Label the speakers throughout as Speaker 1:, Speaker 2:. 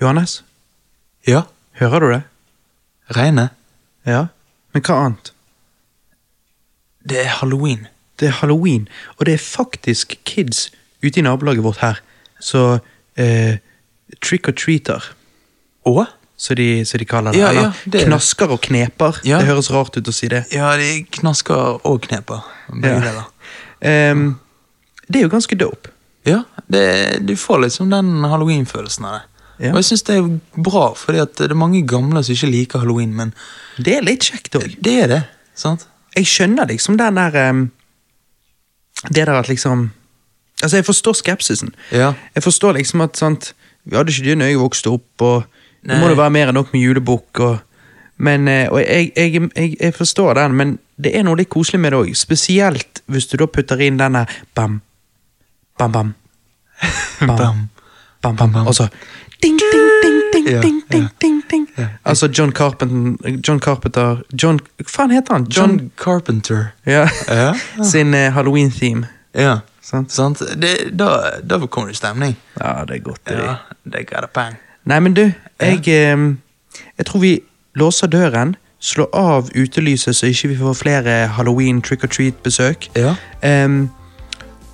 Speaker 1: Johannes,
Speaker 2: Ja,
Speaker 1: hører du det?
Speaker 2: regnet.
Speaker 1: Ja. Men hva annet?
Speaker 2: Det er halloween.
Speaker 1: Det er halloween, og det er faktisk kids ute i nabolaget vårt her. Så eh, trick or treater,
Speaker 2: Og?
Speaker 1: som de, som de kaller det.
Speaker 2: Ja,
Speaker 1: Eller
Speaker 2: ja, det er det.
Speaker 1: knasker og kneper.
Speaker 2: Ja.
Speaker 1: Det høres rart ut å si det.
Speaker 2: Ja, de knasker og kneper. Begge
Speaker 1: Ja.
Speaker 2: deler.
Speaker 1: Ehm, det er jo ganske dope.
Speaker 2: Ja, det, du får liksom den halloween-følelsen av det.
Speaker 1: Ja.
Speaker 2: Og jeg syns det er bra, fordi at det er mange gamle som ikke liker halloween, men
Speaker 1: Det er litt kjekt òg.
Speaker 2: det er det. sant?
Speaker 1: jeg skjønner liksom den der em, Det der at liksom Altså, jeg forstår skepsisen.
Speaker 2: Ja.
Speaker 1: Jeg forstår liksom at sant, Vi hadde ikke det når jeg vokste opp, og nå må
Speaker 2: Nei.
Speaker 1: det være mer enn nok med julebukk. Og, men, eh, og jeg, jeg, jeg, jeg forstår den, men det er noe litt koselig med det òg. Spesielt hvis du da putter inn denne bam, bam, bam, bam, bam,
Speaker 2: Bam.
Speaker 1: bam,
Speaker 2: bam.
Speaker 1: og så ding, ding, ding, ding,
Speaker 2: Ja,
Speaker 1: ding,
Speaker 2: ja.
Speaker 1: ding, ding, ding. Altså John Carpenter John Carpenter John, Hva faen heter han? John
Speaker 2: John Carpenter.
Speaker 1: ja.
Speaker 2: Ja.
Speaker 1: Sin eh, halloween-theme.
Speaker 2: Ja,
Speaker 1: Sant?
Speaker 2: sant? Det, da, da kommer det stemning.
Speaker 1: Ja, det er godt. Det.
Speaker 2: Ja, det got a bang.
Speaker 1: Nei, men du, jeg, ehm, jeg tror vi låser døren, slår av utelyset så ikke vi får flere halloween trick or treat-besøk.
Speaker 2: Ja.
Speaker 1: Ehm,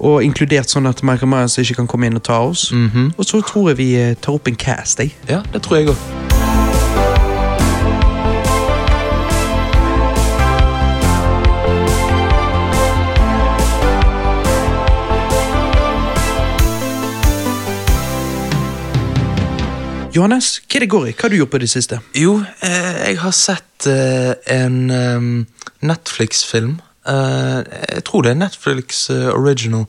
Speaker 1: og inkludert sånn at Michael Myers ikke kan komme inn og ta oss. Og så tror jeg vi eh, tar opp en cast, jeg.
Speaker 2: Ja, det tror jeg òg.
Speaker 1: Johannes, hva er det går i? Hva har du gjort på det siste?
Speaker 2: Jo, eh, jeg har sett eh, en eh, Netflix-film. Eh, jeg tror det er Netflix eh, original.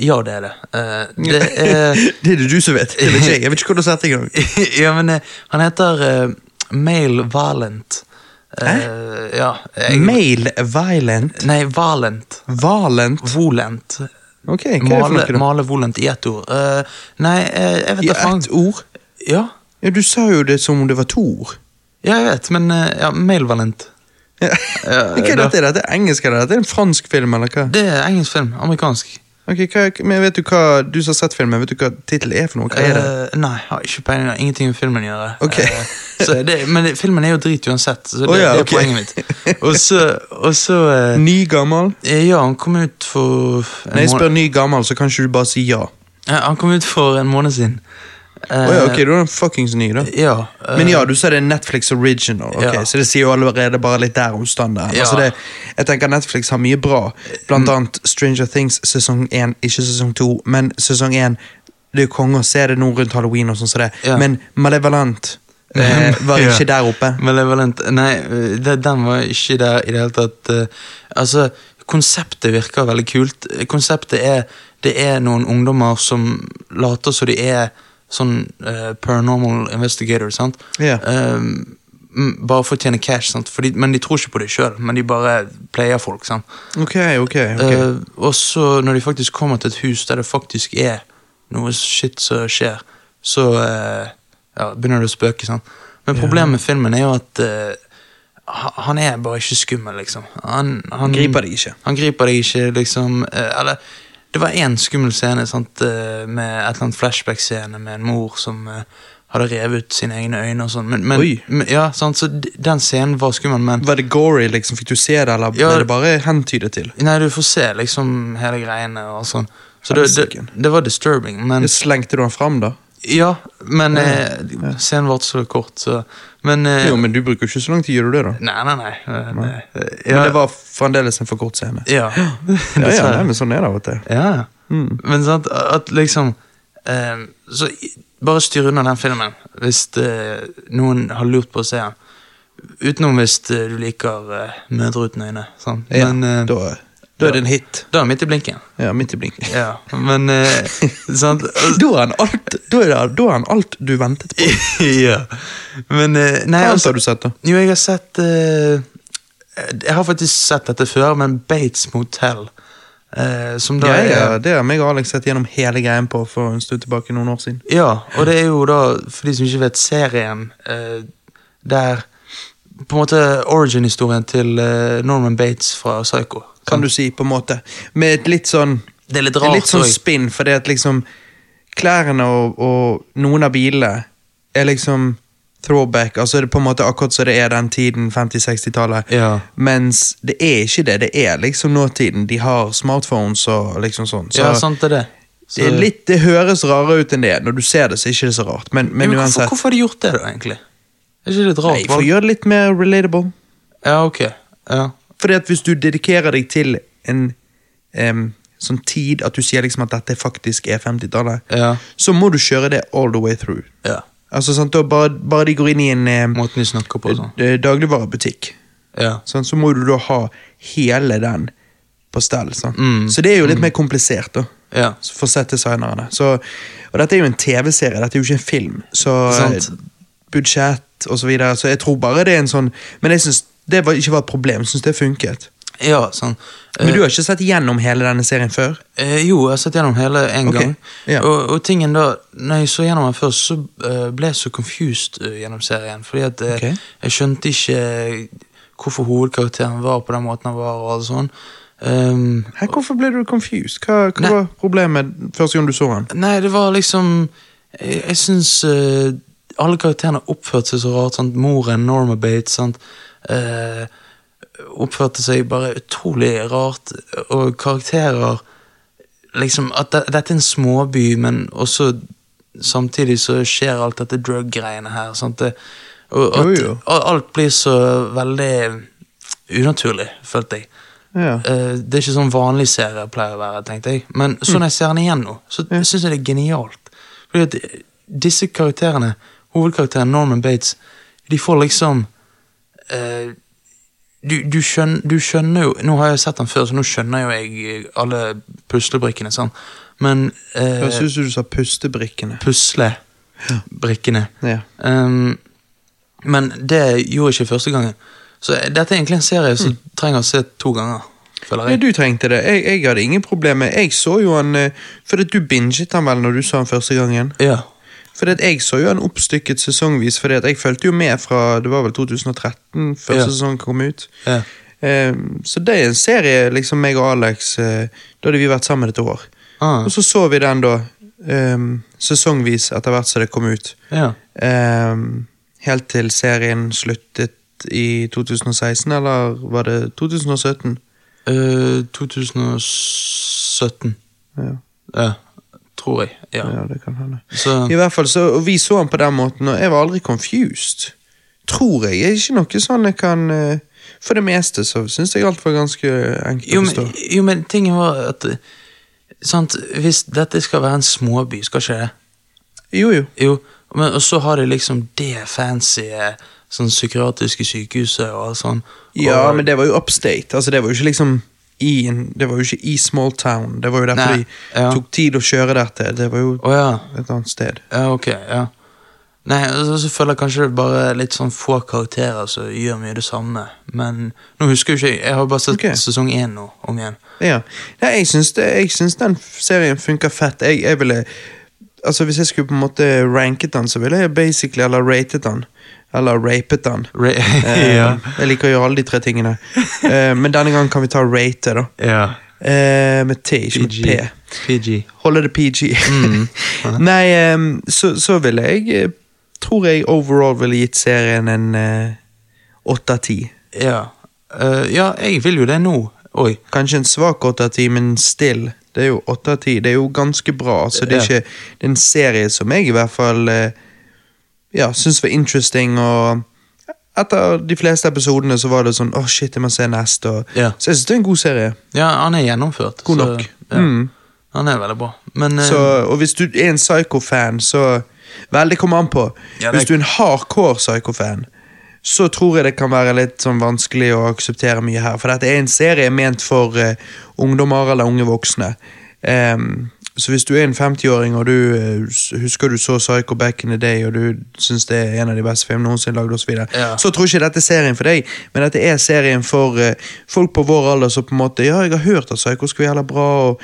Speaker 2: Ja, det er det. Eh, det er
Speaker 1: Det er det du som vet. Det vet ikke jeg. Jeg vet ikke hvor du har sett det engang.
Speaker 2: Ja, men eh, han heter eh, Male Valent. Eh, ja. jeg-
Speaker 1: Male violent.
Speaker 2: Nei, Valent.
Speaker 1: Valent.
Speaker 2: Volent.
Speaker 1: Ok, hva er det for noe
Speaker 2: Male,
Speaker 1: da?
Speaker 2: male Volent i ett ord. Eh, nei, eh, jeg vet
Speaker 1: I
Speaker 2: da faen.
Speaker 1: ett ord?
Speaker 2: Ja,
Speaker 1: Ja, du sa jo det som om det var to ord.
Speaker 2: ja, jeg vet, men eh, ja, Male Valent.
Speaker 1: Ja. Hva er
Speaker 2: da-
Speaker 1: dette? Er dette engelsk eller er dette en fransk film? eller hva?
Speaker 2: Det er engelsk film. Amerikansk.
Speaker 1: Ok, hva, men vet Du hva, du som har sett filmen, vet du hva tittelen er for noe? Hva er det?
Speaker 2: Eh, nei, har ikke peiling. har Ingenting med filmen å gjøre.
Speaker 1: Ok.
Speaker 2: Eh, så det, men det, filmen er jo drit uansett, så det,
Speaker 1: Å ja,
Speaker 2: det er
Speaker 1: ok.
Speaker 2: poenget mitt. Og så, og så
Speaker 1: Ny gammel?
Speaker 2: eh, Ja, han kom ut for en
Speaker 1: Når jeg
Speaker 2: måned-
Speaker 1: spør ny gammel, så kan ikke du bare si ja.
Speaker 2: Ja, Han kom ut for en måned siden. Eh,
Speaker 1: Å ja, ok, du er en fuckings ny, da.
Speaker 2: ja, eh,
Speaker 1: Men ja, du sa det er Netflix original, ok,
Speaker 2: Ja.
Speaker 1: så det sier jo allerede bare litt der om standarden.
Speaker 2: Ja. Mm.
Speaker 1: Altså det, jeg tenker Netflix har mye bra, blant annet Stranger Things sesong 1, ikke sesong 2, men sesong 1, det er jo konge å se det nå rundt Halloween og sånn som det,
Speaker 2: Ja.
Speaker 1: men Malevolent eh, var
Speaker 2: Ja.
Speaker 1: ikke der oppe.
Speaker 2: Malevolent Nei, eh, det, den var ikke der i det hele tatt. eh, Altså, konseptet virker veldig kult. Eh, Konseptet er det er noen ungdommer som later som de er sånn eh, paranormal investigator, sant?
Speaker 1: Ja.
Speaker 2: Eh, m- bare for å tjene cash, sant? Fordi, men de tror ikke på det sjøl, men de bare player folk, sant?
Speaker 1: Ok, ok, ok.
Speaker 2: Eh, og så når de faktisk kommer til et hus der det faktisk er noe shit som skjer, så eh, ja, begynner det å spøke. sant? Men problemet med filmen er jo at eh, ha- han er bare ikke skummel, liksom. Han, han
Speaker 1: Griper deg ikke.
Speaker 2: Han griper deg ikke, liksom. eh, eller det var én skummel scene sant, eh, med et eller annet flashback-scene med en mor som eh, hadde revet ut sine egne øyne og sånn. Men, men,
Speaker 1: Oi.
Speaker 2: men, ja, sant, så d- den scenen var skummel, men
Speaker 1: Var det gory, liksom? Fikk du se det, eller
Speaker 2: Ja.
Speaker 1: ble det bare hentydet til?
Speaker 2: Nei, du får se liksom hele greiene og sånn. Så det, det,
Speaker 1: Helsike.
Speaker 2: det var disturbing, men
Speaker 1: Slengte du han fram, da?
Speaker 2: Ja, men eh, scenen varte så kort, så Men eh,
Speaker 1: Jo, men du bruker jo ikke så lang tid, gjør du det, da?
Speaker 2: Nei, nei, nei. eh, eh,
Speaker 1: Men
Speaker 2: ja,
Speaker 1: det var fremdeles en for kort scene.
Speaker 2: Ja,
Speaker 1: Ja, ja, nei,
Speaker 2: dessverre.
Speaker 1: men sånn er det av og til.
Speaker 2: Ja, ja. Men sant, at liksom eh, Så i- bare styr unna den filmen hvis eh, noen har lurt på å se den. Utenom hvis eh, du liker eh, Mødre uten øyne. Sant?
Speaker 1: Ja,
Speaker 2: Men eh,
Speaker 1: da, da er det en hit.
Speaker 2: da er det midt i blinken.
Speaker 1: Ja, midt i blinken.
Speaker 2: Ja, men eh, sant, altså,
Speaker 1: Da er han alt, da er det, da er han alt du ventet på.
Speaker 2: ja. Men eh, Nei,
Speaker 1: Hva annet
Speaker 2: altså
Speaker 1: har du sett, da?
Speaker 2: Jo, jeg har sett eh, Jeg har faktisk sett dette før, men Bates Motel. eh, som da
Speaker 1: Ja,
Speaker 2: er
Speaker 1: ja, det har meg og Alex sett gjennom hele greien på for en stund tilbake. noen år siden.
Speaker 2: Ja, og det er jo da, for de som ikke vet, serien eh, der På en måte origin-historien til eh, Norman Bates fra Psycho.
Speaker 1: Kan du si, på en måte. Med et litt sånn
Speaker 2: Det er litt
Speaker 1: Det er
Speaker 2: rart.
Speaker 1: litt sånn
Speaker 2: tror jeg.
Speaker 1: spinn, fordi at liksom klærne og, og noen av bilene er liksom throwback. Altså det er på en måte akkurat som det er den tiden, 50-60-tallet.
Speaker 2: Ja.
Speaker 1: Mens det er ikke det. Det er liksom nåtiden. De har smartphones og liksom sånn. Så
Speaker 2: ja, sant det er det. Så-
Speaker 1: det, er litt, det høres rarere ut enn det er. Når du ser det, så er ikke det så rart. Men,
Speaker 2: Ja,
Speaker 1: men
Speaker 2: men hvorfor,
Speaker 1: uansett.
Speaker 2: hvorfor har de gjort det, da, egentlig? Er ikke det et
Speaker 1: Nei,
Speaker 2: rart
Speaker 1: for å
Speaker 2: valg?
Speaker 1: gjøre det litt mer relatable.
Speaker 2: Ja, ok. Ja.
Speaker 1: Fordi at hvis du dedikerer deg til en em, sånn tid at du sier liksom at dette faktisk er 50-tallet,
Speaker 2: Ja.
Speaker 1: så må du kjøre det all the way through.
Speaker 2: ja.
Speaker 1: Altså sant, da bare, bare de går inn i en em,
Speaker 2: Måten de snakker på og sånn.
Speaker 1: eh, dagligvarebutikk,
Speaker 2: Ja.
Speaker 1: sant, så må du da ha hele den på stell. Sant?
Speaker 2: Mm.
Speaker 1: Så det er jo litt mer komplisert da,
Speaker 2: ja.
Speaker 1: for settdesignerne. Så, og dette er jo en TV-serie, dette er jo ikke en film. Så
Speaker 2: Sant.
Speaker 1: eh, budsjett og så videre, så jeg tror bare det er en sånn, men jeg synes det var, ikke var et problem, jeg synes det funket.
Speaker 2: Ja, sånn.
Speaker 1: Men du har ikke sett gjennom hele denne serien før?
Speaker 2: Eh, jo, jeg har sett gjennom hele en
Speaker 1: Ok,
Speaker 2: gang.
Speaker 1: ja.
Speaker 2: Og, og tingen da, når jeg så gjennom den først, så eh, ble jeg så confused eh, gjennom serien. Fordi at eh,
Speaker 1: Ok.
Speaker 2: jeg skjønte ikke hvorfor hovedkarakteren var på den måten han var. og alt sånn. Ehm,
Speaker 1: Hæ, hvorfor ble du confused? Hva, hva
Speaker 2: Nei.
Speaker 1: var problemet første gang du så han?
Speaker 2: nei, det var liksom Jeg, jeg syns eh, alle karakterene oppførte seg så rart. Sant? Moren, Norma Bates, sant? eh, oppførte seg bare utrolig rart. Og karakterer liksom at det, dette er en småby, men også samtidig så skjer alt dette drug-greiene her. Sant? Det, og at
Speaker 1: Jo, jo.
Speaker 2: a- alt blir så veldig unaturlig, følte jeg.
Speaker 1: Ja.
Speaker 2: Eh, det er ikke sånn vanlig serie jeg pleier å være, tenkte jeg. Men så når jeg ser den igjen nå, så syns jeg det er genialt. Fordi at eh, disse karakterene, hovedkarakteren Norman Bates, de får liksom eh, du, du, skjønner, du skjønner jo Nå har jeg sett den før, så nå skjønner jo jeg eh, alle puslebrikkene, sant. Men
Speaker 1: Jeg
Speaker 2: eh,
Speaker 1: synes du sa pustebrikkene.
Speaker 2: puslebrikkene
Speaker 1: Ja.
Speaker 2: Ehm, Men det gjorde jeg ikke første gangen. Så eh, dette er egentlig en serie som trenger å se to ganger, føler
Speaker 1: Nei,
Speaker 2: jeg.
Speaker 1: du trengte det. Jeg, jeg hadde ingen problemer. Jeg så jo han eh, Fordi at du binget han vel når du så han første gangen?
Speaker 2: Ja.
Speaker 1: Fordi at jeg så jo han oppstykket sesongvis, fordi at jeg fulgte jo med fra det var vel 2013 første
Speaker 2: Ja.
Speaker 1: sesong kom ut.
Speaker 2: Ja.
Speaker 1: Eh, så det er en serie, liksom meg og Alex eh, Da hadde vi vært sammen et år.
Speaker 2: Ah,
Speaker 1: Og så så vi den, da. eh, sesongvis etter hvert som det kom ut.
Speaker 2: ja.
Speaker 1: Ehm, helt til serien sluttet i 2016, eller var det 2017?
Speaker 2: Eh, 2017.
Speaker 1: Ja,
Speaker 2: Ja, tror jeg. Ja.
Speaker 1: ja det kan hende.
Speaker 2: Så,
Speaker 1: I hvert fall så, og Vi så den på den måten, og jeg var aldri confused. Tror jeg. Det er ikke noe sånn jeg kan eh, For det meste så syns jeg alt var ganske enkelt
Speaker 2: jo,
Speaker 1: å forstå.
Speaker 2: men, jo, men tingen var at eh, sant, Hvis dette skal være en småby, skal ikke det?
Speaker 1: Jo, jo.
Speaker 2: Jo, men, og så har de liksom det fancy eh, sånn psykiatriske sykehuset og alt sånn.
Speaker 1: Ja,
Speaker 2: og,
Speaker 1: men det var jo upstate. Altså, det var jo ikke liksom i en, Det var jo ikke i small town. Det var jo derfor
Speaker 2: Nei,
Speaker 1: de
Speaker 2: ja.
Speaker 1: tok tid å kjøre der til. Det var jo
Speaker 2: Å ja.
Speaker 1: et annet sted.
Speaker 2: ja. Ok, ja. Nei, altså, så føler jeg kanskje det er bare litt sånn få karakterer som gjør mye det samme. Men nå husker jo ikke jeg. Jeg har bare sett
Speaker 1: Ok.
Speaker 2: sesong én nå, om igjen.
Speaker 1: Ja. Nei, jeg syns, det, jeg syns den f- serien funker fett. Jeg, jeg ville Altså, hvis jeg skulle på en måte ranket den, så ville jeg basically Eller ratet den. Eller rapet den.
Speaker 2: Ra
Speaker 1: Eh,
Speaker 2: ja.
Speaker 1: Jeg liker å gjøre alle de tre tingene. Eh, men denne gangen kan vi ta rate, da.
Speaker 2: ja.
Speaker 1: Eh, med T, ikke med P.
Speaker 2: PG. PG.
Speaker 1: Holde det PG. Nei, ehm, så, så ville jeg eh, Tror jeg overall ville gitt serien en eh, åtte av ti.
Speaker 2: Ja. Eh, ja, jeg vil jo det nå. Oi.
Speaker 1: Kanskje en svak 8 av 10, men still. Det er jo 8 av 10. Det er jo ganske bra. Altså, det, er
Speaker 2: Ja.
Speaker 1: ikke, det er en serie som jeg i hvert fall eh, ja, syns var interesting. og Etter de fleste episodene så var det sånn Å, shit, jeg må se neste. Og,
Speaker 2: Ja.
Speaker 1: Så jeg syns det er en god serie.
Speaker 2: Ja, han er gjennomført.
Speaker 1: God
Speaker 2: så-
Speaker 1: nok.
Speaker 2: Ja.
Speaker 1: Mm.
Speaker 2: Han er veldig bra. Men eh,
Speaker 1: Så, og hvis du er en psycho-fan, så Vel, det kommer an på.
Speaker 2: Ja, det-
Speaker 1: Hvis du er en hardcore psycho-fan, så tror jeg det kan være litt sånn vanskelig å akseptere mye her. For dette er en serie ment for eh, ungdommer eller unge voksne. Ehm, så hvis du er en 50-åring og du eh, s- husker du så Psycho back in the day, og du syns det er en av de beste filmene noensinne lagd, osv., videre,
Speaker 2: Ja.
Speaker 1: så tror jeg ikke dette er serien for deg, men dette er serien for eh, folk på vår alder som på en måte Ja, jeg har hørt at Psycho skal være jævla bra, og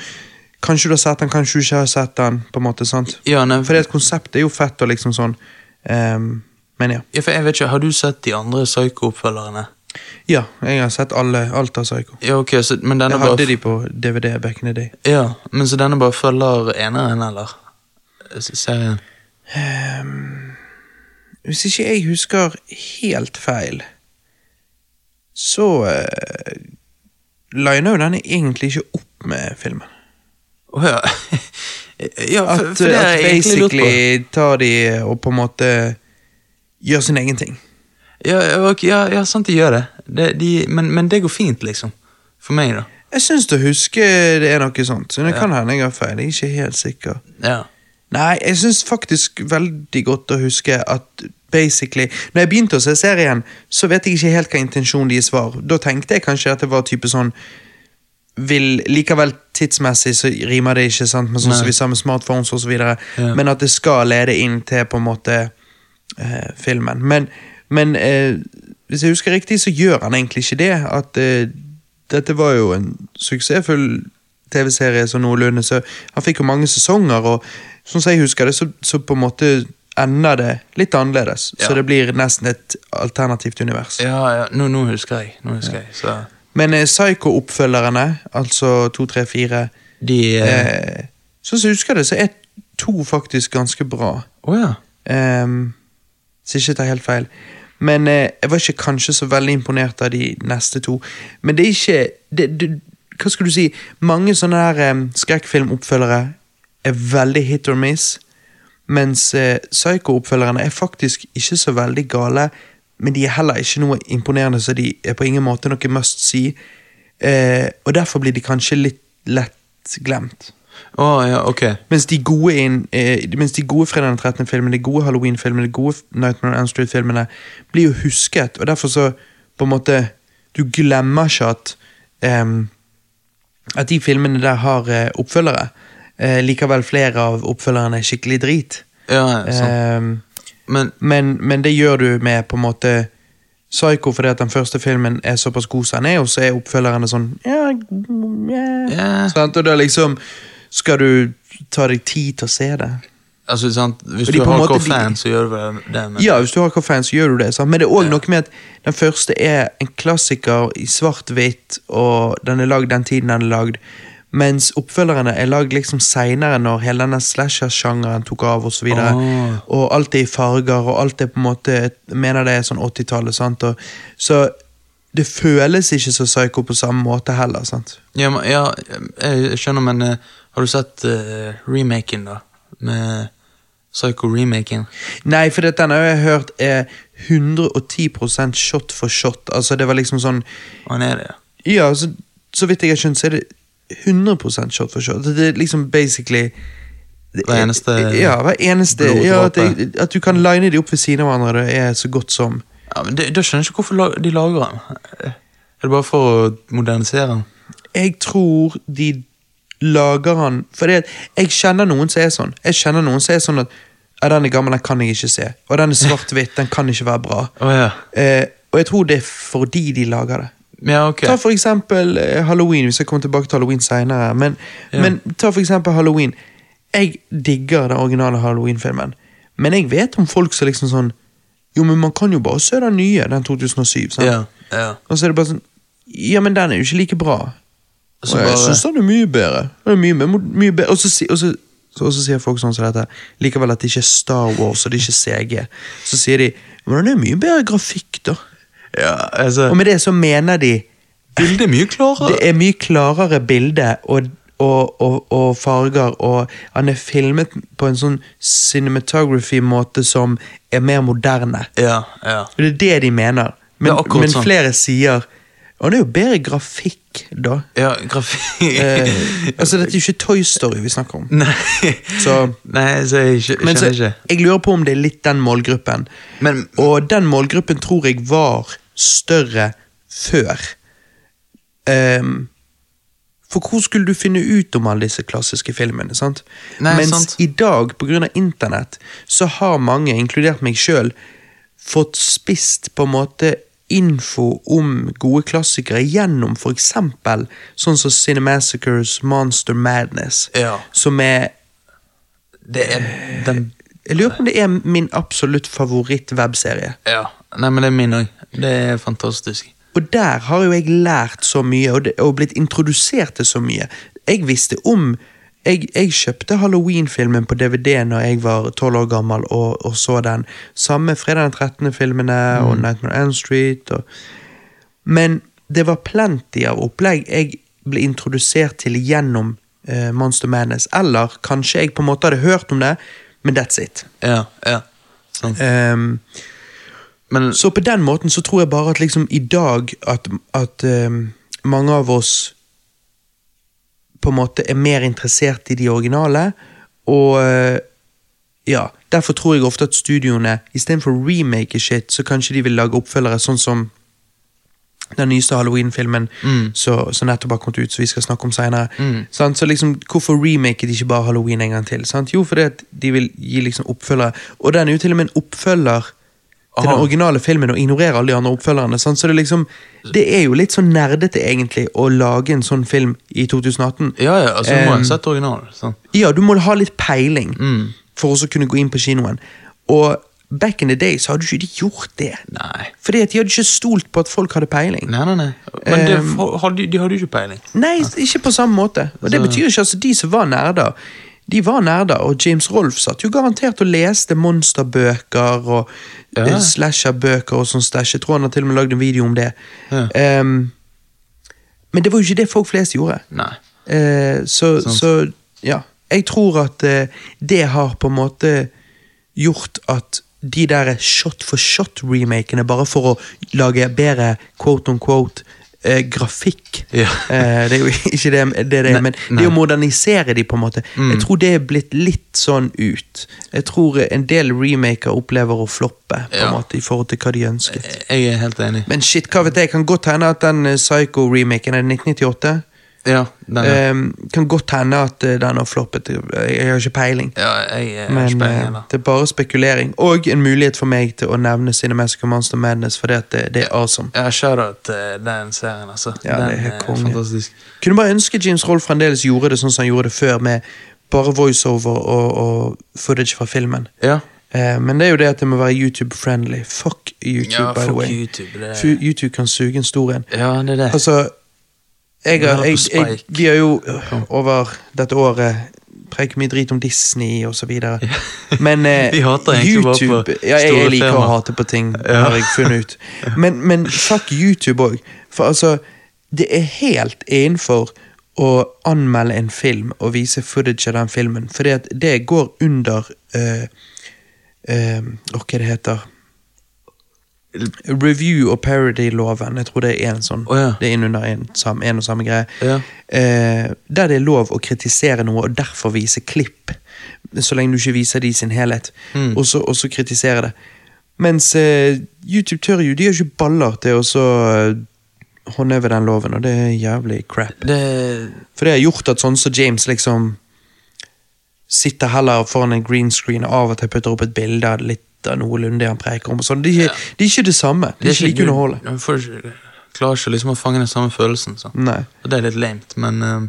Speaker 1: kanskje du har sett den, kanskje du ikke har sett den, på en måte, sant?
Speaker 2: ja, nei,
Speaker 1: For det konseptet er jo fett og liksom sånn, ehm, men ja.
Speaker 2: ja, for jeg vet ikke, Har du sett de andre Psycho-oppfølgerne?
Speaker 1: Ja, jeg har sett alle, alt av Psycho.
Speaker 2: Ja, ok, så, men denne
Speaker 1: Jeg
Speaker 2: bare,
Speaker 1: hadde de på DVD back in the day.
Speaker 2: ja, men så Eh, denne bare følger eneren, eller? S- Serien?
Speaker 1: Ehm, Hvis ikke jeg husker helt feil, så uh, liner jo denne egentlig ikke opp med filmen.
Speaker 2: Å ja. ja,
Speaker 1: At,
Speaker 2: for, for det har
Speaker 1: at
Speaker 2: jeg egentlig lurt på.
Speaker 1: basically tar de og på en måte gjør sin egen ting.
Speaker 2: Ja, ja, ok, ja, ja sant, de gjør det. det de, men, men det går fint, liksom. For meg, da.
Speaker 1: Jeg syns å huske det er noe sånt, så det kan hende jeg har feil. Jeg er ikke helt sikker.
Speaker 2: Ja.
Speaker 1: Nei, jeg syns faktisk veldig godt å huske at basically Når jeg begynte å se serien, så vet jeg ikke helt hva intensjonen deres var. Da tenkte jeg kanskje at det var type sånn vil, Likevel tidsmessig så rimer det ikke, sant? men sånn som
Speaker 2: Nei.
Speaker 1: vi sa med smartphones osv. videre
Speaker 2: Ja.
Speaker 1: Men at det skal lede inn til på en måte eh, filmen. Men, men eh, hvis jeg husker riktig, så gjør han egentlig ikke det. At eh, dette var jo en suksessfull TV-serie så noenlunde, så han fikk jo mange sesonger, og sånn som jeg husker det, så, så på en måte ender det litt annerledes.
Speaker 2: Ja.
Speaker 1: Så det blir nesten et alternativt univers.
Speaker 2: Ja, ja, nå, nå husker jeg. Nå husker jeg. Så
Speaker 1: Men eh, Psycho-oppfølgerne, altså 2, 3, 4
Speaker 2: de eh,
Speaker 1: eh, Sånn som jeg husker det, så er to faktisk ganske bra.
Speaker 2: Å ja.
Speaker 1: Um, så ikke tar helt feil. Men eh, jeg var ikke kanskje så veldig imponert av de neste to. Men det er ikke det, du, Hva skal du si? Mange sånne der um, skrekkfilmoppfølgere er veldig hit or miss. Mens eh, Psycho-oppfølgerne er faktisk ikke så veldig gale. Men de er heller ikke noe imponerende, så de er på ingen måte noe must see. Eh, og derfor blir de kanskje litt lett glemt.
Speaker 2: Å ja, ok.
Speaker 1: Mens de gode, inn, eh, mens de gode Fredag den 13. filmene, de gode Halloween-filmene, de gode Nightmare on Elm Street-filmene blir jo husket, og derfor så på en måte Du glemmer ikke at ehm, at de filmene der har eh, oppfølgere. Eh, likevel flere av oppfølgerne er skikkelig drit.
Speaker 2: Ja, ja, sant.
Speaker 1: Ehm,
Speaker 2: Men
Speaker 1: men, men det gjør du med på en måte Psycho fordi at den første filmen er såpass god som den er, og så er oppfølgerne sånn ja, yeah.
Speaker 2: Ja.
Speaker 1: Sant? Og da liksom skal du ta deg tid til å se det.
Speaker 2: altså, sant? hvis
Speaker 1: Og
Speaker 2: du
Speaker 1: de
Speaker 2: er
Speaker 1: på en måte-
Speaker 2: hardcore-fan, så gjør du vel det. Men,
Speaker 1: Ja, hvis du har kaffen, så gjør du det. Sant? Men det er òg noe med at den første er en klassiker i svart-hvitt, og den er lagd den tiden den er lagd. Mens oppfølgerne er lagd liksom seinere, når hele denne slasher-sjangeren tok av. Og så videre.
Speaker 2: Ah.
Speaker 1: Og alt er i farger, og alt er på en måte Jeg mener det er sånn 80-tallet. sant? Og, så det føles ikke så psycho på samme måte heller. sant?
Speaker 2: Ja, men- ja, jeg skjønner, men eh, har du sett eh, remaken, da? Med Psycho-remaken?
Speaker 1: Nei, for den har jeg hørt er 110 shot for shot. Altså, det var liksom sånn
Speaker 2: Han er det, ja.
Speaker 1: Ja, så, så vidt jeg har skjønt, så er det 100 shot for shot. Det er liksom basically det
Speaker 2: Hver
Speaker 1: er-
Speaker 2: eneste
Speaker 1: Ja, hver eneste
Speaker 2: bloddråpe.
Speaker 1: ja, at, det- at du kan line de opp ved siden av hverandre, det er så godt som
Speaker 2: ja men det, Da skjønner jeg ikke hvorfor la- de lager den. Er det bare for å modernisere den?
Speaker 1: Jeg tror de lager han Fordi at jeg kjenner noen som er sånn. Jeg kjenner noen som er sånn at ja, den er gammel, den kan jeg ikke se. Og den er svart-hvitt, den kan ikke være bra.
Speaker 2: Å ja.
Speaker 1: Eh, og jeg tror det er fordi de lager det.
Speaker 2: Ja, ok.
Speaker 1: Ta for eksempel eh, Halloween, hvis jeg kommer tilbake til Halloween senere. Men, men ta for eksempel Halloween. Jeg digger den originale Halloween-filmen. Men jeg vet om folk som liksom sånn Jo, men man kan jo bare se den nye, den 2007. Sant?
Speaker 2: Ja, ja.
Speaker 1: Og så er det bare sånn Ja, men den er jo ikke like bra.
Speaker 2: Og
Speaker 1: Og
Speaker 2: så
Speaker 1: jeg
Speaker 2: bare
Speaker 1: syns den er mye bedre. Den er mye, mer- mye bedre. Og så, si- og så, så, og så sier folk sånn som dette likevel at det ikke er Star Wars og det ikke er CG. Så sier de Men den er mye bedre grafikk, da.
Speaker 2: ja, altså,
Speaker 1: Og med det så mener de
Speaker 2: Bildet er mye klarere.
Speaker 1: det er mye klarere bilde og, og, og, og farger, og han er filmet på en sånn cinematography-måte som er mer moderne.
Speaker 2: Ja, ja.
Speaker 1: Og Det er det de mener. Men,
Speaker 2: Det er akkurat
Speaker 1: men
Speaker 2: sånn.
Speaker 1: flere sier Og det er jo bedre grafikk, da.
Speaker 2: Ja, grafikk
Speaker 1: Eh, altså, dette er jo ikke Toy Story vi snakker om.
Speaker 2: Nei,
Speaker 1: Så-
Speaker 2: Nei så jeg skj-
Speaker 1: Men så,
Speaker 2: skjønner ikke.
Speaker 1: jeg lurer på om det er litt den målgruppen.
Speaker 2: Men-
Speaker 1: og den målgruppen tror jeg var større før. Ehm, for hvor skulle du finne ut om alle disse klassiske filmene? sant?
Speaker 2: Nei,
Speaker 1: Mens
Speaker 2: sant.
Speaker 1: i dag, pga. internett, så har mange, inkludert meg sjøl, fått spist på en måte info om gode klassikere gjennom f.eks. sånn som Cinemassacres Monster Madness,
Speaker 2: Ja.
Speaker 1: som er
Speaker 2: Det er den
Speaker 1: jeg lurer på om det er min absolutt favoritt-webserie.
Speaker 2: Ja. Nei, men det er min òg. Det er fantastisk.
Speaker 1: Og der har jo jeg lært så mye og, det, og blitt introdusert til så mye. Jeg visste om jeg, jeg kjøpte Halloween-filmen på DVD når jeg var 12 år gammel og, og så den. Samme fredag den 13.-filmene og Nightmare on Elm Street. Og, men det var plenty av opplegg jeg ble introdusert til gjennom eh, Monster Madness. Eller kanskje jeg på en måte hadde hørt om det, men that's it.
Speaker 2: Ja, ja. Sant.
Speaker 1: Ehm,
Speaker 2: Men
Speaker 1: så på den måten så tror jeg bare at liksom i dag at, at ehm, mange av oss på en måte er mer interessert i de originale, og eh, ja, derfor tror jeg ofte at studioene istedenfor å remake shit, så kanskje de vil lage oppfølgere sånn som den nyeste Halloween-filmen som som nettopp har kommet ut, som vi skal snakke om seinere. Så liksom, hvorfor remake de ikke bare Halloween en gang til? Sant? Jo, fordi at de vil gi liksom oppfølgere. Og den er jo til og med en oppfølger til
Speaker 2: Aha.
Speaker 1: den originale filmen og ignorerer alle de andre oppfølgerne. Sant? Så det, er liksom, det er jo litt sånn nerdete, egentlig, å lage en sånn film i 2018.
Speaker 2: ja, ja, altså, du må
Speaker 1: Ehm,
Speaker 2: ha sett originalen. sånn. sant?
Speaker 1: ja, du må ha litt peiling for også å kunne gå inn på kinoen. Og back in the day så hadde jo ikke de gjort det.
Speaker 2: Nei.
Speaker 1: Fordi at de hadde ikke stolt på at folk hadde peiling.
Speaker 2: Nei, nei, Eh. nei. Men det,
Speaker 1: Ehm,
Speaker 2: for- hadde, de hadde jo ikke peiling.
Speaker 1: Nei, ikke på samme måte. Og det
Speaker 2: Så-
Speaker 1: betyr ikke altså, de som var nerder, de var nerder, og James Rolf satt jo garantert og leste monsterbøker og
Speaker 2: Ja.
Speaker 1: eh, slasherbøker og sånn stæsj. Jeg tror han har til og med lagd en video om det.
Speaker 2: Ja.
Speaker 1: Ehm, men det var jo ikke det folk flest gjorde.
Speaker 2: Nei.
Speaker 1: Eh, så, så ja. Jeg tror at eh, det har på en måte gjort at de der shot for shot-remakene, bare for å lage bedre quote on quote eh, grafikk
Speaker 2: Ja.
Speaker 1: eh, Det er jo ikke det det, er det
Speaker 2: Nei,
Speaker 1: men
Speaker 2: nei. Mm.
Speaker 1: det å modernisere de på en måte. Jeg tror det er blitt litt sånn ut. Jeg tror en del remaker opplever å floppe på en
Speaker 2: Ja.
Speaker 1: måte i forhold til hva de ønsket.
Speaker 2: Jeg er helt enig.
Speaker 1: Men shit, hva vet jeg, kan godt hende at den eh, Psycho-remaken er 1998.
Speaker 2: Ja, den, er-
Speaker 1: Ehm, kan godt hende at eh, den har floppet. Jeg jeg har ikke peiling.
Speaker 2: ja jeg er
Speaker 1: Men
Speaker 2: ikke
Speaker 1: eh,
Speaker 2: peiling heller.
Speaker 1: det er bare spekulering. Og en mulighet for meg til å nevne Cinematic Monster Madness, fordi at det, det er awesome.
Speaker 2: Jeg skjønner at eh, den serien, altså.
Speaker 1: Ja, det er
Speaker 2: den
Speaker 1: helt konge.
Speaker 2: fantastisk.
Speaker 1: Kunne bare ønske James Roll fremdeles gjorde det sånn som han gjorde det før, med bare voiceover og, og footage fra filmen.
Speaker 2: Ja.
Speaker 1: Eh, men det er jo det at det må være YouTube-friendly. Fuck YouTube,
Speaker 2: Ja,
Speaker 1: by the
Speaker 2: fuck
Speaker 1: way.
Speaker 2: YouTube, det-
Speaker 1: Fu- YouTube kan suge en stor en.
Speaker 2: ja, det er det.
Speaker 1: Altså, jeg,
Speaker 2: Vi har
Speaker 1: har-
Speaker 2: hørt
Speaker 1: jeg,
Speaker 2: på
Speaker 1: jeg,
Speaker 2: Spike.
Speaker 1: vi har jo øh, over dette året preket mye drit om Disney og så videre. Men eh,
Speaker 2: Vi hater egentlig bare på
Speaker 1: YouTube ja, jeg,
Speaker 2: store
Speaker 1: jeg liker å
Speaker 2: firmaer.
Speaker 1: hate på ting, har jeg funnet ut. Men, men fuck YouTube òg. For altså, det er helt innenfor å anmelde en film og vise footage av den filmen, fordi at det går under eh, eh, Hva det heter Review og parody-loven. Jeg tror det er en sånn.
Speaker 2: Å, ja.
Speaker 1: Det er inn under en, sam, en og samme greie.
Speaker 2: Ja.
Speaker 1: Eh, der det er lov å kritisere noe og derfor vise klipp. Så lenge du ikke viser det i sin helhet. Og, så, og så kritisere det. Mens eh, YouTube tør jo, de har ikke baller til å så eh, håndheve den loven, og det er jævlig crap.
Speaker 2: Det,
Speaker 1: For det har gjort at sånn som James liksom sitter heller foran en green screen og av og til putter opp et bilde av litt av noenlunde det han preker om. og sånn. Det, er ikke- det er ikke det samme. Det er ikke like underholdende.
Speaker 2: Du, du får ikke, klarer ikke liksom å fange den samme følelsen. Så.
Speaker 1: Nei.
Speaker 2: Og det er litt lamet, men eh,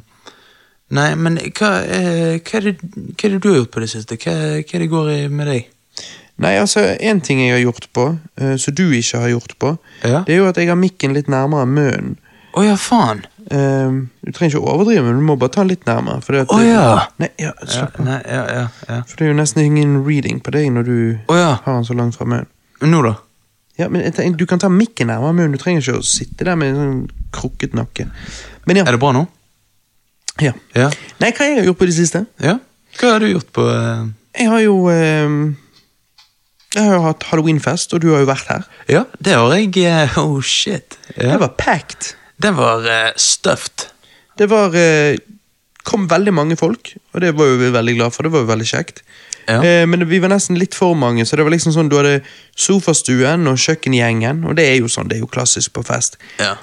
Speaker 2: Nei, men hva, eh, hva, er det, hva er det du har gjort på det siste? Hva, hva er det går i med deg?
Speaker 1: Nei, altså, en ting jeg har gjort på, eh, som du ikke har gjort på,
Speaker 2: Ja.
Speaker 1: det er jo at jeg har mikken litt nærmere munnen.
Speaker 2: Å ja, faen!
Speaker 1: Ehm, du trenger ikke å overdrive, men du må bare ta den litt nærmere. fordi at-
Speaker 2: Å ja.
Speaker 1: Nei, ja,
Speaker 2: Ja,
Speaker 1: slapp av.
Speaker 2: nei, ja, ja, ja.
Speaker 1: For det er jo nesten ingen reading på deg når du
Speaker 2: Å ja.
Speaker 1: har den så langt fra munnen.
Speaker 2: Men Nå, da?
Speaker 1: Ja, men jeg tenker, Du kan ta mikken nærmere munnen, du trenger ikke å sitte der med en sånn krukket nakke. Men ja.
Speaker 2: Er det bra nå?
Speaker 1: ja.
Speaker 2: Ja.
Speaker 1: Nei, hva jeg har gjort på det siste?
Speaker 2: ja. Hva har du gjort på eh,
Speaker 1: Jeg har jo ehm, Jeg har jo hatt halloweenfest, og du har jo vært her.
Speaker 2: Ja, det har jeg. eh, Oh shit. Ja.
Speaker 1: Det var packed.
Speaker 2: Den var eh, stuffed.
Speaker 1: Det var eh, kom veldig mange folk, og det var jo vi veldig glad for. Det var jo veldig kjekt.
Speaker 2: Ja.
Speaker 1: Eh, men vi var nesten litt for mange, så det var liksom sånn du hadde sofastuen og kjøkkengjengen, og det er jo sånn, det er jo klassisk på fest.
Speaker 2: Ja.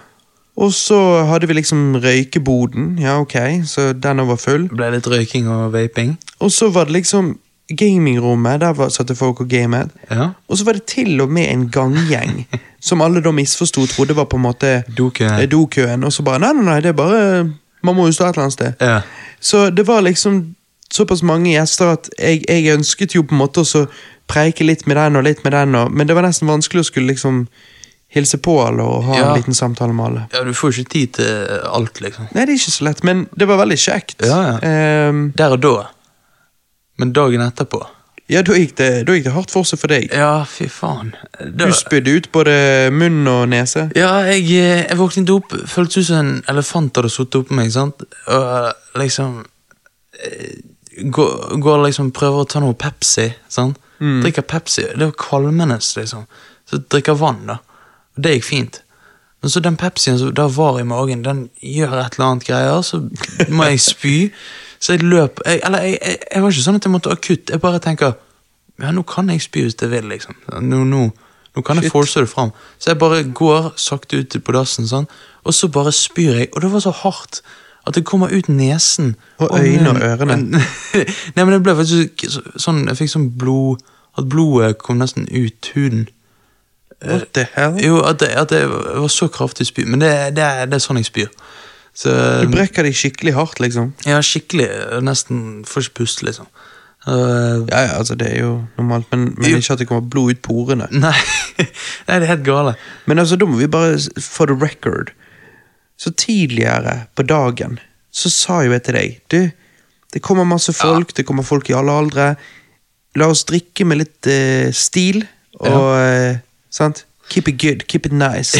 Speaker 1: Og så hadde vi liksom røykeboden, ja ok, så den var full.
Speaker 2: Det ble litt røyking og vaping.
Speaker 1: Og så var det liksom gamingrommet, der var, satte folk og gamet.
Speaker 2: Ja.
Speaker 1: Og så var det til og med en ganggjeng som alle da misforsto, trodde var på en måte
Speaker 2: Dokøen.
Speaker 1: eh, dokøen. Og så bare nei, nei, nei, det er bare Man må jo stå et eller annet sted.
Speaker 2: Ja.
Speaker 1: Så det var liksom såpass mange gjester at jeg, jeg ønsket jo på en måte å så preike litt med den og litt med den, og, men det var nesten vanskelig å skulle liksom hilse på alle og ha
Speaker 2: Ja.
Speaker 1: en liten samtale med alle.
Speaker 2: Ja, du får jo ikke tid til alt, liksom.
Speaker 1: Nei, det er ikke så lett, men det var veldig kjekt.
Speaker 2: Ja, ja.
Speaker 1: Ehm,
Speaker 2: Der og da. Men dagen etterpå
Speaker 1: ja da, gikk det, da gikk det hardt for seg for deg.
Speaker 2: Ja, fy faen. Da,
Speaker 1: Du spydde ut både munn og nese.
Speaker 2: ja, jeg, eh, jeg våknet opp, føltes ut som en elefant hadde sittet oppå meg, sant? Og eh, liksom eh, Går, går liksom prøver å ta noe Pepsi, sant? Drikker Pepsi. Det var kvalmende, liksom. Så drikker vann, da. Og det gikk fint. Men så den Pepsien som da var i magen, den gjør et eller annet greier, så må jeg spy. Så jeg løp jeg, Eller jeg, jeg, jeg var ikke sånn at jeg måtte akutt. Jeg bare tenker Ja, nå kan jeg spy hvis jeg vil, liksom. Nå, nå, nå kan jeg force det fram. Så jeg bare går sakte ut på dassen, sånn, og så bare spyr jeg. Og det var så hardt at det kommer ut nesen.
Speaker 1: Og øynene og ørene.
Speaker 2: Nei, men det ble faktisk så- sånn Jeg fikk sånn blod At blodet kom nesten ut huden.
Speaker 1: What the hell?
Speaker 2: Jo, at det, at det var så kraftig spy. Men det, det, er- det er sånn jeg spyr. Så
Speaker 1: Du brekker deg skikkelig hardt, liksom.
Speaker 2: jeg har skikkelig eh, Nesten får ikke puste, liksom. Eh,
Speaker 1: Ja, ja, altså, det er jo normalt, men, men
Speaker 2: Jo.
Speaker 1: ikke at det kommer blod ut porene.
Speaker 2: nei, nei, det er helt gale.
Speaker 1: Men altså, da må vi bare, s- for the record Så tidligere på dagen Så sa jo jeg til deg Du, det kommer masse folk Det kommer folk i alle aldre La oss drikke med litt eh, stil Og, eh, sant? Keep it good, keep it nice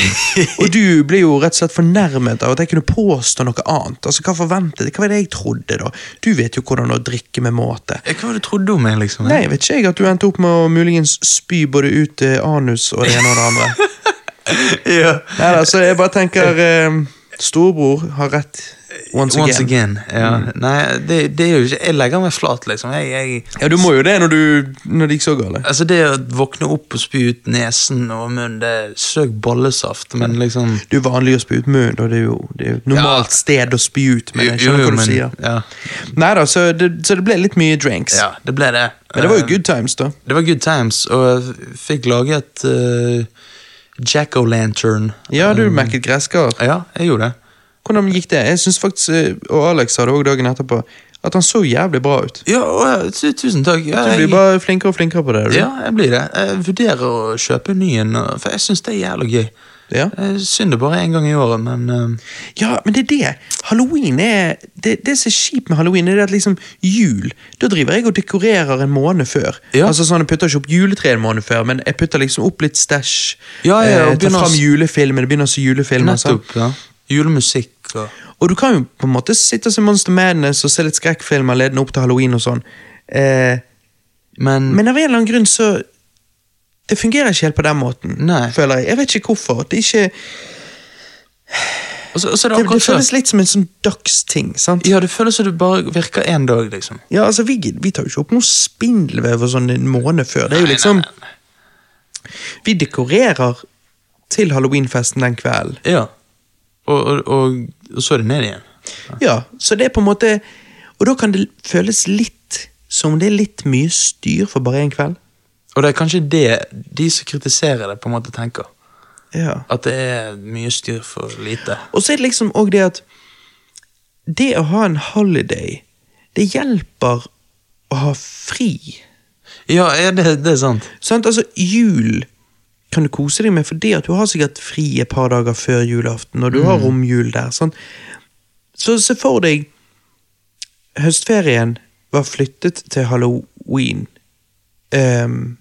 Speaker 1: Og du ble jo rett og slett fornærmet Av at jeg kunne påstå noe annet Altså, hva forventet, hva var det jeg trodde da? Du vet jo hvordan å drikke med måte
Speaker 2: Eh, Hva var det du trodde om meg, liksom?
Speaker 1: Nei, jeg vet ikke jeg at du endte opp med å muligens spy både ut eh, anus og det ene og det andre
Speaker 2: ja.
Speaker 1: Nei, altså, jeg bare tenker eh, Storbror har rett once,
Speaker 2: Once
Speaker 1: again. Mm.
Speaker 2: again. ja. Nei, det, det er jo ikke Jeg legger meg flat, liksom. Jeg, jeg,
Speaker 1: Ja, du må jo det når, du, når det gikk så galt.
Speaker 2: altså, det å våkne opp og spy ut nesen og munnen, det søk ballesaft, men liksom
Speaker 1: Det er jo vanlig å spy ut munn, og det er jo, det er jo et normalt sted å spy ut. Men jeg
Speaker 2: Jo,
Speaker 1: skjønner hva
Speaker 2: jo,
Speaker 1: du
Speaker 2: men-
Speaker 1: sier.
Speaker 2: Ja.
Speaker 1: Neida, så, det- så det ble litt mye drinks.
Speaker 2: ja, det ble det.
Speaker 1: Men det var jo
Speaker 2: Eh,
Speaker 1: good times, da.
Speaker 2: Det var good times, og jeg f- fikk laget eh, Jack O'Lantern.
Speaker 1: Ja,
Speaker 2: mm.
Speaker 1: du merket gresskar.
Speaker 2: Ja, jeg gjorde det.
Speaker 1: Hvordan gikk det? Jeg synes faktisk, eh, og Alex sa det også dagen etterpå, at han så jævlig bra ut.
Speaker 2: Ja, og, eh, tu- tusen takk. Ja,
Speaker 1: Du blir
Speaker 2: jeg,
Speaker 1: bare flinkere og flinkere på det. er du?
Speaker 2: ja, jeg blir det. Jeg vurderer å kjøpe en ny en, og- for jeg syns det er jævlig gøy.
Speaker 1: Ja.
Speaker 2: Eh, Synd det bare er en gang i året, men eh,
Speaker 1: Ja, men det er det. Halloween er Det, det som er kjipt med halloween, er det at liksom jul Da driver jeg og dekorerer en måned før.
Speaker 2: Ja.
Speaker 1: Altså sånn, Jeg putter ikke opp juletre en måned før, men jeg putter liksom opp litt stæsj.
Speaker 2: Ja, ja,
Speaker 1: eh,
Speaker 2: og
Speaker 1: tar
Speaker 2: begynner å
Speaker 1: fram
Speaker 2: s-
Speaker 1: julefilmer, det begynner å se julefilmer. sant?
Speaker 2: nettopp. Ja. Julemusikk og
Speaker 1: Og du kan jo på en måte sitte og se Monster Madness og se litt skrekkfilmer ledende opp til halloween og sånn. Eh,
Speaker 2: Men,
Speaker 1: men av en eller annen grunn så Det fungerer ikke helt på den måten,
Speaker 2: Nei.
Speaker 1: føler jeg. Jeg vet ikke hvorfor. Det, er ikke,
Speaker 2: og så- og så er det
Speaker 1: det, det
Speaker 2: akkurat
Speaker 1: føles
Speaker 2: det.
Speaker 1: litt som en sånn dagsting. sant?
Speaker 2: Ja, det føles som det bare virker én dag, liksom.
Speaker 1: Ja, altså, vi, gid- vi tar jo ikke opp noe spindelvev og sånn en måned før. Det er jo liksom, Vi dekorerer til halloweenfesten den kvelden.
Speaker 2: Ja. Og, og, og, og så er det ned igjen.
Speaker 1: Ja, Så det er på en måte Og da kan det føles litt som det er litt mye styr for bare én kveld.
Speaker 2: Og det er kanskje det de som kritiserer det, på en måte tenker.
Speaker 1: Ja.
Speaker 2: At det er mye styr for lite.
Speaker 1: Og så er det liksom òg det at Det å ha en holiday, det hjelper å ha fri.
Speaker 2: Ja, ja det, det er sant.
Speaker 1: Sant? Altså, jul kan du kose deg med, fordi at du har sikkert fri et par dager før julaften, og du har romjul der. Sant? Så se for deg Høstferien var flyttet til halloween. Ehm,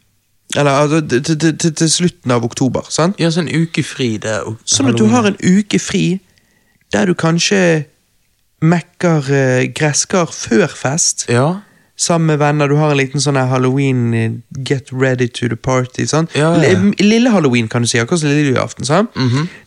Speaker 1: eller altså, til, til, til, til slutten av oktober. sant?
Speaker 2: Ja, så en uke fri, det er ok-
Speaker 1: Sånn at du
Speaker 2: halloween.
Speaker 1: har en uke fri der du kanskje mekker eh, gresskar før fest
Speaker 2: Ja,
Speaker 1: sammen med venner, du har en liten sånn her halloween eh, Get ready to the party sånn.
Speaker 2: Ja, ja, Mhm. ja.
Speaker 1: L- Lille halloween kan du si, akkurat som lille julaften sånn.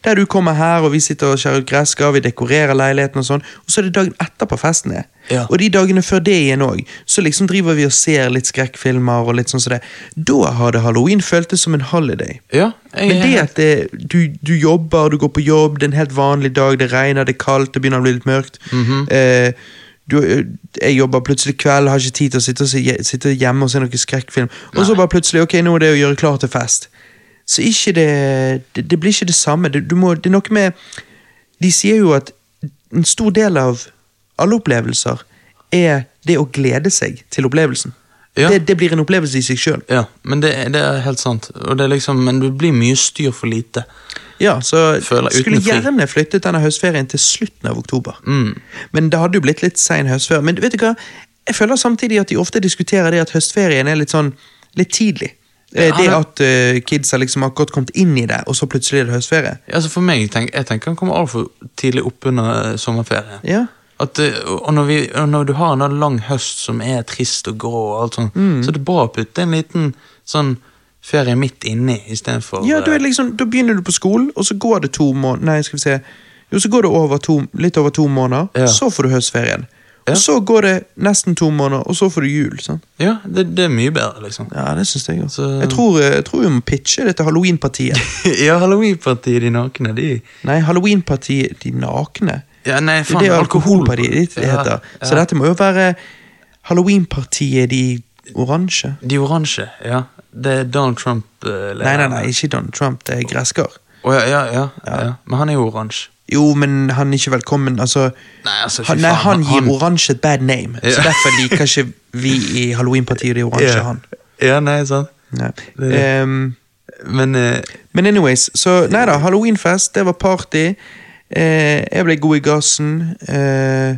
Speaker 1: Der du kommer her og vi sitter og skjærer ut gresskar Vi dekorerer leiligheten og sånn Og så er det dagen etterpå festen er
Speaker 2: Ja.
Speaker 1: Og de dagene før det igjen også Så liksom driver vi og ser litt skrekkfilmer og litt sånn som det Da har det halloween føltes som en holiday
Speaker 2: ja jeg,
Speaker 1: men det at det, du, du jobber, du går på jobb, det er en helt vanlig dag, det regner, det er kaldt, det begynner å bli litt mørkt.
Speaker 2: Mhm.
Speaker 1: eh, du, eh, jeg jobber plutselig kveld, har ikke tid til å sitte, og se, sitte hjemme og se noen skrekkfilm. Og så bare plutselig, ok, nå er det å gjøre klar til fest. Så ikke det, det, det blir ikke det samme. Det, du må, det er noe med De sier jo at en stor del av alle opplevelser er det å glede seg til opplevelsen.
Speaker 2: Ja.
Speaker 1: Det, det blir en opplevelse i seg sjøl.
Speaker 2: Ja, men det, er- det er helt sant. Og det er liksom, men det blir mye styr for lite.
Speaker 1: Ja, så
Speaker 2: Føler jeg
Speaker 1: skulle
Speaker 2: uten fri.
Speaker 1: gjerne flyttet denne høstferien til slutten av oktober.
Speaker 2: Mm.
Speaker 1: Men det hadde jo blitt litt sein høstferie. Men vet du hva? Jeg føler samtidig at de ofte diskuterer det at høstferien er litt sånn litt tidlig. Eh,
Speaker 2: Ja,
Speaker 1: det
Speaker 2: men-
Speaker 1: at eh, kidsa liksom akkurat kommet inn i det, og så plutselig er det høstferie.
Speaker 2: Altså for meg, tenk, Jeg tenker han kommer altfor tidlig opp under eh, sommerferien.
Speaker 1: Ja.
Speaker 2: At, eh, og, når vi, og når du har en da lang høst som er trist og grå, og alt sånt,
Speaker 1: Mm.
Speaker 2: så er det bra å putte en liten sånn ferie midt inni istedenfor
Speaker 1: Ja, da, er det liksom, da begynner du på skolen, og så går det to måneder Nei, skal vi se. Jo, så går det over to, litt over to måneder,
Speaker 2: Ja.
Speaker 1: så får du høstferien.
Speaker 2: Ja.
Speaker 1: Og så går det nesten to måneder, og så får du jul. sant?
Speaker 2: Ja, det, det er mye bedre, liksom.
Speaker 1: Ja, det syns jeg også.
Speaker 2: Så-
Speaker 1: Jeg, tror, eh, jeg tror vi må pitche dette halloweenpartiet.
Speaker 2: ja, halloweenpartiet, de nakne, de
Speaker 1: Nei, halloweenpartiet De nakne.
Speaker 2: Ja, nei,
Speaker 1: Det er
Speaker 2: faen,
Speaker 1: det
Speaker 2: alkohol-
Speaker 1: alkoholpartiet det
Speaker 2: Ja,
Speaker 1: heter.
Speaker 2: ja.
Speaker 1: Så dette må jo være halloweenpartiet De oransje.
Speaker 2: De oransje, ja. Det er Donald Trump. eh,
Speaker 1: Nei, nei,
Speaker 2: lederen.
Speaker 1: nei, ikke Donald Trump. Det er gresskar.
Speaker 2: Å, ja, ja, ja, ja. Men han er jo oransje.
Speaker 1: Jo, men han er ikke velkommen. Altså,
Speaker 2: Nei, altså, fy
Speaker 1: han, nei,
Speaker 2: faen,
Speaker 1: han gir
Speaker 2: han-
Speaker 1: oransje et bad name, så
Speaker 2: Ja.
Speaker 1: derfor liker ikke vi i halloweenpartiet De oransje
Speaker 2: ja.
Speaker 1: han.
Speaker 2: Ja, nei, sant.
Speaker 1: Nei.
Speaker 2: Det-
Speaker 1: Ehm,
Speaker 2: Men eh,
Speaker 1: men anyways, så nei da, halloweenfest, det var party. Eh, jeg ble god i gassen. Eh,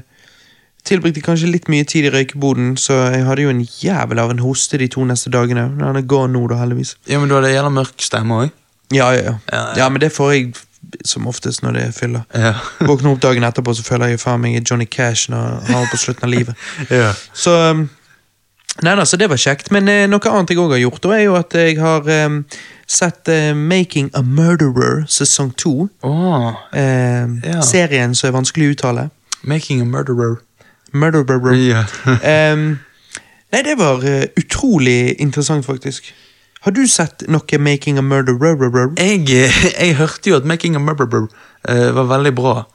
Speaker 1: tilbrakte kanskje litt mye tid i røykeboden, så jeg hadde jo en jævel av en hoste de to neste dagene. Men Han er gone nå, da, heldigvis.
Speaker 2: ja, men du hadde jævla mørk stemme òg.
Speaker 1: Ja, ja, ja.
Speaker 2: Ja, ja.
Speaker 1: ja, men det får jeg som oftest når det fyller.
Speaker 2: Ja.
Speaker 1: Våkner opp dagen etterpå, så føler jeg jo faen meg er Johnny Cash når han var på slutten av livet.
Speaker 2: ja.
Speaker 1: Så um, Nei da, så det var kjekt. Men eh, noe annet jeg òg har gjort, da, er jo at jeg har em, sett eh, Making a Murderer sesong to.
Speaker 2: Åh,
Speaker 1: Em,
Speaker 2: Ja.
Speaker 1: Eh, Serien som er vanskelig å uttale.
Speaker 2: Making a murderer.
Speaker 1: Murderer.
Speaker 2: Ja.
Speaker 1: Em, nei, det var eh, utrolig interessant, faktisk. Har du sett noe Making a Murderer?
Speaker 2: jeg, jeg hørte jo at Making a Murderer eh, var veldig bra,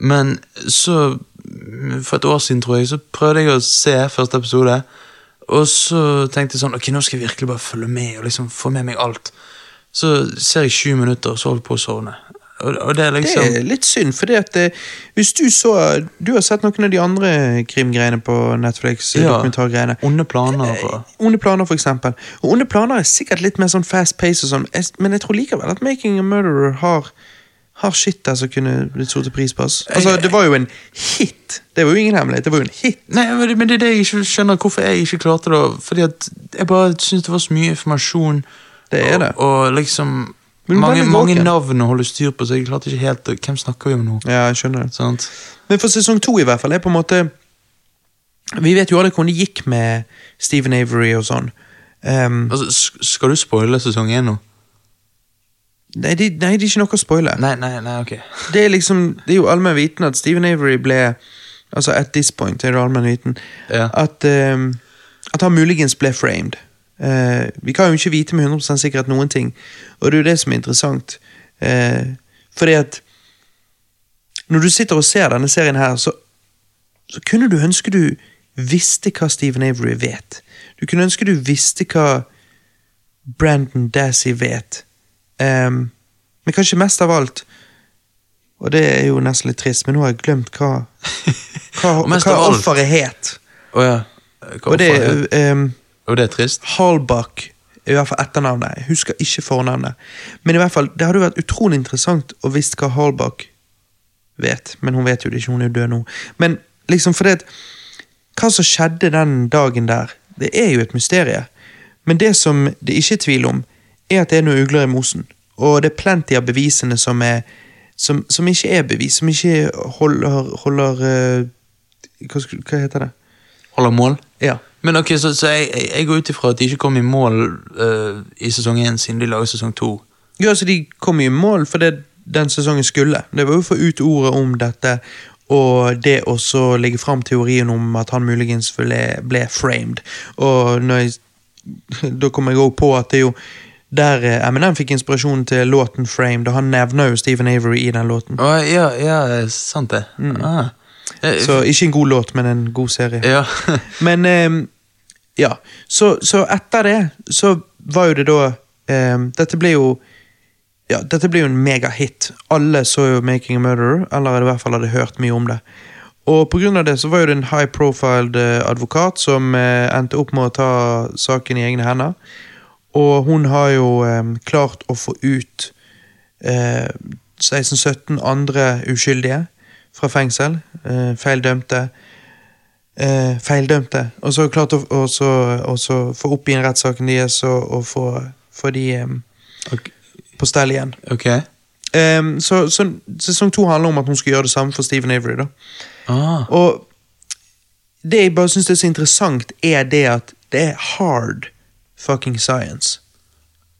Speaker 2: men så mm, For et år siden, tror jeg, så prøvde jeg å se første episode, og så tenkte jeg sånn Ok, nå skal jeg virkelig bare følge med og liksom få med meg alt. Så ser jeg 20 minutter, og så holder jeg på å sovne. Og, og det er
Speaker 1: Det
Speaker 2: liksom
Speaker 1: er litt synd, fordi at eh, hvis du så Du har sett noen av de andre krimgreiene på Netflix? eh,
Speaker 2: Ja.
Speaker 1: dokumentargreiene
Speaker 2: Onde planer
Speaker 1: Eh,
Speaker 2: for
Speaker 1: Onde planer, for eksempel. Og onde planer er sikkert litt mer sånn fast pace, og sånn, jeg- men jeg tror likevel at Making a Murderer har, har shit der som kunne blitt satt pris på. ass. Altså, det var jo en hit. Det var jo ingen hemmelighet. Det var jo en hit.
Speaker 2: Nei, men det- men det er det jeg ikke skjønner hvorfor jeg ikke klarte det. Fordi at jeg bare syntes det var så mye informasjon.
Speaker 1: Det er det.
Speaker 2: Og, og liksom
Speaker 1: Men du var
Speaker 2: mange,
Speaker 1: litt
Speaker 2: mange
Speaker 1: våken.
Speaker 2: navn å holde styr på, så jeg klarte ikke helt å- Hvem snakker vi om nå?
Speaker 1: Ja, jeg skjønner det.
Speaker 2: Sant?
Speaker 1: Men for sesong to, i hvert fall, er på en måte Vi vet jo alle hvordan det gikk med Stephen Avery og sånn. Ehm,
Speaker 2: Altså, sk- skal du spoile sesong én nå?
Speaker 1: nei, det nei, det er ikke noe å spoile.
Speaker 2: Nei, nei, nei, ok.
Speaker 1: det er liksom Det er jo allmenn viten at Stephen Avery ble Altså at this point er det allmenn viten
Speaker 2: Ja.
Speaker 1: at, ehm, at han muligens ble framed. Eh, vi kan jo ikke vite med 100 sikkerhet noen ting, og det er jo det som er interessant. Uh, fordi at Når du sitter og ser denne serien her, så, så kunne du ønske du visste hva Stephen Avery vet. Du kunne ønske du visste hva Brandon Dassey vet. Ehm, men kanskje mest av alt Og det er jo nesten litt trist, men nå har jeg glemt hva, hva,
Speaker 2: Og mest
Speaker 1: hva
Speaker 2: av alt-
Speaker 1: offeret het.
Speaker 2: Å ja. Hva
Speaker 1: Og det
Speaker 2: faen er-
Speaker 1: er um,
Speaker 2: og det er trist?
Speaker 1: Hallbach er i hvert fall etternavnet. Jeg husker ikke fornavnet. Men i hvert fall, det hadde jo vært utrolig interessant å visst hva Hallbach vet. Men hun vet jo det ikke, hun er jo død nå. Men liksom fordi at Hva som skjedde den dagen der, det er jo et mysterium. Men det som det ikke er tvil om, er at det er noen ugler i mosen. Og det er plenty av bevisene som er som, som ikke er bevis, som ikke holder, holder eh, hva, skal- hva heter det?
Speaker 2: Holder mål?
Speaker 1: Ja.
Speaker 2: Men ok, Så, så jeg, jeg- jeg går ut ifra at de ikke kom i mål eh, i sesong én, siden de lager sesong to.
Speaker 1: Ja, så de kom i mål for det den sesongen skulle. Det var jo å få ut ordet om dette, og det å så legge fram teorien om at han muligens ble, ble framed. Og når jeg, da kom jeg også på at det er jo der eh, Eminem fikk inspirasjon til låten 'Framed', og han nevner jo Stephen Avery i den låten.
Speaker 2: Å, ja, ja, sant det. Ah. Eh,
Speaker 1: Så ikke en god låt, men en god serie.
Speaker 2: Ja.
Speaker 1: Men ehm, ja, så, så etter det så var jo det da ehm, Dette ble jo ja, dette ble jo en megahit. Alle så jo 'Making a Murderer', eller i hvert fall hadde hørt mye om det. Og pga. det så var jo det en high profiled eh, advokat som eh, endte opp med å ta saken i egne hender. Og hun har jo eh, klart å få ut eh, 16-17 andre uskyldige fra fengsel. Eh, feildømte. Eh, feildømte. Og så klart å og så- og så få opp igjen rettssaken deres og, og få, få de eh,
Speaker 2: Ok.
Speaker 1: på stell igjen.
Speaker 2: Ok.
Speaker 1: Eh, så, så sesong to handler om at hun skal gjøre det samme for Stephen Avery. da.
Speaker 2: Ah,
Speaker 1: Og det jeg bare syns er så interessant, er det at det er hard fucking science.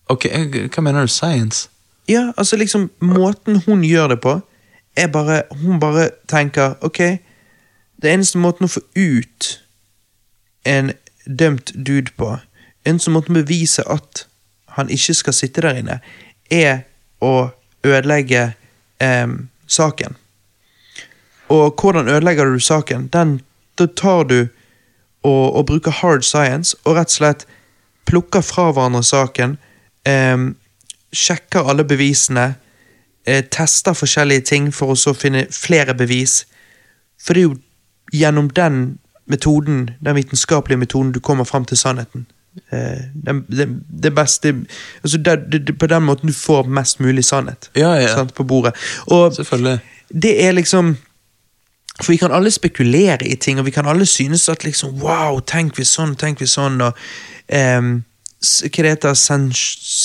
Speaker 2: ok, eh, Hva mener du? Science?
Speaker 1: Ja, altså liksom Måten hun gjør det på, er bare Hun bare tenker Ok, det eneste måten å få ut en dømt dude på, eneste måten å bevise at han ikke skal sitte der inne, er å ødelegge em, saken. Og hvordan ødelegger du saken? Den, da tar du og, og bruker hard science og rett og slett plukker fra hverandre saken, em, sjekker alle bevisene, eh, tester forskjellige ting for å så finne flere bevis. For det er jo gjennom den metoden, den vitenskapelige metoden, du kommer fram til sannheten. Eh, den- den- det beste altså det, det, det, På den måten du får mest mulig sannhet
Speaker 2: Ja, ja.
Speaker 1: sant, på bordet. Og
Speaker 2: Selvfølgelig.
Speaker 1: det er liksom For vi kan alle spekulere i ting, og vi kan alle synes at liksom Wow, tenk hvis sånn, tenk hvis sånn, og ehm, s- Hva det heter sens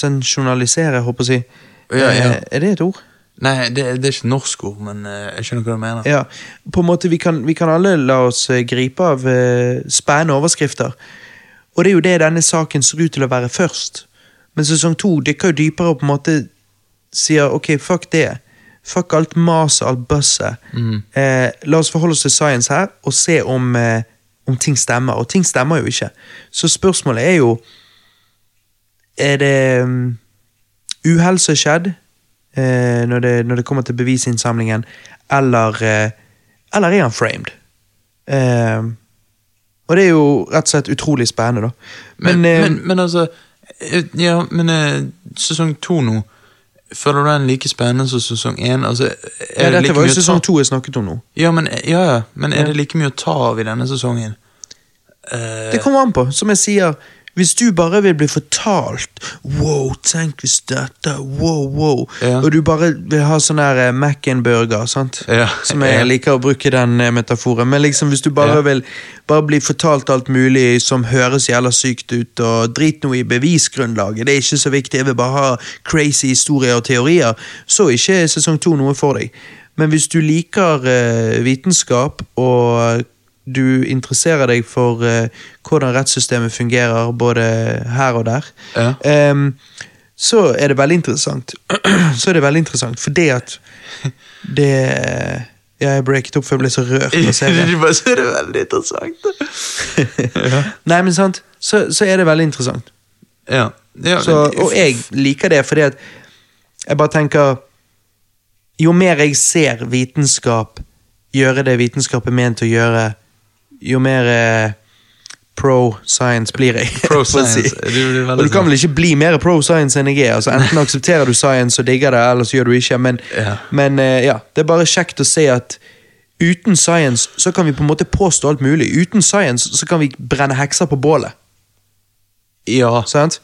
Speaker 1: Sensjonalisere, håper jeg å si.
Speaker 2: Ja, ja.
Speaker 1: Eh, er det et ord?
Speaker 2: Nei, det, det er ikke norsk ord, men eh, jeg skjønner hva du mener.
Speaker 1: Ja. På en måte, vi kan, vi kan alle la oss eh, gripe av eh, spennende overskrifter. Og det er jo det denne saken ser ut til å være først. Men sesong to dykker jo dypere og på en måte sier ok, fuck det. Fuck alt maset, alt busset. Eh, la oss forholde oss til science her og se om, eh, om ting stemmer. Og ting stemmer jo ikke. Så spørsmålet er jo Er det mm, uhell som er skjedd eh, når, det, når det kommer til bevisinnsamlingen, eller, eh, eller er han framed? Eh, og det er jo rett og slett utrolig spennende, da.
Speaker 2: Men,
Speaker 1: eh,
Speaker 2: men, men altså eh, Ja, men eh, sesong to nå Føler du den like spennende som sesong én? Altså,
Speaker 1: ja,
Speaker 2: er det
Speaker 1: dette
Speaker 2: like
Speaker 1: var
Speaker 2: mye
Speaker 1: jo
Speaker 2: å ta-
Speaker 1: sesong to jeg snakket om nå.
Speaker 2: Ja, men, eh, ja, ja, men er
Speaker 1: Ja.
Speaker 2: det like mye å ta av i denne sesongen? Eh,
Speaker 1: Det kommer an på. Som jeg sier, hvis du bare vil bli fortalt Wow, tenk hvis dette Wow, wow.
Speaker 2: Ja.
Speaker 1: Og du bare vil ha sånn her Mac-en-burger, sant?
Speaker 2: Ja,
Speaker 1: Som jeg
Speaker 2: ja.
Speaker 1: liker å bruke den eh, metaforen. Men liksom hvis du bare
Speaker 2: Ja.
Speaker 1: vil bare bli fortalt alt mulig som høres jævla sykt ut, og drit noe i bevisgrunnlaget, det er ikke så viktig, jeg vil bare ha crazy historier og teorier, så er ikke sesong to noe for deg. Men hvis du liker eh, vitenskap, og du interesserer deg for eh, hvordan rettssystemet fungerer, både her og der,
Speaker 2: Ja.
Speaker 1: ehm, så er det veldig interessant. så er det veldig interessant, fordi at det Ja, jeg breaket opp før jeg ble så rørt av serien.
Speaker 2: Du bare ser det veldig interessant.
Speaker 1: Nei, men sant, så, så er det veldig interessant.
Speaker 2: Ja. ja
Speaker 1: Så, og jeg liker det fordi at jeg bare tenker Jo mer jeg ser vitenskap gjøre det vitenskap er ment å gjøre, jo mer eh, pro science blir jeg.
Speaker 2: Pro
Speaker 1: for å si.
Speaker 2: science. Du blir veldig
Speaker 1: og du kan
Speaker 2: sånn.
Speaker 1: vel ikke bli mer pro science enn jeg er. Altså, enten aksepterer du science og digger det, eller så gjør du ikke. Men,
Speaker 2: Ja.
Speaker 1: men eh, ja, det er bare kjekt å se at uten science så kan vi på en måte påstå alt mulig. Uten science så kan vi brenne hekser på bålet.
Speaker 2: Ja.
Speaker 1: Sant?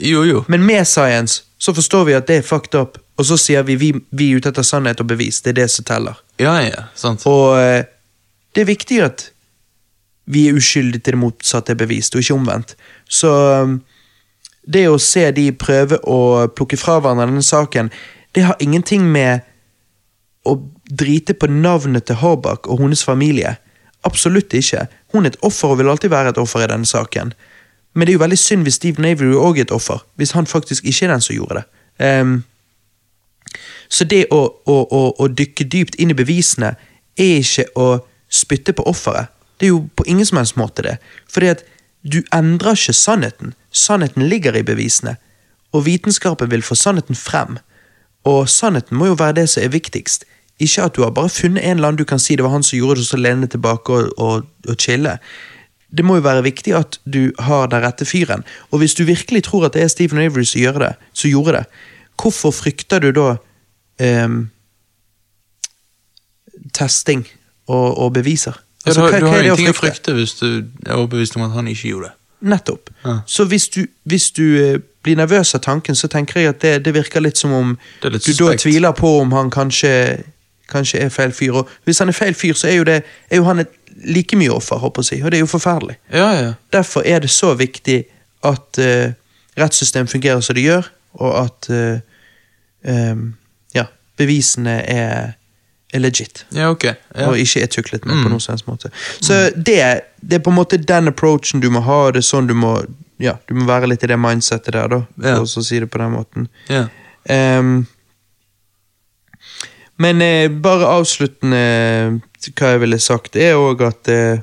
Speaker 2: Jo, jo.
Speaker 1: Men med science så forstår vi at det er fucked up, og så sier vi vi, vi er ute etter sannhet og bevis. Det er det som teller.
Speaker 2: Ja, ja. Sant.
Speaker 1: Og eh, det er viktig at vi er uskyldige til det motsatte er bevist, og ikke omvendt. Så um, det å se de prøve å plukke fra hverandre denne saken, det har ingenting med å drite på navnet til Harbach og hennes familie. Absolutt ikke. Hun er et offer og vil alltid være et offer i denne saken. Men det er jo veldig synd hvis Steve Navery òg er et offer, hvis han faktisk ikke er den som gjorde det. Ehm, så det å, å, å, å dykke dypt inn i bevisene er ikke å spytte på offeret. Det er jo på ingen som helst måte det. Fordi at du endrer ikke sannheten. Sannheten ligger i bevisene. Og vitenskapen vil få sannheten frem. Og sannheten må jo være det som er viktigst. Ikke at du har bare funnet en eller annen du kan si det var han som gjorde det, og så lene deg tilbake og, og, og chille. Det må jo være viktig at du har den rette fyren. Og hvis du virkelig tror at det er Stephen Avery som gjør det, som gjorde det, hvorfor frykter du da ehm, testing og, og beviser.
Speaker 2: Ja, du,
Speaker 1: Altså,
Speaker 2: har-
Speaker 1: hva-
Speaker 2: du
Speaker 1: hva
Speaker 2: har
Speaker 1: er det å
Speaker 2: ingenting å
Speaker 1: frykte?
Speaker 2: frykte hvis du er overbevist om at han ikke gjorde det.
Speaker 1: Nettopp.
Speaker 2: Ja.
Speaker 1: Så hvis du, hvis du eh, blir nervøs av tanken, så tenker jeg at det, det virker litt som om
Speaker 2: Det er litt
Speaker 1: du da
Speaker 2: suspekt.
Speaker 1: tviler på om han kanskje, kanskje er feil fyr. Og hvis han er feil fyr, så er jo, det, er jo han et like mye offer, håper jeg, å si, og det er jo forferdelig.
Speaker 2: Ja, ja.
Speaker 1: Derfor er det så viktig at eh, rettssystemet fungerer som det gjør, og at eh, em, ja, bevisene er, er legit.
Speaker 2: Ja, ok. Ja. Mm.
Speaker 1: Og ikke er tuklet med på noen som helst måte. Så det, det er på en måte den approachen du må ha, og det er sånn du må ja, du må være litt i det mindsettet der, da,
Speaker 2: Ja.
Speaker 1: for å si det på den måten.
Speaker 2: ja.
Speaker 1: Em, men eh, bare avsluttende til hva jeg ville sagt, er òg at eh,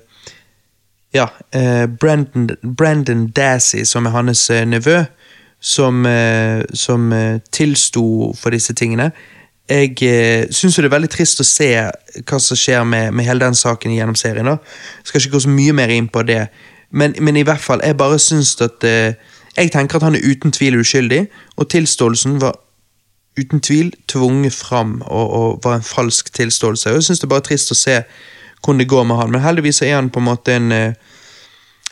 Speaker 1: Ja, eh, Brandon, Brandon Dassey, som er hans eh, nevø, som, eh, som eh, tilsto for disse tingene Jeg eh, syns jo det er veldig trist å se hva som skjer med, med hele den saken gjennom serien. da. Jeg skal ikke gå så mye mer inn på det, men, men i hvert fall, jeg bare syns at eh, Jeg tenker at han er uten tvil uskyldig, og tilståelsen var uten tvil tvunget fram og, og var en falsk tilståelse. Og Jeg synes det er bare trist å se hvordan det går med han, men heldigvis så er han på en måte en, eh,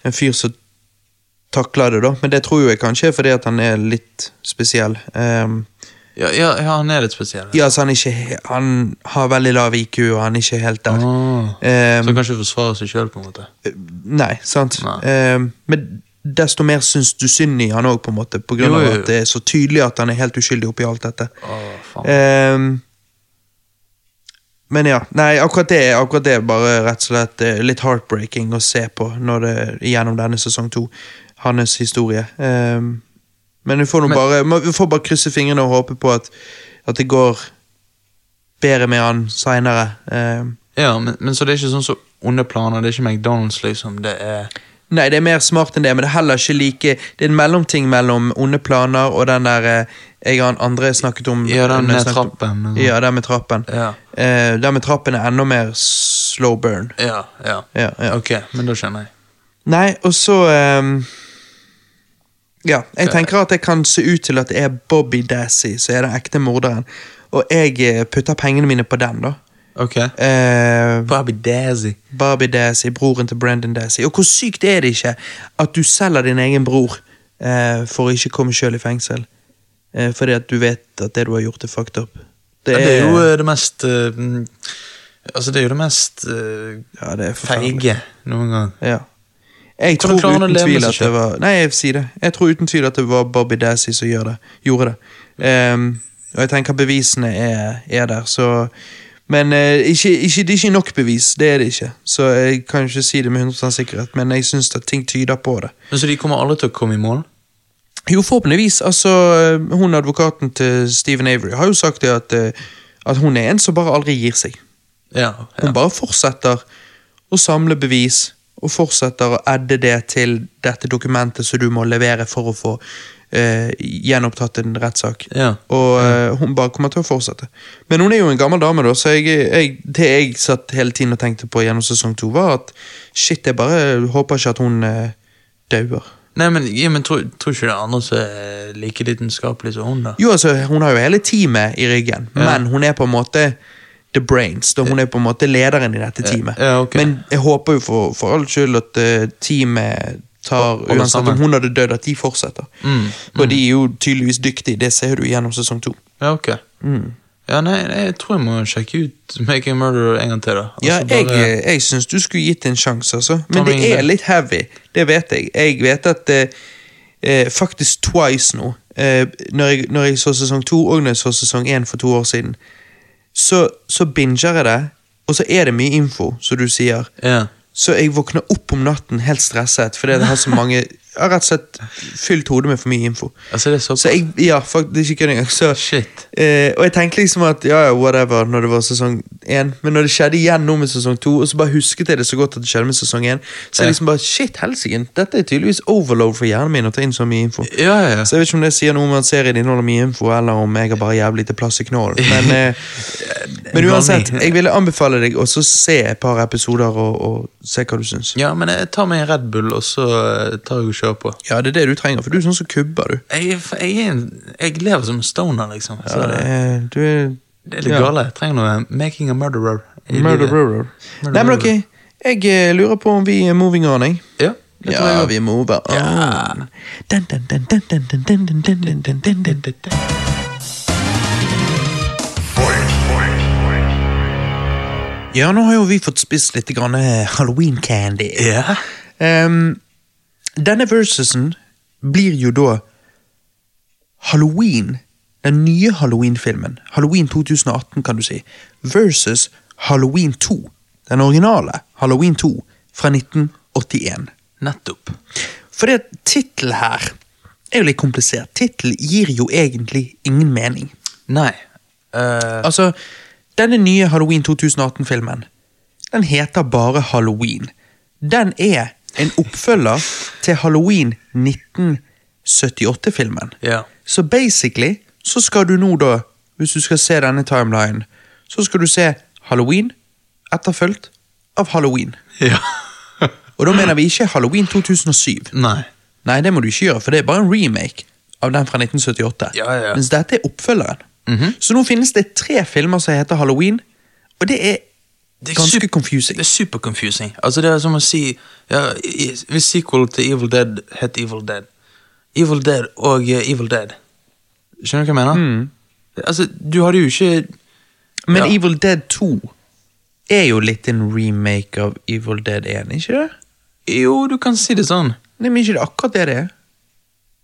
Speaker 1: en fyr som takler det, da. Men det tror jo jeg kanskje er fordi at han er litt spesiell. Ehm,
Speaker 2: Ja, ja, ja, han er litt spesiell.
Speaker 1: ja, altså han, er ikke, he- han har veldig lav IQ, og han er ikke helt der.
Speaker 2: Ah.
Speaker 1: Ehm,
Speaker 2: Så han kan ikke forsvare seg sjøl, på en måte.
Speaker 1: Nei, sant.
Speaker 2: Nei.
Speaker 1: Ehm, men desto mer syns du synd i han òg, på en måte, på grunn
Speaker 2: Jo, jo,
Speaker 1: av
Speaker 2: jo.
Speaker 1: at det er så tydelig at han er helt uskyldig oppi alt dette.
Speaker 2: Å, faen.
Speaker 1: Ehm, men ja, nei, akkurat det, akkurat det er bare rett og slett eh, litt heartbreaking å se på når det, gjennom denne sesong to. Hans historie. Ehm, men vi får, nå
Speaker 2: Men-
Speaker 1: bare, må- vi får bare krysse fingrene og håpe på at, at det går bedre med han Ehm, seinere.
Speaker 2: Ja, men, men så det er ikke sånn så onde planer. Det er ikke McDonald's, liksom. Det er
Speaker 1: nei, det er mer smart enn det, men det er heller ikke like Det er en mellomting mellom onde planer og den der eh, jeg og han andre snakket om
Speaker 2: Ja, den
Speaker 1: når jeg
Speaker 2: med
Speaker 1: snakket om-
Speaker 2: trappen. og sånn.
Speaker 1: Ja, den med trappen.
Speaker 2: Ja.
Speaker 1: Eh, den med trappen er enda mer slow burn.
Speaker 2: ja, ja.
Speaker 1: Ja, ja.
Speaker 2: Ok, men da skjønner jeg.
Speaker 1: Nei, og så ehm, Ja, jeg tenker at det kan se ut til at det er Bobby Dassey som er den ekte morderen. Og jeg eh, putter pengene mine på den, da.
Speaker 2: Ok.
Speaker 1: Eh,
Speaker 2: Bobby Dazzy.
Speaker 1: Bobby Dassey, broren til Brendan Dassey. Og hvor sykt er det ikke at du selger din egen bror eh, for å ikke komme sjøl i fengsel? Eh, fordi at du vet at det du har gjort, er fucked up.
Speaker 2: Det er jo eh, det mest eh, mm, Altså, det er jo det mest eh,
Speaker 1: ja, det er forferdelig.
Speaker 2: feige noen gang.
Speaker 1: Ja. Jeg
Speaker 2: Hvordan klarer
Speaker 1: tror
Speaker 2: han å
Speaker 1: uten
Speaker 2: leve med
Speaker 1: tvil
Speaker 2: seg
Speaker 1: at det
Speaker 2: selv?
Speaker 1: var Nei, jeg sier det. Jeg tror uten tvil at det var Bobby Dassey som gjør det, gjorde det. Ehm, og jeg tenker bevisene er, er der, så Men eh, ikke, ikke, det er ikke nok bevis, det er det ikke. Så jeg kan ikke si det med 100 sikkerhet, men jeg syns at ting tyder på det.
Speaker 2: Men Så de kommer aldri til å komme i mål?
Speaker 1: Jo, forhåpentligvis. Altså, eh, hun advokaten til Stephen Avery har jo sagt det at, eh, at hun er en som bare aldri gir seg.
Speaker 2: Ja.
Speaker 1: Hun
Speaker 2: ja.
Speaker 1: bare fortsetter å samle bevis og fortsetter å adde det til dette dokumentet som du må levere for å få eh, gjenopptatt en rettssak.
Speaker 2: ja.
Speaker 1: Og eh, hun bare kommer til å fortsette. Men hun er jo en gammel dame, da, så jeg, jeg, det jeg satt hele tiden og tenkte på gjennom sesong to, var at shit, jeg bare håper ikke at hun eh, dauer.
Speaker 2: Nei, men, ja, men tror, tror ikke det er andre som er like lidenskapelige som hun, da?
Speaker 1: Jo, altså, hun har jo hele teamet i ryggen, men hun er på en måte the brains. Da hun er på en måte lederen i
Speaker 2: Eh,
Speaker 1: dette teamet.
Speaker 2: ja, ok.
Speaker 1: Men jeg håper jo for, for all skyld at eh, teamet tar
Speaker 2: Holder
Speaker 1: Uansett om
Speaker 2: sammen.
Speaker 1: hun hadde dødd, at de fortsetter.
Speaker 2: Mm.
Speaker 1: Og de er jo tydeligvis dyktige, det ser du gjennom sesong to.
Speaker 2: Ja, ok. Mm. Ja, nei, nei, jeg tror jeg må sjekke ut Making a Murderer en gang til, da.
Speaker 1: Ja,
Speaker 2: Altså,
Speaker 1: jeg, eh,
Speaker 2: bare-
Speaker 1: jeg syns du skulle gitt det en sjanse, altså.
Speaker 2: Ta
Speaker 1: Men
Speaker 2: meg inn
Speaker 1: det
Speaker 2: i
Speaker 1: er
Speaker 2: det.
Speaker 1: litt heavy, det vet jeg. Jeg vet at eh, eh, faktisk twice nå, eh, når, jeg, når jeg så sesong to og når jeg så sesong én for to år siden, så, så binger jeg det, og så er det mye info, som du sier.
Speaker 2: Ja.
Speaker 1: Så jeg våkner opp om natten helt stresset fordi jeg har så mange Jeg har rett og slett fylt hodet med for mye info.
Speaker 2: Altså, det er såpass
Speaker 1: Så jeg, ja, fuck, det er ikke kødd engang. Så,
Speaker 2: Shit.
Speaker 1: eh, og jeg tenkte liksom at ja, ja, whatever når det var sesong én, men når det skjedde igjen nå med sesong to, og så bare husket jeg det så godt at det skjedde med sesong én, så jeg
Speaker 2: Ja.
Speaker 1: liksom bare shit, helsike, dette er tydeligvis overload for hjernen min å ta inn så mye info.
Speaker 2: Ja, ja, ja.
Speaker 1: Så jeg vet ikke om det sier noe om at serien inneholder mye info, eller om jeg har bare jævlig lite plass i knollen. Men, eh, men uansett, jeg ville anbefale deg også se et par episoder og, og se hva du syns.
Speaker 2: Ja, men jeg tar meg en Red Bull, og så eh, tar jeg og kjører på.
Speaker 1: Ja, det er det du trenger, for du er sånn som kubber, du.
Speaker 2: Jeg, er- jeg, er en, jeg lever som en stoner, liksom. Så
Speaker 1: Ja, det
Speaker 2: det,
Speaker 1: er, du er
Speaker 2: det er litt
Speaker 1: ja.
Speaker 2: gale. Jeg trenger noe Making a Murderer. i
Speaker 1: Murder
Speaker 2: livet.
Speaker 1: Rural. Nei, men ok, jeg eh, lurer på om vi er moving on, jeg.
Speaker 2: Ja, det tror jeg
Speaker 1: Ja,
Speaker 2: også.
Speaker 1: vi mover on. Dun, dun, dun, dun, dun, dun, dun, dun, dun, dun, dun, dun, dun, dun. Ja, nå har jo vi fått spist litt grann eh, Halloween candy.
Speaker 2: Ja.
Speaker 1: Ehm, denne versusen blir jo da Halloween. Den nye Halloween-filmen. Halloween 2018, kan du si. Versus Halloween 2. Den originale Halloween 2 fra 1981.
Speaker 2: Nettopp.
Speaker 1: For det tittel her er jo litt komplisert. Tittel gir jo egentlig ingen mening.
Speaker 2: Nei. Eh,
Speaker 1: Altså, denne nye Halloween 2018-filmen, den heter bare Halloween. Den er en oppfølger til Halloween 1978-filmen.
Speaker 2: Ja.
Speaker 1: Så basically, så skal du nå da, hvis du skal se denne timelinen, så skal du se Halloween etterfølgt av Halloween.
Speaker 2: ja.
Speaker 1: Og da mener vi ikke Halloween 2007.
Speaker 2: Nei.
Speaker 1: Nei, det må du ikke gjøre, for det er bare en remake av den fra 1978.
Speaker 2: Ja, ja, Mhm. ja.
Speaker 1: Mens dette er oppfølgeren. Så nå finnes det tre filmer som heter Halloween, og det er
Speaker 2: Det er
Speaker 1: ganske
Speaker 2: super-
Speaker 1: confusing.
Speaker 2: Det er super confusing. Altså, det er som å si ja, i- Hvis sequel til Evil Dead het Evil Dead Evil Dead og eh, Evil Dead Skjønner du hva jeg mener?
Speaker 1: Mm.
Speaker 2: Altså, du hadde jo ikke
Speaker 1: Men
Speaker 2: ja.
Speaker 1: Evil Dead 2 er jo litt en remake av Evil Dead 1, ikke det?
Speaker 2: Jo, du kan si det sånn.
Speaker 1: Nei, men ikke det akkurat det det er.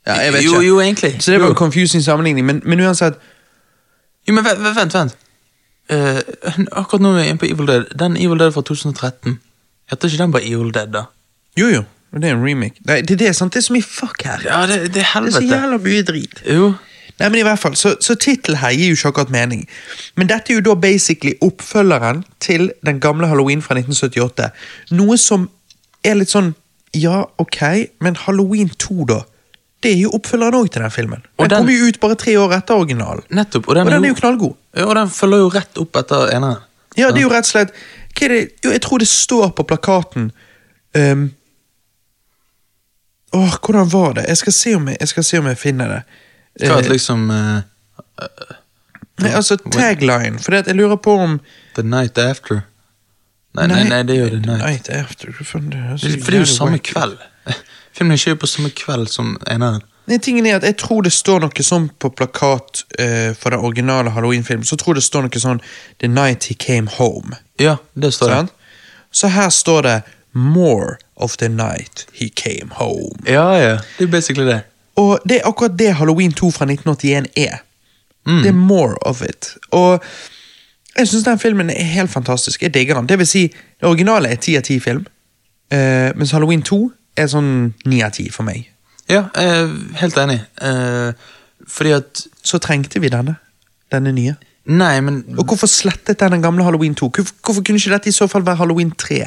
Speaker 1: Ja, jeg vet
Speaker 2: jo,
Speaker 1: ikke.
Speaker 2: jo, egentlig.
Speaker 1: Så det var
Speaker 2: jo.
Speaker 1: en confusing sammenligning, men, men uansett,
Speaker 2: jo, men vent, vent. vent. Eh, akkurat nå er vi inne på Evil Dead. Den Evil Dead fra 2013, heter ikke den bare Evil Dead, da?
Speaker 1: jo jo, det er en remake. Nei, det, det er sant, det er så mye fuck her.
Speaker 2: Ja, det,
Speaker 1: det
Speaker 2: det er
Speaker 1: er så
Speaker 2: helvete.
Speaker 1: jævla mye drit.
Speaker 2: jo.
Speaker 1: Nei, men i hvert fall, Så, så tittelen her gir jo ikke akkurat mening. Men dette er jo da basically oppfølgeren til den gamle Halloween fra 1978. Noe som er litt sånn Ja, ok, men Halloween 2, da? Det er jo oppfølgeren òg til den filmen. Den,
Speaker 2: Og den-
Speaker 1: kom jo ut bare tre år etter originalen.
Speaker 2: Nettopp. Og den,
Speaker 1: Og den er jo knallgod.
Speaker 2: Ja, og den følger jo rett opp etter eneren.
Speaker 1: Ja, det er jo rett og slett hva er det? Jo, jeg tror det står på plakaten um, Åh, hvordan var det? Jeg skal se om jeg, jeg, skal se om jeg finner det.
Speaker 2: Hva
Speaker 1: Eh,
Speaker 2: at liksom eh,
Speaker 1: Nei, altså tagline, for jeg lurer på om
Speaker 2: The Night After? Nei, nei, nei, det gjør The
Speaker 1: Night.
Speaker 2: Night.
Speaker 1: After. Hva faen, det er så
Speaker 2: For det er jo
Speaker 1: jævlig
Speaker 2: samme
Speaker 1: wacky.
Speaker 2: kveld. Filmen er ikke på samme kveld som eneren.
Speaker 1: Nei, tingen er at Jeg tror det står noe sånn på plakat eh, for den originale Halloween-filmen. Så tror jeg det står noe sånn The Night He Came Home.
Speaker 2: Ja, det står det.
Speaker 1: Sant? Så her står det More of the night he came home.
Speaker 2: Ja, ja. Det er basically det.
Speaker 1: Og det er akkurat det Halloween 2 fra 1981 er.
Speaker 2: Mm.
Speaker 1: Det er more of it. Og jeg syns den filmen er helt fantastisk. Jeg digger den. Det vil si, det originale er 10 av 10 film, eh, mens Halloween 2 er sånn 9 av 10 for meg.
Speaker 2: Ja, eh, helt enig. Eh, fordi at
Speaker 1: Så trengte vi denne. Denne nye.
Speaker 2: Nei, men
Speaker 1: Og hvorfor slettet den den gamle Halloween 2? Hvorfor, hvorfor kunne ikke dette i så fall være Halloween 3?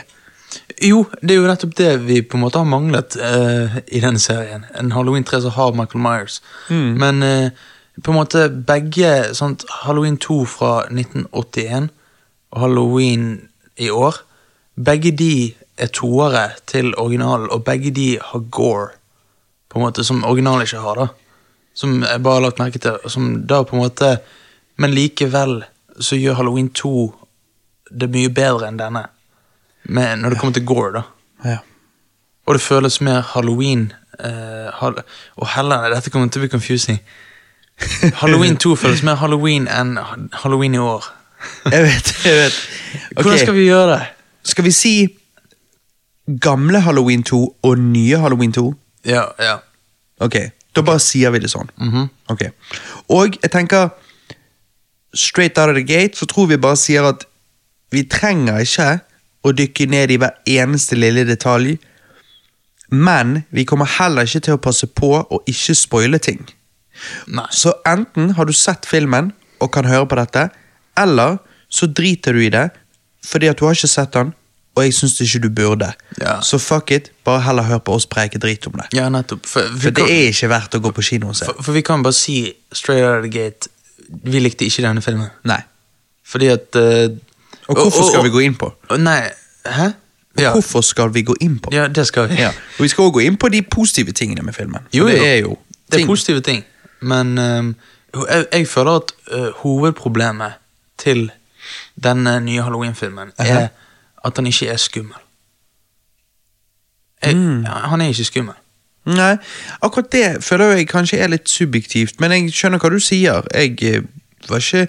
Speaker 2: Jo, det er jo nettopp det vi på en måte har manglet eh, i denne serien. En Halloween 3 som har Michael Myers. Men eh, på en måte begge sant, Halloween 2 fra 1981 og Halloween i år Begge de er toere til originalen, og begge de har gore. På en måte Som originalen ikke har, da. Som jeg bare har lagt merke til. Og som da på en måte Men likevel så gjør Halloween 2 det mye bedre enn denne. Men når det kommer til gore, da.
Speaker 1: Ja.
Speaker 2: Og det føles mer halloween. eh, hall og heller, dette kommer til å bli confusing. Halloween 2 føles mer halloween enn ha- halloween i år.
Speaker 1: Jeg vet, jeg vet.
Speaker 2: Hvordan skal vi gjøre det?
Speaker 1: skal vi si gamle Halloween 2 og nye Halloween 2?
Speaker 2: Ja, ja.
Speaker 1: Ok, da bare sier vi det sånn.
Speaker 2: Mhm.
Speaker 1: Ok. Og jeg tenker Straight out of the gate så tror vi bare sier at vi trenger ikke å dykke ned i hver eneste lille detalj, men vi kommer heller ikke til å passe på å ikke spoile ting.
Speaker 2: Nei.
Speaker 1: Så enten har du sett filmen og kan høre på dette, eller så driter du i det fordi at du har ikke sett den, og jeg syns ikke du burde.
Speaker 2: Ja.
Speaker 1: Så fuck it, bare heller hør på oss preike drit om det.
Speaker 2: Ja, nettopp. For, vi
Speaker 1: For det
Speaker 2: kan,
Speaker 1: er ikke verdt å gå på kino og se.
Speaker 2: for, for vi kan bare si straight out of the gate Vi likte ikke denne filmen.
Speaker 1: Nei.
Speaker 2: Fordi at eh,
Speaker 1: Og hvorfor skal vi gå inn på?
Speaker 2: og- Nei, hæ? Ja.
Speaker 1: Hvorfor skal vi gå inn på?
Speaker 2: ja, det skal vi.
Speaker 1: Ja. Og vi skal også gå inn på de positive tingene med filmen.
Speaker 2: Jo,
Speaker 1: For det
Speaker 2: jo.
Speaker 1: er jo
Speaker 2: Det er
Speaker 1: ting.
Speaker 2: positive ting, men ehm, jeg, jeg føler at eh, hovedproblemet til den eh, nye Halloween-filmen, er at han ikke er skummel. Jeg,
Speaker 1: Mm.
Speaker 2: ja, Han er ikke skummel.
Speaker 1: Nei, akkurat det føler jeg kanskje er litt subjektivt, men jeg skjønner hva du sier. Jeg eh, var ikke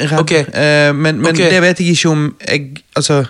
Speaker 1: redd,
Speaker 2: Ok.
Speaker 1: eh, men, men
Speaker 2: Ok.
Speaker 1: det vet jeg ikke om jeg Altså,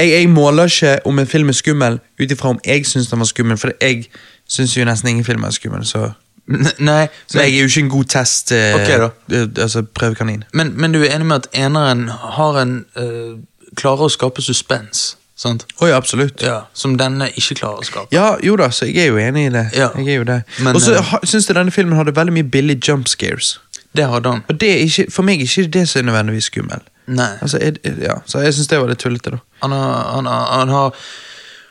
Speaker 1: jeg, jeg måler ikke om en film er skummel ut ifra om jeg syns den var skummel, for jeg syns jo nesten ingen film er skummel, så
Speaker 2: N nei,
Speaker 1: Så jeg er jo ikke en god test, eh,
Speaker 2: Ok da.
Speaker 1: eh, altså prøvekanin.
Speaker 2: men, men du er enig med at eneren har en eh, klarer å skape suspens, sant?
Speaker 1: Oi, absolutt.
Speaker 2: Ja, som denne ikke klarer å skape.
Speaker 1: Ja, jo da, så jeg er jo enig i det.
Speaker 2: Ja.
Speaker 1: Jeg er jo det.
Speaker 2: Men,
Speaker 1: Og så
Speaker 2: eh,
Speaker 1: ha- syns jeg denne filmen hadde veldig mye billige jump scares.
Speaker 2: Det hadde han.
Speaker 1: Og det er ikke, for meg er ikke det så nødvendigvis skummel.
Speaker 2: Nei.
Speaker 1: Altså, jeg, ja, så jeg syns det var litt tullete, da.
Speaker 2: Han har, han har, han har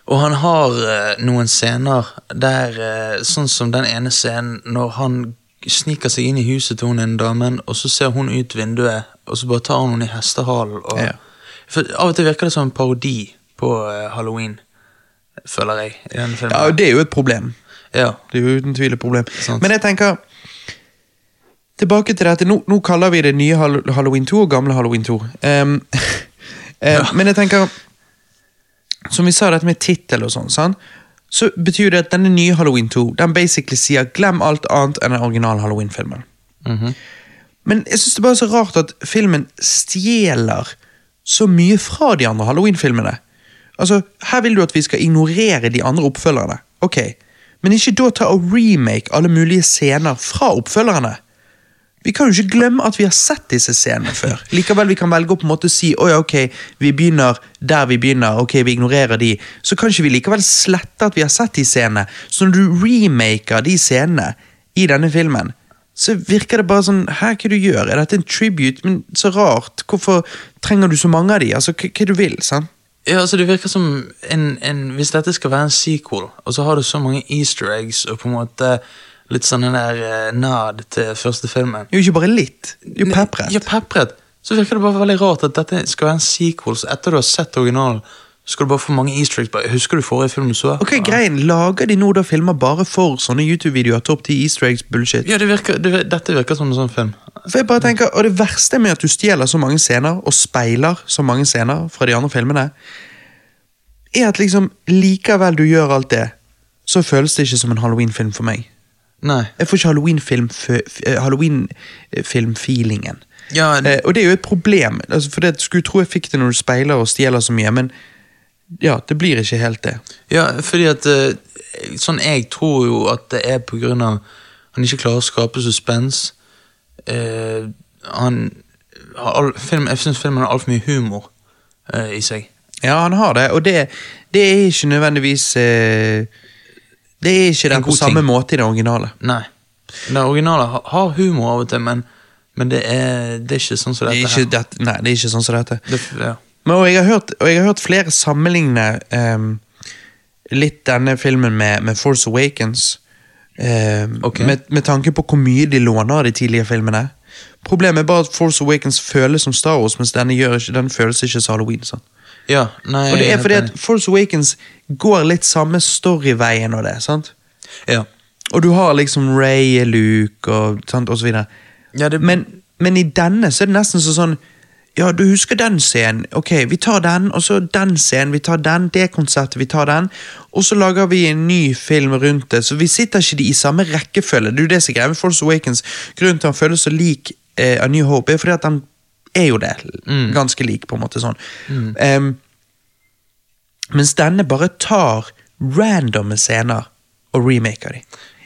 Speaker 2: Og han har eh, noen scener der eh, Sånn som den ene scenen når han sniker seg inn i huset til hun ene damen, og så ser hun ut vinduet, og så bare tar han henne i hestehalen. Og,
Speaker 1: Ja.
Speaker 2: For Av og til virker det som en parodi på eh, halloween, føler jeg. i denne filmen.
Speaker 1: Ja, og Det er jo et problem.
Speaker 2: Ja.
Speaker 1: Det er jo uten tvil et problem.
Speaker 2: Sant.
Speaker 1: Men jeg tenker Tilbake til dette. Nå, nå kaller vi det nye Hall- Halloween 2 og gamle Halloween 2. Ehm, eh, Men jeg tenker Som vi sa, dette med tittel og sånn, sant? så betyr det at denne nye Halloween 2 den basically sier 'glem alt annet enn den originale Halloween-filmen'. Mhm. Men jeg synes det bare er så rart at filmen stjeler så mye fra de andre Halloween-filmene. Altså, Her vil du at vi skal ignorere de andre oppfølgerne. Ok, Men ikke da ta og remake alle mulige scener fra oppfølgerne. Vi kan jo ikke glemme at vi har sett disse scenene før. Likevel vi kan velge å på en måte si «Å ja, ok, vi begynner der vi begynner, ok, vi ignorerer de. Så kan ikke vi likevel slette at vi har sett de scenene. Så når du remaker de scenene i denne filmen, så virker det bare sånn Hæ, hva du gjør? Er dette en tribute? Men så rart. Hvorfor trenger du så mange av de? Altså, hva, hva du vil, sant?
Speaker 2: Ja, altså det virker som en, en, Hvis dette skal være en sequel, og så har du så mange easter eggs og på en måte litt sånn den der eh, nad til første filmen
Speaker 1: Jo, ikke bare litt. Jo, pepret.
Speaker 2: Ja, pepret. Så virker det bare veldig rart at dette skal være en sequel, så etter du har sett originalen, så skal du bare få mange easter eggs. Bare, Husker du forrige film du så?
Speaker 1: Ok, greien, Lager de nå da filmer bare for sånne YouTube-videoer? Topp 10 easter eggs-bullshit?
Speaker 2: Ja, det virker, det, dette virker som en sånn film.
Speaker 1: For jeg bare tenker, og Det verste med at du stjeler så mange scener, og speiler så mange scener fra de andre filmene, er at liksom likevel du gjør alt det, så føles det ikke som en Halloween-film for meg.
Speaker 2: Nei.
Speaker 1: Jeg får ikke Halloween-film f- eh, Halloween-film-feelingen.
Speaker 2: Ja,
Speaker 1: Eh, og det er jo et problem, altså, for det skulle tro jeg fikk det når du speiler og stjeler så mye, men ja, det blir ikke helt det.
Speaker 2: Ja, fordi at eh, Sånn jeg tror jo at det er på grunn av han ikke klarer å skape suspens. Eh, han har all, film, Jeg syns filmen har altfor mye humor eh, i seg.
Speaker 1: Ja, han har det, og det, det er ikke nødvendigvis eh, Det er ikke
Speaker 2: En
Speaker 1: den på
Speaker 2: god
Speaker 1: samme
Speaker 2: ting.
Speaker 1: måte i det originale.
Speaker 2: Nei. Den originale ha- har humor av og til, men, men det, er, det er ikke sånn som
Speaker 1: Det er
Speaker 2: dette.
Speaker 1: ikke, dette- nei, det er ikke sånn som dette.
Speaker 2: her. Det, ja.
Speaker 1: Men, og, jeg har hørt, og jeg har hørt flere sammenligne ehm, litt denne filmen med, med Force Awakens. ehm,
Speaker 2: Ok.
Speaker 1: med, med tanke på hvor mye de låner av de tidligere filmene. Problemet er bare at Force Awakens føles som Star Wars, mens denne gjør ikke, den føles ikke som Halloween. sant?
Speaker 2: ja, nei
Speaker 1: Og det
Speaker 2: jeg
Speaker 1: er
Speaker 2: helt
Speaker 1: fordi at
Speaker 2: enig.
Speaker 1: Force Awakens går litt samme storyveien og det. sant?
Speaker 2: ja.
Speaker 1: Og du har liksom Ray, Luke og, sant, og så videre.
Speaker 2: Ja, det-
Speaker 1: men, men i denne så er det nesten så sånn Ja, du husker den scenen. Ok, vi tar den, og så den scenen. Vi tar den, det konseptet, vi tar den. Og så lager vi en ny film rundt det, så vi sitter ikke de i samme rekkefølge. Det er jo det som er greia med Force Awakens. Grunnen til at han føles så lik eh, A New Hope, er fordi at han er jo det. Ganske lik, på en måte. sånn. Em, mens denne bare tar randomme scener og remaker de.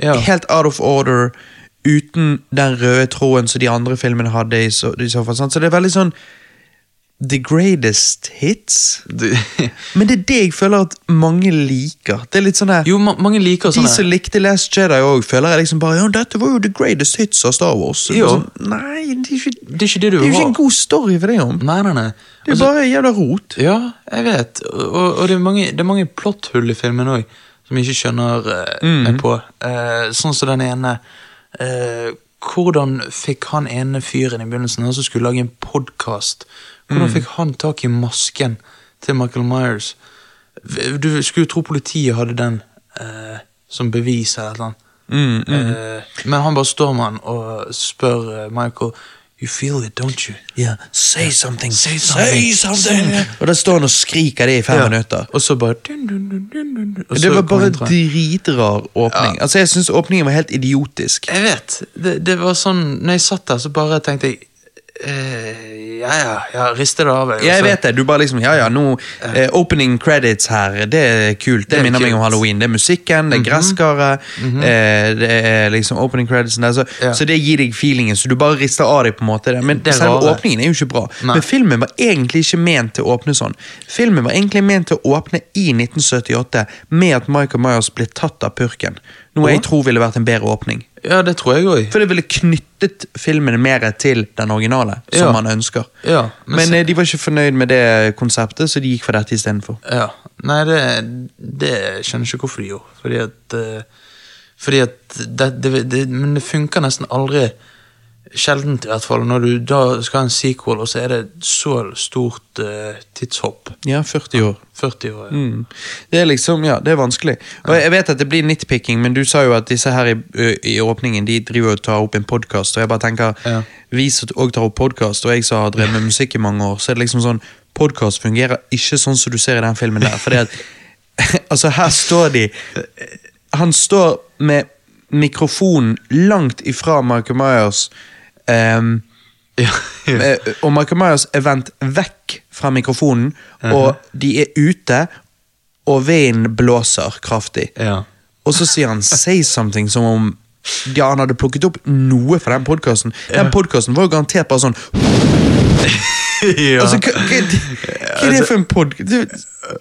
Speaker 2: Ja.
Speaker 1: Helt out of order, uten den røde tråden som de andre filmene hadde. i så, i så fall. Sant? Så det er veldig sånn The greatest hits.
Speaker 2: Det-
Speaker 1: Men det er det jeg føler at mange liker. Det er litt sånn her,
Speaker 2: Jo, ma mange liker
Speaker 1: De
Speaker 2: sånne.
Speaker 1: som likte Last Jedi òg, føler jeg liksom bare Ja, dette var jo the greatest hits av Star Wars. Så det er
Speaker 2: Jo.
Speaker 1: Sånn, nei, det er, ikke,
Speaker 2: Det er Altså- ikke det du
Speaker 1: det er jo ikke
Speaker 2: har.
Speaker 1: en god story for det, om.
Speaker 2: Nei, nei, nei.
Speaker 1: Det er jo bare jævla rot.
Speaker 2: Ja, jeg vet. Og, og- og det er mange, det er mange plotthull i filmen òg som jeg ikke skjønner eh,
Speaker 1: Mhm.
Speaker 2: meg på. Eh, sånn som den ene eh, Hvordan fikk han ene fyren i begynnelsen, han som skulle lage en podkast
Speaker 1: Mhm.
Speaker 2: Hvordan fikk han tak i masken til Michael Myers? V- Du skulle jo tro politiet hadde den eh, som bevis eller noe. Mm, men han bare står med han og spør eh, Michael You feel it, don't you?
Speaker 1: Yeah. Say something!
Speaker 2: Say something.
Speaker 1: Og da står han og skriker det i fem minutter.
Speaker 2: Og så bare dun, dun, dun, dun, dun, og så
Speaker 1: Det var
Speaker 2: kom
Speaker 1: bare
Speaker 2: introen.
Speaker 1: dritrar åpning. Altså, Jeg syns åpningen var helt idiotisk.
Speaker 2: Jeg vet. Det, det var sånn Når jeg satt der, så bare tenkte jeg eh, Ja, ja, ja, riste det av. jeg, og
Speaker 1: Ja, jeg
Speaker 2: så-
Speaker 1: vet det. Du bare liksom Ja, ja, nå eh, Opening credits her, det er kult. Det,
Speaker 2: er
Speaker 1: minner meg om
Speaker 2: kult. Mhm.
Speaker 1: halloween. Det er musikken, det er gresskaret, eh, det er liksom opening creditsen der. Så,
Speaker 2: Ja.
Speaker 1: så det gir deg feelingen, så du bare rister av deg på en måte det. Men
Speaker 2: Det er
Speaker 1: selve
Speaker 2: rare.
Speaker 1: åpningen er jo ikke bra.
Speaker 2: Nei.
Speaker 1: Men filmen var egentlig ikke ment til å åpne sånn. Filmen var egentlig ment til å åpne i 1978 med at Michael Myers ble tatt av purken. Noe jeg tror ville vært en bedre åpning.
Speaker 2: Ja, det tror jeg òg.
Speaker 1: For det ville knyttet filmen mer til den originale, som
Speaker 2: Ja.
Speaker 1: man ønsker.
Speaker 2: Ja, men
Speaker 1: men eh, de var ikke fornøyd med det konseptet, så de gikk for dette istedenfor.
Speaker 2: Ja. Nei, det, det skjønner jeg ikke hvorfor de gjorde. Fordi at eh, Fordi at det, det, det, Men det funker nesten aldri. Sjeldent, i hvert fall. Når du da skal ha en sequel, og så er det så stort eh, tidshopp.
Speaker 1: Ja, 40 år.
Speaker 2: 40 år. ja.
Speaker 1: Mm. Det er liksom, ja, det er vanskelig. Og jeg vet at det blir nitpicking, men du sa jo at disse her i, ø, i åpningen De driver og tar opp en podkast, og jeg bare tenker
Speaker 2: Ja.
Speaker 1: Vi som òg tar opp podkast, og jeg som har drevet med musikk i mange år, så er det liksom sånn Podkast fungerer ikke sånn som du ser i den filmen der. Fordi at Altså, her står de Han står med mikrofonen langt ifra Michael Myers. ehm,
Speaker 2: Ja, ja.
Speaker 1: Eh, Og Michael Myers er vendt vekk fra mikrofonen,
Speaker 2: Mhm.
Speaker 1: og de er ute, og vinden blåser kraftig.
Speaker 2: Ja.
Speaker 1: Og så sier han 'say something', som om ja, han hadde plukket opp noe fra den podkasten. Den podkasten var jo garantert bare sånn
Speaker 2: ja.
Speaker 1: altså, hva, hva, er det- hva er det for en podkast?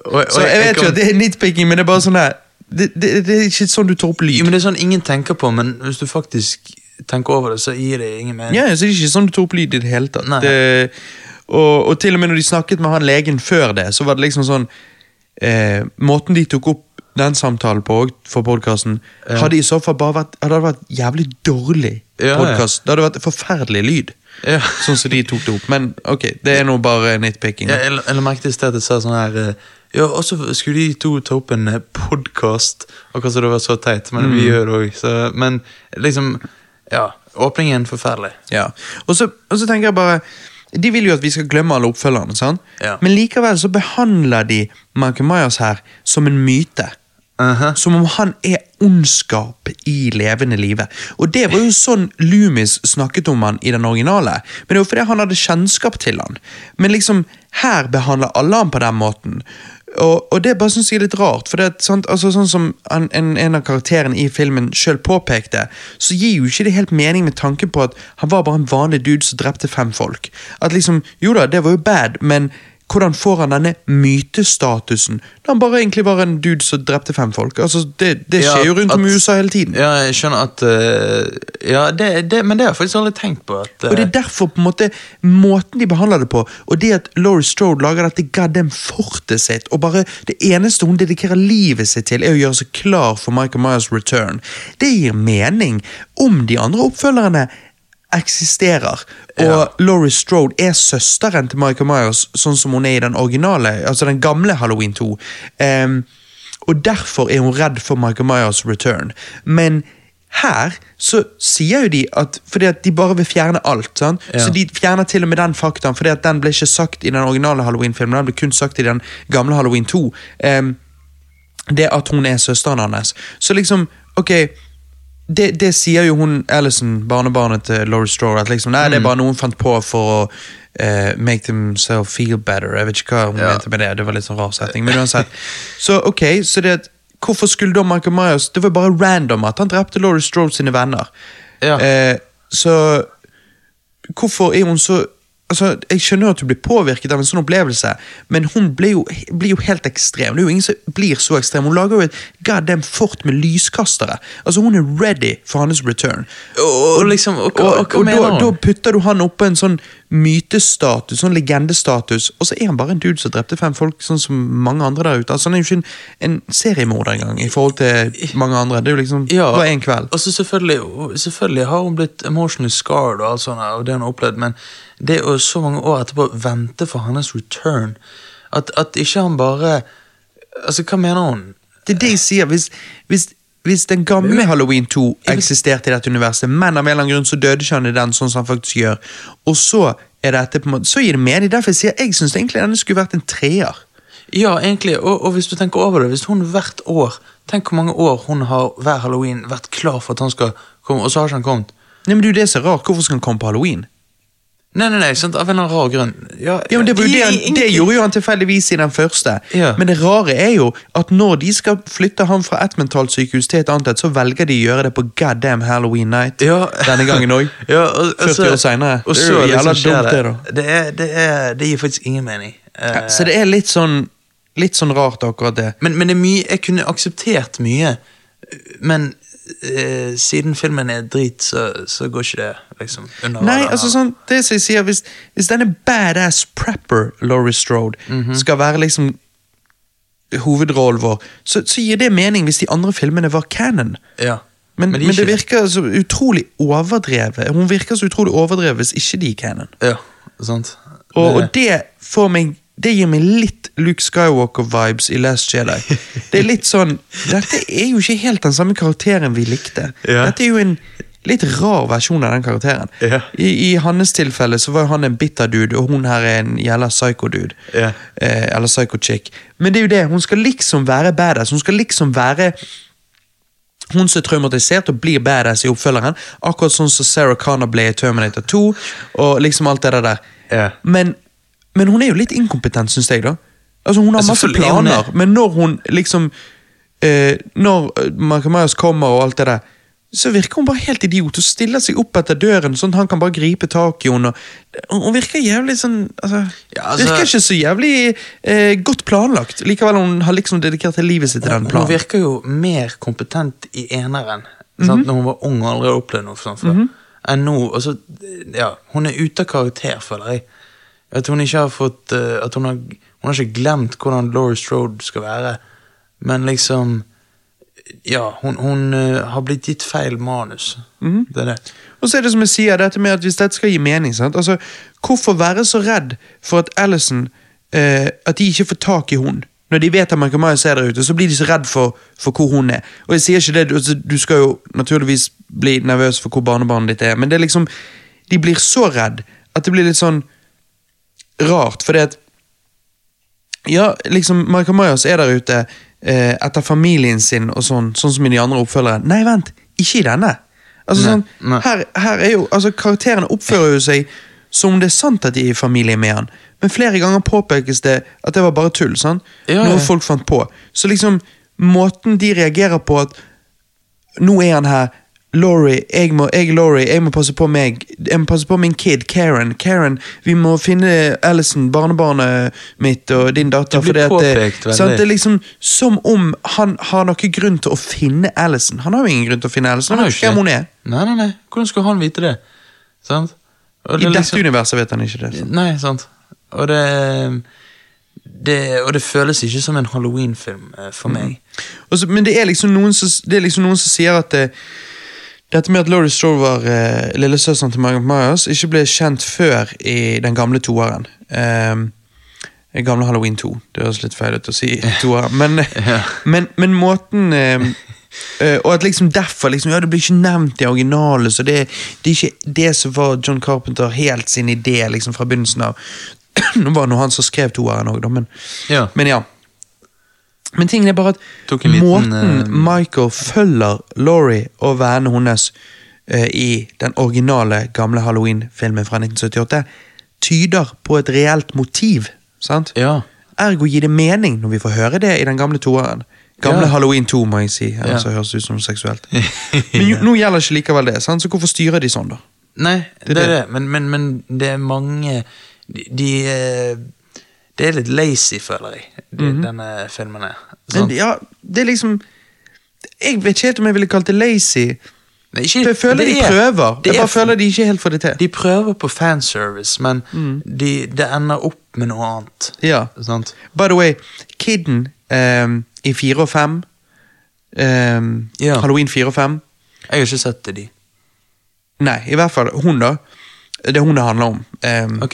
Speaker 2: Og- og
Speaker 1: Så jeg vet jo
Speaker 2: kan-
Speaker 1: at det er nitpicking, men det er bare sånn her det, det, det er ikke sånn du tar opp
Speaker 2: Jo,
Speaker 1: lyd.
Speaker 2: men Det er sånn ingen tenker på, men hvis du faktisk tenker over det, så gir det ingen mening.
Speaker 1: Ja, så det er ikke sånn du tar opp lyd i det hele tatt.
Speaker 2: Nei.
Speaker 1: Det, og, og til og med når de snakket med han legen før det, så var det liksom sånn eh, Måten de tok opp den samtalen på og for podkasten, hadde i så fall bare vært Hadde det vært jævlig dårlig
Speaker 2: Ja, ja.
Speaker 1: podcast. Det hadde vært forferdelig lyd.
Speaker 2: Ja.
Speaker 1: Sånn som de tok det opp. Men ok, det er nå bare nitpicking.
Speaker 2: Ja, jeg, jeg merket i sted at jeg sa sånn her eh, Ja, og så skulle de to ta opp en podkast. Akkurat som det var så teit, men
Speaker 1: Mm.
Speaker 2: vi gjør det òg. Så, men liksom Ja. Åpningen forferdelig.
Speaker 1: Ja. Og, så, og så tenker jeg bare De vil jo at vi skal glemme alle oppfølgerne, sant?
Speaker 2: Ja.
Speaker 1: men likevel så behandler de Michael Myers her som en myte.
Speaker 2: Aha.
Speaker 1: Som om han er ondskap i levende live. Og det var jo sånn Loomis snakket om han i den originale. Men det var fordi han hadde kjennskap til han. Men liksom, her behandler alle han på den måten. Og, og det bare synes jeg er litt rart, for det er et sånt, altså, sånn som en, en, en av karakterene i filmen selv påpekte, så gir jo ikke det helt mening med tanken på at han var bare en vanlig dude som drepte fem folk. At liksom, jo da, det var jo bad, men hvordan får han denne mytestatusen når han bare egentlig var en dude som drepte fem folk? Altså, Det, det skjer jo rundt om i
Speaker 2: at-
Speaker 1: USA hele tiden.
Speaker 2: Ja, jeg skjønner at eh, Ja, det, det, men det har jeg faktisk aldri tenkt på. At, eh,
Speaker 1: Og det er derfor på en måte måten de behandler det på, og det at Laurie Strode lager dette goddamn fortet sitt, og bare det eneste hun dedikerer livet sitt til, er å gjøre seg klar for Michael Myers' return, det gir mening om de andre oppfølgerne eksisterer, og Laurie Strode er søsteren til Michael Myers, sånn som hun er i den originale, altså den gamle Halloween 2. Ehm, og derfor er hun redd for Michael Myers' return. Men her så sier jo de at Fordi at de bare vil fjerne alt. sant?
Speaker 2: Ja.
Speaker 1: Så de fjerner til og med den faktaen, fordi at den ble ikke sagt i den originale Halloween-filmen. Den ble kun sagt i den gamle Halloween 2. Ehm, det at hun er søsteren hans. Så liksom, ok det, det sier jo hun Alison, barnebarnet til Laurie Strode, at liksom, nei,
Speaker 2: Mm.
Speaker 1: det er bare noe hun fant på for å eh, make themselves feel better. Jeg vet ikke hva hun
Speaker 2: Ja.
Speaker 1: mente med det, det var litt sånn rar setning. Men uansett. Så ok, så det at Hvorfor skulle da Michael Myers Det var bare random at han drepte Laurie Strode sine venner.
Speaker 2: Ja.
Speaker 1: Eh, så hvorfor er hun så Altså, Jeg skjønner jo at hun blir påvirket av en sånn opplevelse, men hun blir jo, blir jo helt ekstrem. Det er jo ingen som blir så ekstrem. Hun lager jo et goddamn fort med lyskastere. Altså, Hun er ready for hans return.
Speaker 2: og, og liksom Og, og, og,
Speaker 1: og
Speaker 2: hva mener
Speaker 1: da, da
Speaker 2: hun?
Speaker 1: putter du han oppå en sånn mytestatus, sånn legendestatus, og så er han bare en dude som drepte fem folk, sånn som mange andre der ute. Altså, Han er jo ikke en, en seriemorder engang, i forhold til mange andre. Det er jo liksom
Speaker 2: Ja,
Speaker 1: bare én kveld.
Speaker 2: Og så selvfølgelig, selvfølgelig har hun blitt emotionally scarred, og alt sånt her, og det hun har opplevd, men det å så mange år etterpå vente for hennes return At, at ikke han bare Altså, hva mener hun?
Speaker 1: Det er det jeg sier. Hvis, hvis, Hvis den gamle Halloween 2 eksisterte i dette universet, men av en eller annen grunn så døde ikke han i den, sånn som han faktisk gjør, og så er dette på en måte, så gir det mening. Derfor jeg sier jeg synes egentlig denne skulle vært en treer.
Speaker 2: Ja, egentlig, og, og hvis du tenker over det, hvis hun hvert år Tenk hvor mange år hun har hver halloween vært klar for at han skal komme, og så har ikke han kommet.
Speaker 1: Nei, men det er jo det som er rart. Hvorfor skal han komme på halloween?
Speaker 2: Nei, nei, nei, sant? av en eller annen rar grunn.
Speaker 1: Ja, men Det, var jo det, han, det gjorde jo han tilfeldigvis i den første.
Speaker 2: Ja.
Speaker 1: Men det rare er jo at når de skal flytte ham fra et mentalsykehus til et annet, et, så velger de å gjøre det på goddamn Halloween night.
Speaker 2: Ja.
Speaker 1: Denne gangen òg.
Speaker 2: Ja, og,
Speaker 1: 40 år senere.
Speaker 2: Og
Speaker 1: Det
Speaker 2: så
Speaker 1: er jo jævla
Speaker 2: liksom
Speaker 1: dumt
Speaker 2: skjer
Speaker 1: det, da.
Speaker 2: Det, er, det, er, det gir faktisk ingen mening. Eh,
Speaker 1: Ja, så det er litt sånn, litt sånn rart, akkurat det.
Speaker 2: men, men det er mye Jeg kunne akseptert mye, men eh, siden filmen er drit, så, så går ikke det liksom under
Speaker 1: Nei,
Speaker 2: radaren.
Speaker 1: altså sånn, det som jeg sier Hvis, hvis denne badass prepper Laurie Strode skal være liksom hovedrollen vår, så, så gir det mening hvis de andre filmene var canon.
Speaker 2: ja.
Speaker 1: Men, men,
Speaker 2: de er
Speaker 1: det
Speaker 2: ikke-
Speaker 1: virker så utrolig overdrevet. Hun virker så utrolig overdrevet hvis ikke de er canon.
Speaker 2: Ja, sant.
Speaker 1: Og, og
Speaker 2: Det-
Speaker 1: det får meg Det gir meg litt Luke Skywalker-vibes i Last Jedi. Det er litt sånn Dette er jo ikke helt den samme karakteren vi likte.
Speaker 2: Ja.
Speaker 1: Dette er jo en litt rar versjon av den karakteren.
Speaker 2: Ja.
Speaker 1: I, I hans tilfelle så var jo han en bitter dude, og hun her er en jævla psycho dude.
Speaker 2: Ja.
Speaker 1: Eh, eller psycho chick. Men det er jo det, hun skal liksom være badass. Hun skal liksom være hun som er traumatisert og blir badass i oppfølgeren. Akkurat sånn som Sarah Connor ble i Terminator 2. og liksom alt det der.
Speaker 2: Ja.
Speaker 1: Men, men hun er jo litt inkompetent, syns jeg. da. Altså Hun har
Speaker 2: Ja,
Speaker 1: masse
Speaker 2: selvfølgelig er hun det.
Speaker 1: planer, men når hun liksom eh, Når eh, Michael Myers kommer og alt det der, så virker hun bare helt idiot og stiller seg opp etter døren, sånn at han kan bare gripe tak i henne. og- Hun hun virker jævlig sånn altså,
Speaker 2: Ja, altså-
Speaker 1: Virker ikke så jævlig eh, godt planlagt. Likevel hun har liksom dedikert hele livet sitt til den
Speaker 2: Hun
Speaker 1: planen.
Speaker 2: virker jo mer kompetent i eneren,
Speaker 1: Mhm.
Speaker 2: sant? når hun var ung og aldri hadde opplevd noe sånt før, enn nå. Og så, ja, hun er ute av karakter, føler jeg. At hun ikke har fått eh, At hun har, hun har ikke glemt hvordan Laurie Strode skal være, men liksom Ja, hun, hun eh, har blitt gitt feil manus.
Speaker 1: Mhm.
Speaker 2: Det er det.
Speaker 1: Og så er det som jeg sier, dette med at hvis dette skal gi mening, sant? Altså, hvorfor være så redd for at Allison eh, At de ikke får tak i hun? Når de vet at Michael Myers er der ute, så blir de så redd for, for hvor hun er. Og jeg sier ikke det, du- altså, Du skal jo naturligvis bli nervøs for hvor barnebarnet ditt er, men det er liksom, de blir så redd at det blir litt sånn rart. fordi at ja, liksom, Michael Myers er der ute eh, etter familien sin og sånn, sånn som i de andre oppfølgere. Nei, vent, ikke i denne. Altså,
Speaker 2: Nei,
Speaker 1: sånn,
Speaker 2: nei.
Speaker 1: Her, her er jo, altså, karakterene oppfører jo seg som om det er sant at de er i familie med han, men flere ganger påpekes det at det var bare tull, sant?
Speaker 2: Ja, ja.
Speaker 1: noe folk fant på. Så liksom, måten de reagerer på at nå er han her. Laurie, jeg må, jeg, Laurie, jeg må passe på meg. Jeg må passe på min kid, Karen. Karen, Vi må finne Allison, barnebarnet mitt og din datter.
Speaker 2: Det
Speaker 1: fordi
Speaker 2: blir
Speaker 1: at
Speaker 2: påpekt veldig.
Speaker 1: sant, det er liksom Som om han har noen grunn til å finne Allison. Han har jo ingen grunn til å finne Allison. Han, vet ikke hvem hun er.
Speaker 2: Nei, nei, nei. Hvordan skulle han vite det? Sant? Og
Speaker 1: I
Speaker 2: det er
Speaker 1: dette
Speaker 2: liksom-
Speaker 1: universet vet han ikke det. sant?
Speaker 2: Nei, sant. Og det, det Og det føles ikke som en halloween-film eh, for meg.
Speaker 1: Og så- men det er, liksom noen som, det er liksom noen som sier at det, dette med at Laurie Strode var eh, lillesøsteren til Margaret Myers, ikke ble kjent før i den gamle toeren. Ehm, den gamle Halloween 2. Det høres litt feil ut å si toeren, men, eh, men, men måten ehm, eh, Og at liksom derfor liksom, Ja, det blir ikke nevnt i originalen, så det, det er ikke det som var John Carpenter helt sin idé liksom, fra begynnelsen av. Nå var det nå han som skrev toeren òg, da, men
Speaker 2: Ja.
Speaker 1: men ja. Men tingen er bare
Speaker 2: Tok
Speaker 1: at
Speaker 2: en liten,
Speaker 1: måten
Speaker 2: eh,
Speaker 1: Michael følger Laurie og vennene hennes eh, i den originale gamle Halloween-filmen fra 1978, tyder på et reelt motiv. sant?
Speaker 2: Ja.
Speaker 1: Ergo gir det mening når vi får høre det i den gamle toeren. Gamle
Speaker 2: Ja.
Speaker 1: Halloween 2, må jeg si. Ellers
Speaker 2: Ja.
Speaker 1: så høres det ut som noe seksuelt. Men jo, nå gjelder ikke likevel det, sant? så hvorfor styrer de sånn, da?
Speaker 2: Nei, det,
Speaker 1: det.
Speaker 2: er det. Men, men, men det er mange De, de eh, Det er litt lazy, føler jeg, de, denne filmen Sånn. er.
Speaker 1: Men,
Speaker 2: Sant?
Speaker 1: ja, det er liksom Jeg vet ikke helt om jeg ville kalt det lazy.
Speaker 2: Nei, ikke-
Speaker 1: Jeg føler
Speaker 2: det
Speaker 1: de
Speaker 2: er-
Speaker 1: prøver.
Speaker 2: det
Speaker 1: Jeg
Speaker 2: er-
Speaker 1: bare føler de ikke helt får det til.
Speaker 2: De prøver på fanservice, men de, det ender opp med noe annet. Sånn.
Speaker 1: Ja.
Speaker 2: Sant?
Speaker 1: By the way, Kidden ehm, i 4 og 5 ehm,
Speaker 2: Ja.
Speaker 1: Halloween 4 og 5
Speaker 2: Jeg har ikke sett det, de.
Speaker 1: Nei, i hvert fall hun da Det er hun det handler om Ehm,
Speaker 2: Ok.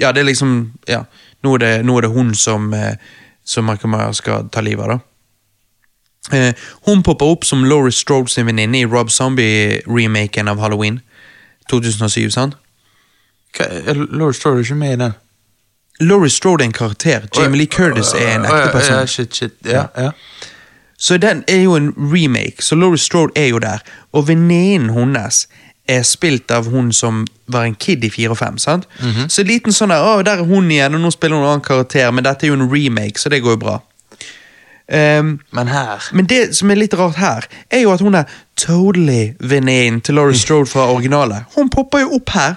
Speaker 1: Ja, det er liksom ja, nå, er det, nå er det hun som eh, Som Michael Myers skal ta livet av da Eh, hun popper opp som Laurie Strode sin venninne i Rob Zombie-remaken av Halloween 2007. sant?
Speaker 2: Hva, er Laurie Strode ikke med i den?
Speaker 1: Laurie Strode er en karakter. Jamie Lee Curtis er en
Speaker 2: Å, ja,
Speaker 1: ekte person.
Speaker 2: Ja, shit, shit. Ja, ja.
Speaker 1: Så den er jo en remake, så Laurie Strode er jo der. Og venninnen hennes er spilt av hun som var en kid i 4 og 5. sant? Så en liten sånn der, å, der er hun igjen, og nå spiller hun en annen karakter, men dette er jo en remake, så det går jo bra. Ehm,
Speaker 2: Men her
Speaker 1: men det som er litt rart her, er jo at hun er totally venninnen til Laurie Strode fra originalet. Hun popper jo opp her,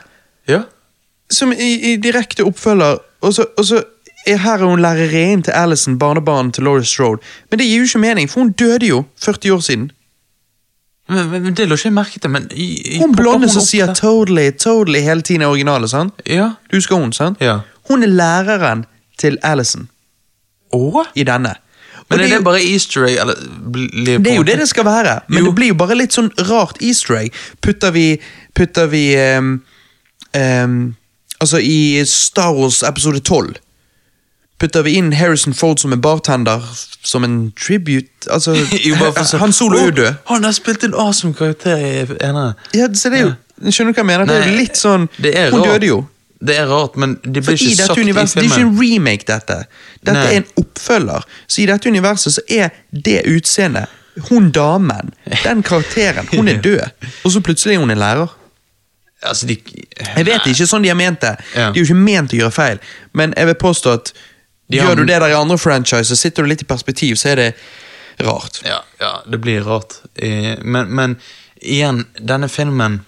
Speaker 2: Ja.
Speaker 1: som i, i direkte oppfølger, og så, og så er her er hun lærerinnen til Alison, barnebarnet til Laurie Strode. Men det gir jo ikke mening, for hun døde jo 40 år siden.
Speaker 2: Men, men, men Det lå ikke jeg merke til, men i, i,
Speaker 1: Hun blonde som
Speaker 2: opp
Speaker 1: sier
Speaker 2: der?
Speaker 1: 'totally, totally' hele tiden i originalet, sant?
Speaker 2: Ja.
Speaker 1: Du husker hun, sant?
Speaker 2: Ja.
Speaker 1: Hun er læreren til Alison
Speaker 2: Å?
Speaker 1: i denne. Og
Speaker 2: Men er
Speaker 1: det,
Speaker 2: det,
Speaker 1: er jo,
Speaker 2: bare easter egg? Eller, blir på
Speaker 1: det er jo
Speaker 2: en måte-
Speaker 1: det det skal være, men
Speaker 2: Jo.
Speaker 1: det blir jo bare litt sånn rart easter egg. Putter vi, putter vi ehm, ehm, Altså, i Star Wars episode 12 putter vi inn Harrison Ford som en bartender, som en tribute Altså,
Speaker 2: Jo, bare for å se-
Speaker 1: han solo er jo
Speaker 2: Å,
Speaker 1: død.
Speaker 2: Han har spilt en awesome karakter i enere.
Speaker 1: Ja, så det er jo, Skjønner du hva jeg mener? det er jo
Speaker 2: Nei,
Speaker 1: litt sånn
Speaker 2: det er
Speaker 1: Hun
Speaker 2: rart.
Speaker 1: døde jo.
Speaker 2: Det er rart, men det
Speaker 1: For
Speaker 2: blir
Speaker 1: i
Speaker 2: ikke sagt
Speaker 1: dette universet, Det
Speaker 2: i
Speaker 1: er ikke
Speaker 2: filmen.
Speaker 1: en remake, dette. Dette
Speaker 2: Nei.
Speaker 1: er en oppfølger. Så i dette universet så er det utseendet Hun damen, den karakteren, hun er død. Og så plutselig er hun en lærer.
Speaker 2: Altså, de,
Speaker 1: Jeg vet ikke sånn de har ment det. De
Speaker 2: Ja.
Speaker 1: er jo ikke ment å gjøre feil, men jeg vil påstå at
Speaker 2: har-
Speaker 1: gjør du det der i andre franchiser, sitter du litt i perspektiv, så er det rart.
Speaker 2: Ja, ja, det blir rart. Eh, Men, men igjen, denne filmen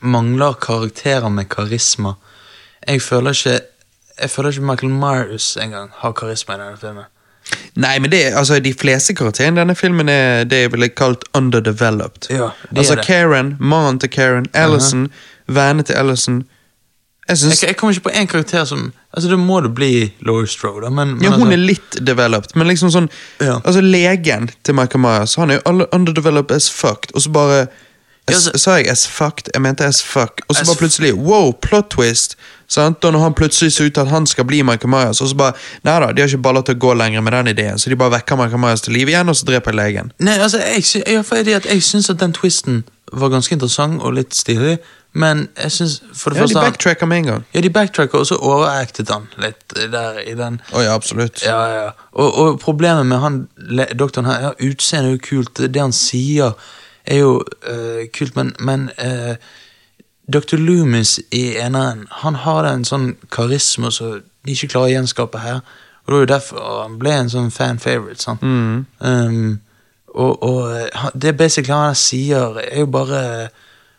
Speaker 2: mangler karakterer med karisma. Jeg føler ikke jeg føler ikke Michael Myers engang har karisma i denne filmen.
Speaker 1: Nei, men det, er- altså, de fleste karakterene i denne filmen er det jeg ville kalt underdeveloped.
Speaker 2: Ja, de
Speaker 1: altså
Speaker 2: er det.
Speaker 1: Karen, mannen til Karen, Allison, vennene til Allison. Jeg synes
Speaker 2: Jeg, jeg kommer ikke på én karakter som Altså, Da må det bli Laurie Strode, da, men, men
Speaker 1: Ja, hun
Speaker 2: altså-
Speaker 1: er litt developed, men liksom sånn
Speaker 2: Ja.
Speaker 1: Altså, legen til Michael Myers, han er jo alle underdeveloped as fucked, og så bare
Speaker 2: Ja,
Speaker 1: as,
Speaker 2: så-
Speaker 1: Sa jeg as fucked? Jeg mente as fuck. Og så
Speaker 2: As
Speaker 1: bare
Speaker 2: f-
Speaker 1: plutselig wow, plot twist. Sant? Da når han plutselig ser ut til at han skal bli Michael Myers, og så bare Nei da, de har ikke baller til å gå lenger med den ideen, så de bare vekker Michael Myers til liv igjen, og så dreper jeg legen.
Speaker 2: Nei, altså, jeg, sy- ja, fordi at jeg syns at den twisten var ganske interessant og litt stilig, men jeg syns for det
Speaker 1: Ja, de
Speaker 2: første han-
Speaker 1: backtracker med en gang.
Speaker 2: Ja, de backtracker, og så overacted han litt eh, der i den.
Speaker 1: Å ja, absolutt.
Speaker 2: Ja, ja, ja. Og, og problemet med han le- doktoren her, ja, utseendet er jo kult, det han sier er jo eh, kult, men, men eh, Dr. Loomis i eneren, han har den sånn karisma som de ikke klarer å gjenskape her. Og det var jo derfor han ble en sånn fan favorite, sant? Um, og og eh, han- det basically han her sier, er jo bare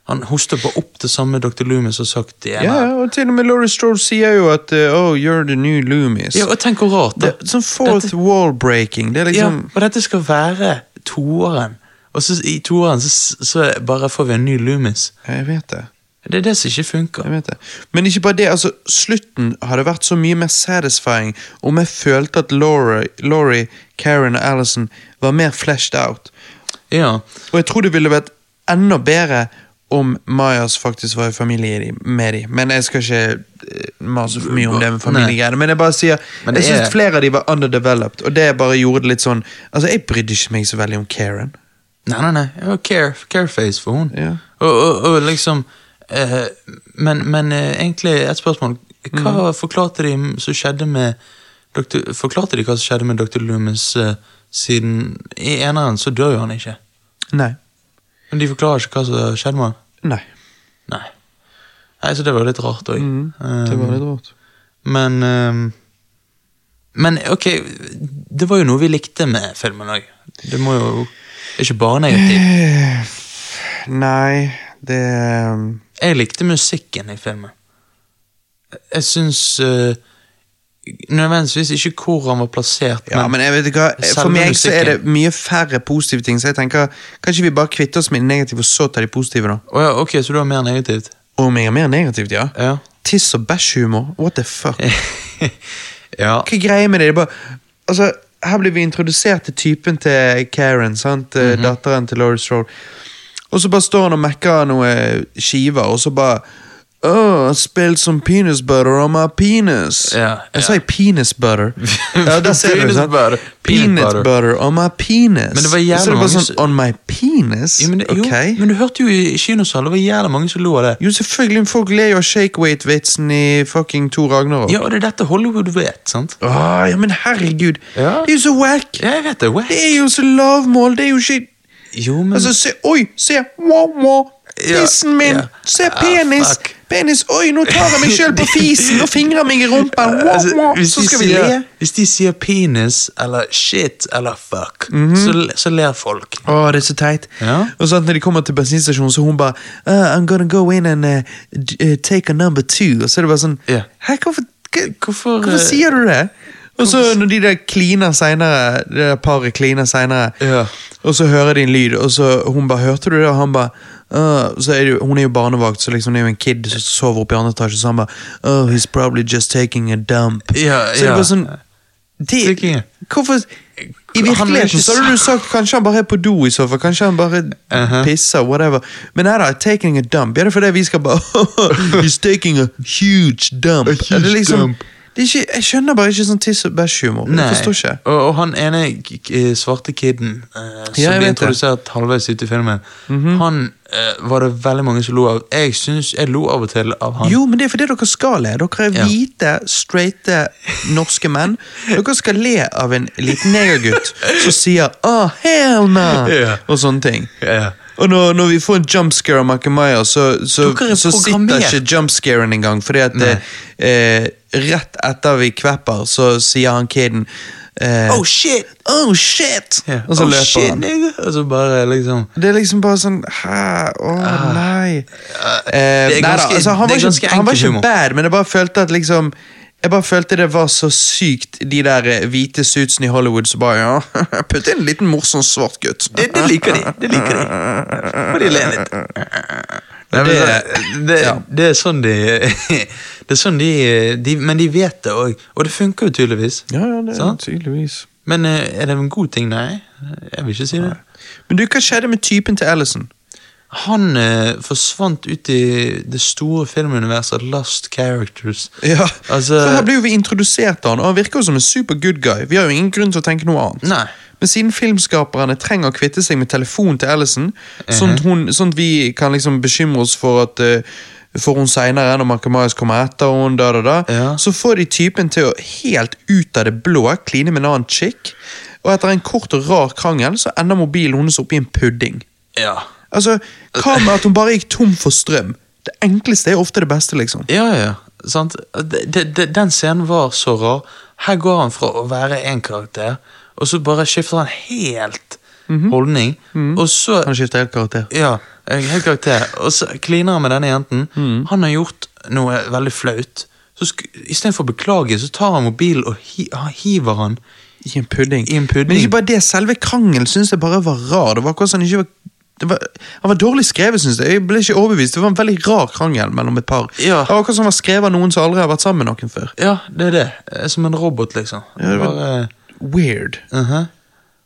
Speaker 2: Han hoster på opp det samme Dr. Loomis har sagt i
Speaker 1: Ja,
Speaker 2: eneren.
Speaker 1: og til og med Laurie Strode sier jo at eh, Oh, you're the new Loomis.
Speaker 2: Ja, og tenk hvor rart,
Speaker 1: det,
Speaker 2: da.
Speaker 1: sånn fourth wall breaking. Det er
Speaker 2: Ja,
Speaker 1: liksom
Speaker 2: og dette skal være toåren. Og så i toåren så, så bare får vi en ny Loomis.
Speaker 1: Ja, Jeg vet det.
Speaker 2: Det er det som ikke funker.
Speaker 1: Jeg vet det. Men ikke bare det, altså, slutten hadde vært så mye mer satisfying om jeg følte at Laurie, Laurie Karen og Allison var mer fleshed out.
Speaker 2: Ja,
Speaker 1: Og jeg tror det ville vært enda bedre om Mayas faktisk var i familie i de- med dem. Men jeg skal ikke eh, mase for mye om det med familiegreiene. Men jeg bare sier,
Speaker 2: Men
Speaker 1: jeg
Speaker 2: det
Speaker 1: syns
Speaker 2: er-
Speaker 1: flere av de var underdeveloped, og det bare gjorde det litt sånn Altså, jeg brydde ikke meg så veldig om Karen.
Speaker 2: Nei, nei, nei. Ja, care, careface for hun.
Speaker 1: Ja.
Speaker 2: Og, og, og liksom eh, Men, men eh, egentlig et spørsmål. Hva
Speaker 1: Mm.
Speaker 2: forklarte de som skjedde med doktor, Forklarte de hva som skjedde med dr. Loomis eh, siden I eneren så dør jo han ikke.
Speaker 1: Nei.
Speaker 2: Men de forklarer ikke hva som skjedde med han.
Speaker 1: Nei.
Speaker 2: Nei. Nei, Så det var litt rart Eh, òg.
Speaker 1: Mm. Det var litt rart.
Speaker 2: Men ehm, Men ok, det var jo noe vi likte med filmen òg. Det må jo det er ikke bare negativt. Eh.
Speaker 1: Nei, det eh,
Speaker 2: Jeg likte musikken i filmen. Jeg syns Nødvendigvis ikke hvor han var plassert,
Speaker 1: Ja, men, jeg vet ikke hva, For
Speaker 2: selve
Speaker 1: meg så er det
Speaker 2: musikken-
Speaker 1: mye færre positive ting, så jeg tenker kanskje vi bare kvitter oss med de negative og så tar de positive, da.
Speaker 2: Å ja, ok, så du har mer negativt?
Speaker 1: Om jeg er mer negativt, ja?
Speaker 2: Ja.
Speaker 1: Tiss og bæsjhumor? What the fuck?
Speaker 2: ja.
Speaker 1: Hva er greia med det? det er bare, altså, her blir vi introdusert til typen til Karen, sant? Eh,
Speaker 2: Mhm.
Speaker 1: Datteren til Laurie Stroll. Og så bare står han og mekker noe skiver, og så bare Oh, I spilled some peanut butter on my penis.
Speaker 2: Ja, ja.
Speaker 1: Jeg sa jo peanut butter. ja, der ser du,
Speaker 2: Peanut
Speaker 1: sant?
Speaker 2: butter. Peanut
Speaker 1: Peanut
Speaker 2: butter.
Speaker 1: butter on my penis.
Speaker 2: Men det var
Speaker 1: Og
Speaker 2: jævlig
Speaker 1: så er det
Speaker 2: mange
Speaker 1: bare sånn,
Speaker 2: som-
Speaker 1: on my penis?
Speaker 2: Ja, men, det, jo,
Speaker 1: ok.
Speaker 2: men du hørte jo i kinosalen, det var jævlig mange som lo av det.
Speaker 1: Jo, selvfølgelig, men folk ler jo av shakeweight-vitsen i fucking Thor Ragnarok.
Speaker 2: Ja, og det er dette Hollywood vet, sant?
Speaker 1: Åh, ja, men herregud.
Speaker 2: Ja.
Speaker 1: Det er jo så wack.
Speaker 2: Ja, jeg vet det. Wack.
Speaker 1: Det er jo så lavmål. Det er jo ikke
Speaker 2: Jo, men
Speaker 1: Altså, se, oi, se, wow, wow.
Speaker 2: Ja,
Speaker 1: Tissen min!
Speaker 2: ja.
Speaker 1: Se,
Speaker 2: Ah,
Speaker 1: penis!
Speaker 2: fuck.
Speaker 1: penis, Oi, nå tar jeg meg sjøl på fisen og fingrer meg i rumpa! Wow,
Speaker 2: Altså,
Speaker 1: wow.
Speaker 2: hvis,
Speaker 1: Så
Speaker 2: de
Speaker 1: skal vi
Speaker 2: sier,
Speaker 1: le.
Speaker 2: hvis de sier penis eller shit eller fuck,
Speaker 1: Mhm.
Speaker 2: så, le- så ler folk.
Speaker 1: Å, det er så teit.
Speaker 2: Ja.
Speaker 1: Og så Når de kommer til bensinstasjonen, så hun bare uh, I'm gonna go in and uh, d- uh, take a number two. Og så er det bare sånn
Speaker 2: Ja.
Speaker 1: Hæ, hvorfor, hva-
Speaker 2: Hvorfor, eh,
Speaker 1: hvorfor sier du det? Og så når de der kliner senere, det der paret kliner senere,
Speaker 2: Ja.
Speaker 1: og så hører de en lyd, og så hun bare 'Hørte du det?' Og han bare «Øh», så er det, jo- Hun er jo barnevakt, så liksom det er jo en kid som sover oppe i andre etasje, så han bare 'Oh, he's probably just taking a dump'. så
Speaker 2: Ja,
Speaker 1: det er
Speaker 2: ja.
Speaker 1: bare sånn
Speaker 2: Taking a-
Speaker 1: det, Hvorfor I
Speaker 2: Han er ikke
Speaker 1: virkeligheten så hadde
Speaker 2: så-
Speaker 1: du sagt kanskje han bare er på do i så fall, kanskje han bare
Speaker 2: Uh-huh.
Speaker 1: pisser, whatever. Men nei da, taking a dump. Ja, det er fordi vi skal bare He's taking a huge dump.
Speaker 2: A huge
Speaker 1: Er det liksom,
Speaker 2: dump.
Speaker 1: Det er ikke, jeg skjønner bare ikke sånn tiss og bæsj-humor. Jeg forstår ikke.
Speaker 2: Og, og han ene k- k- svarte kiden eh,
Speaker 1: jeg vet
Speaker 2: som ble
Speaker 1: det. Mhm.
Speaker 2: introdusert halvveis ute i filmen, han eh, var det veldig mange som lo av. Jeg synes jeg lo av og til av han.
Speaker 1: Jo, men det er fordi dere skal le. Dere er
Speaker 2: Ja.
Speaker 1: hvite, straighte norske menn. Dere skal le av en liten negergutt som sier 'ah, hell no!'
Speaker 2: Ja.
Speaker 1: og sånne ting.
Speaker 2: Ja.
Speaker 1: Og når, når vi får en jumpscare av Makemaya, så, så,
Speaker 2: Dere er
Speaker 1: så sitter
Speaker 2: programmert.
Speaker 1: ikke jumpscaren engang. Fordi at eh, eh, rett etter vi kvepper, så sier han kiden eh,
Speaker 2: Oh shit!
Speaker 1: oh, shit!
Speaker 2: Ja.
Speaker 1: Og så
Speaker 2: oh,
Speaker 1: løper
Speaker 2: shit,
Speaker 1: han.
Speaker 2: nigga! Og så bare liksom
Speaker 1: Det er liksom bare sånn Hæ? Å, nei. Eh,
Speaker 2: Ah. det er
Speaker 1: neida,
Speaker 2: ganske-
Speaker 1: altså, han var
Speaker 2: det er
Speaker 1: ikke,
Speaker 2: ganske
Speaker 1: han var
Speaker 2: enkel humor.
Speaker 1: ikke bad, men jeg bare følte at liksom jeg bare følte det var så sykt, de der eh, hvite suitsene i Hollywood som bare ja, Putt inn en liten morsom svart gutt.
Speaker 2: Det, det liker de. Det liker de. Må de le litt. Nei, men
Speaker 1: Det-
Speaker 2: det, det,
Speaker 1: ja.
Speaker 2: det er sånn de Det er sånn de, de Men de vet det òg. Og det funker jo tydeligvis.
Speaker 1: Ja, ja, det
Speaker 2: Sant?
Speaker 1: tydeligvis.
Speaker 2: Men eh, er det en god ting? Nei. Jeg vil ikke si det.
Speaker 1: Men du, hva skjedde med typen til Ellison?
Speaker 2: Han eh, forsvant ut i det store filmuniverset Lost Characters.
Speaker 1: Ja,
Speaker 2: Altså-
Speaker 1: for Her ble jo vi introdusert av han, og han virker jo som en super good guy. Vi har jo ingen grunn til å tenke noe annet.
Speaker 2: Nei.
Speaker 1: Men siden filmskaperne trenger å kvitte seg med telefonen til Ellison, sånn, at hun, sånn at vi kan liksom bekymre oss for at eh, for hun senere, når Markamais kommer etter hun, da, da, da,
Speaker 2: Ja.
Speaker 1: så får de typen til å helt ut av det blå kline med en annen chick. Og etter en kort og rar krangel så ender mobilen hennes oppi en pudding.
Speaker 2: Ja.
Speaker 1: Altså, Hva med at hun bare gikk tom for strøm? Det enkleste er ofte det beste, liksom.
Speaker 2: Ja, ja. Sant? Det, det, det, den scenen var så rar. Her går han fra å være én karakter, og så bare skifter han helt holdning. Og så
Speaker 1: Han skifter helt karakter.
Speaker 2: Ja, eh, helt karakter. Og så kliner han med denne jenten. Han har gjort noe veldig flaut. Så sk Istedenfor å beklage, så tar han mobilen og hi han hiver han.
Speaker 1: I en pudding.
Speaker 2: I en pudding.
Speaker 1: Men ikke bare det, selve krangelen synes jeg bare var rar. Det var akkurat som han ikke var... Det var, han var dårlig skrevet, synes jeg. Jeg ble ikke overbevist. Det var en veldig rar krangel mellom et par.
Speaker 2: Ja.
Speaker 1: Det var akkurat som han var skrevet av noen som aldri har vært sammen med noen før.
Speaker 2: Ja, det er det. Eh, Som en robot, liksom.
Speaker 1: det var-
Speaker 2: Bare,
Speaker 1: Weird.
Speaker 2: Mhm.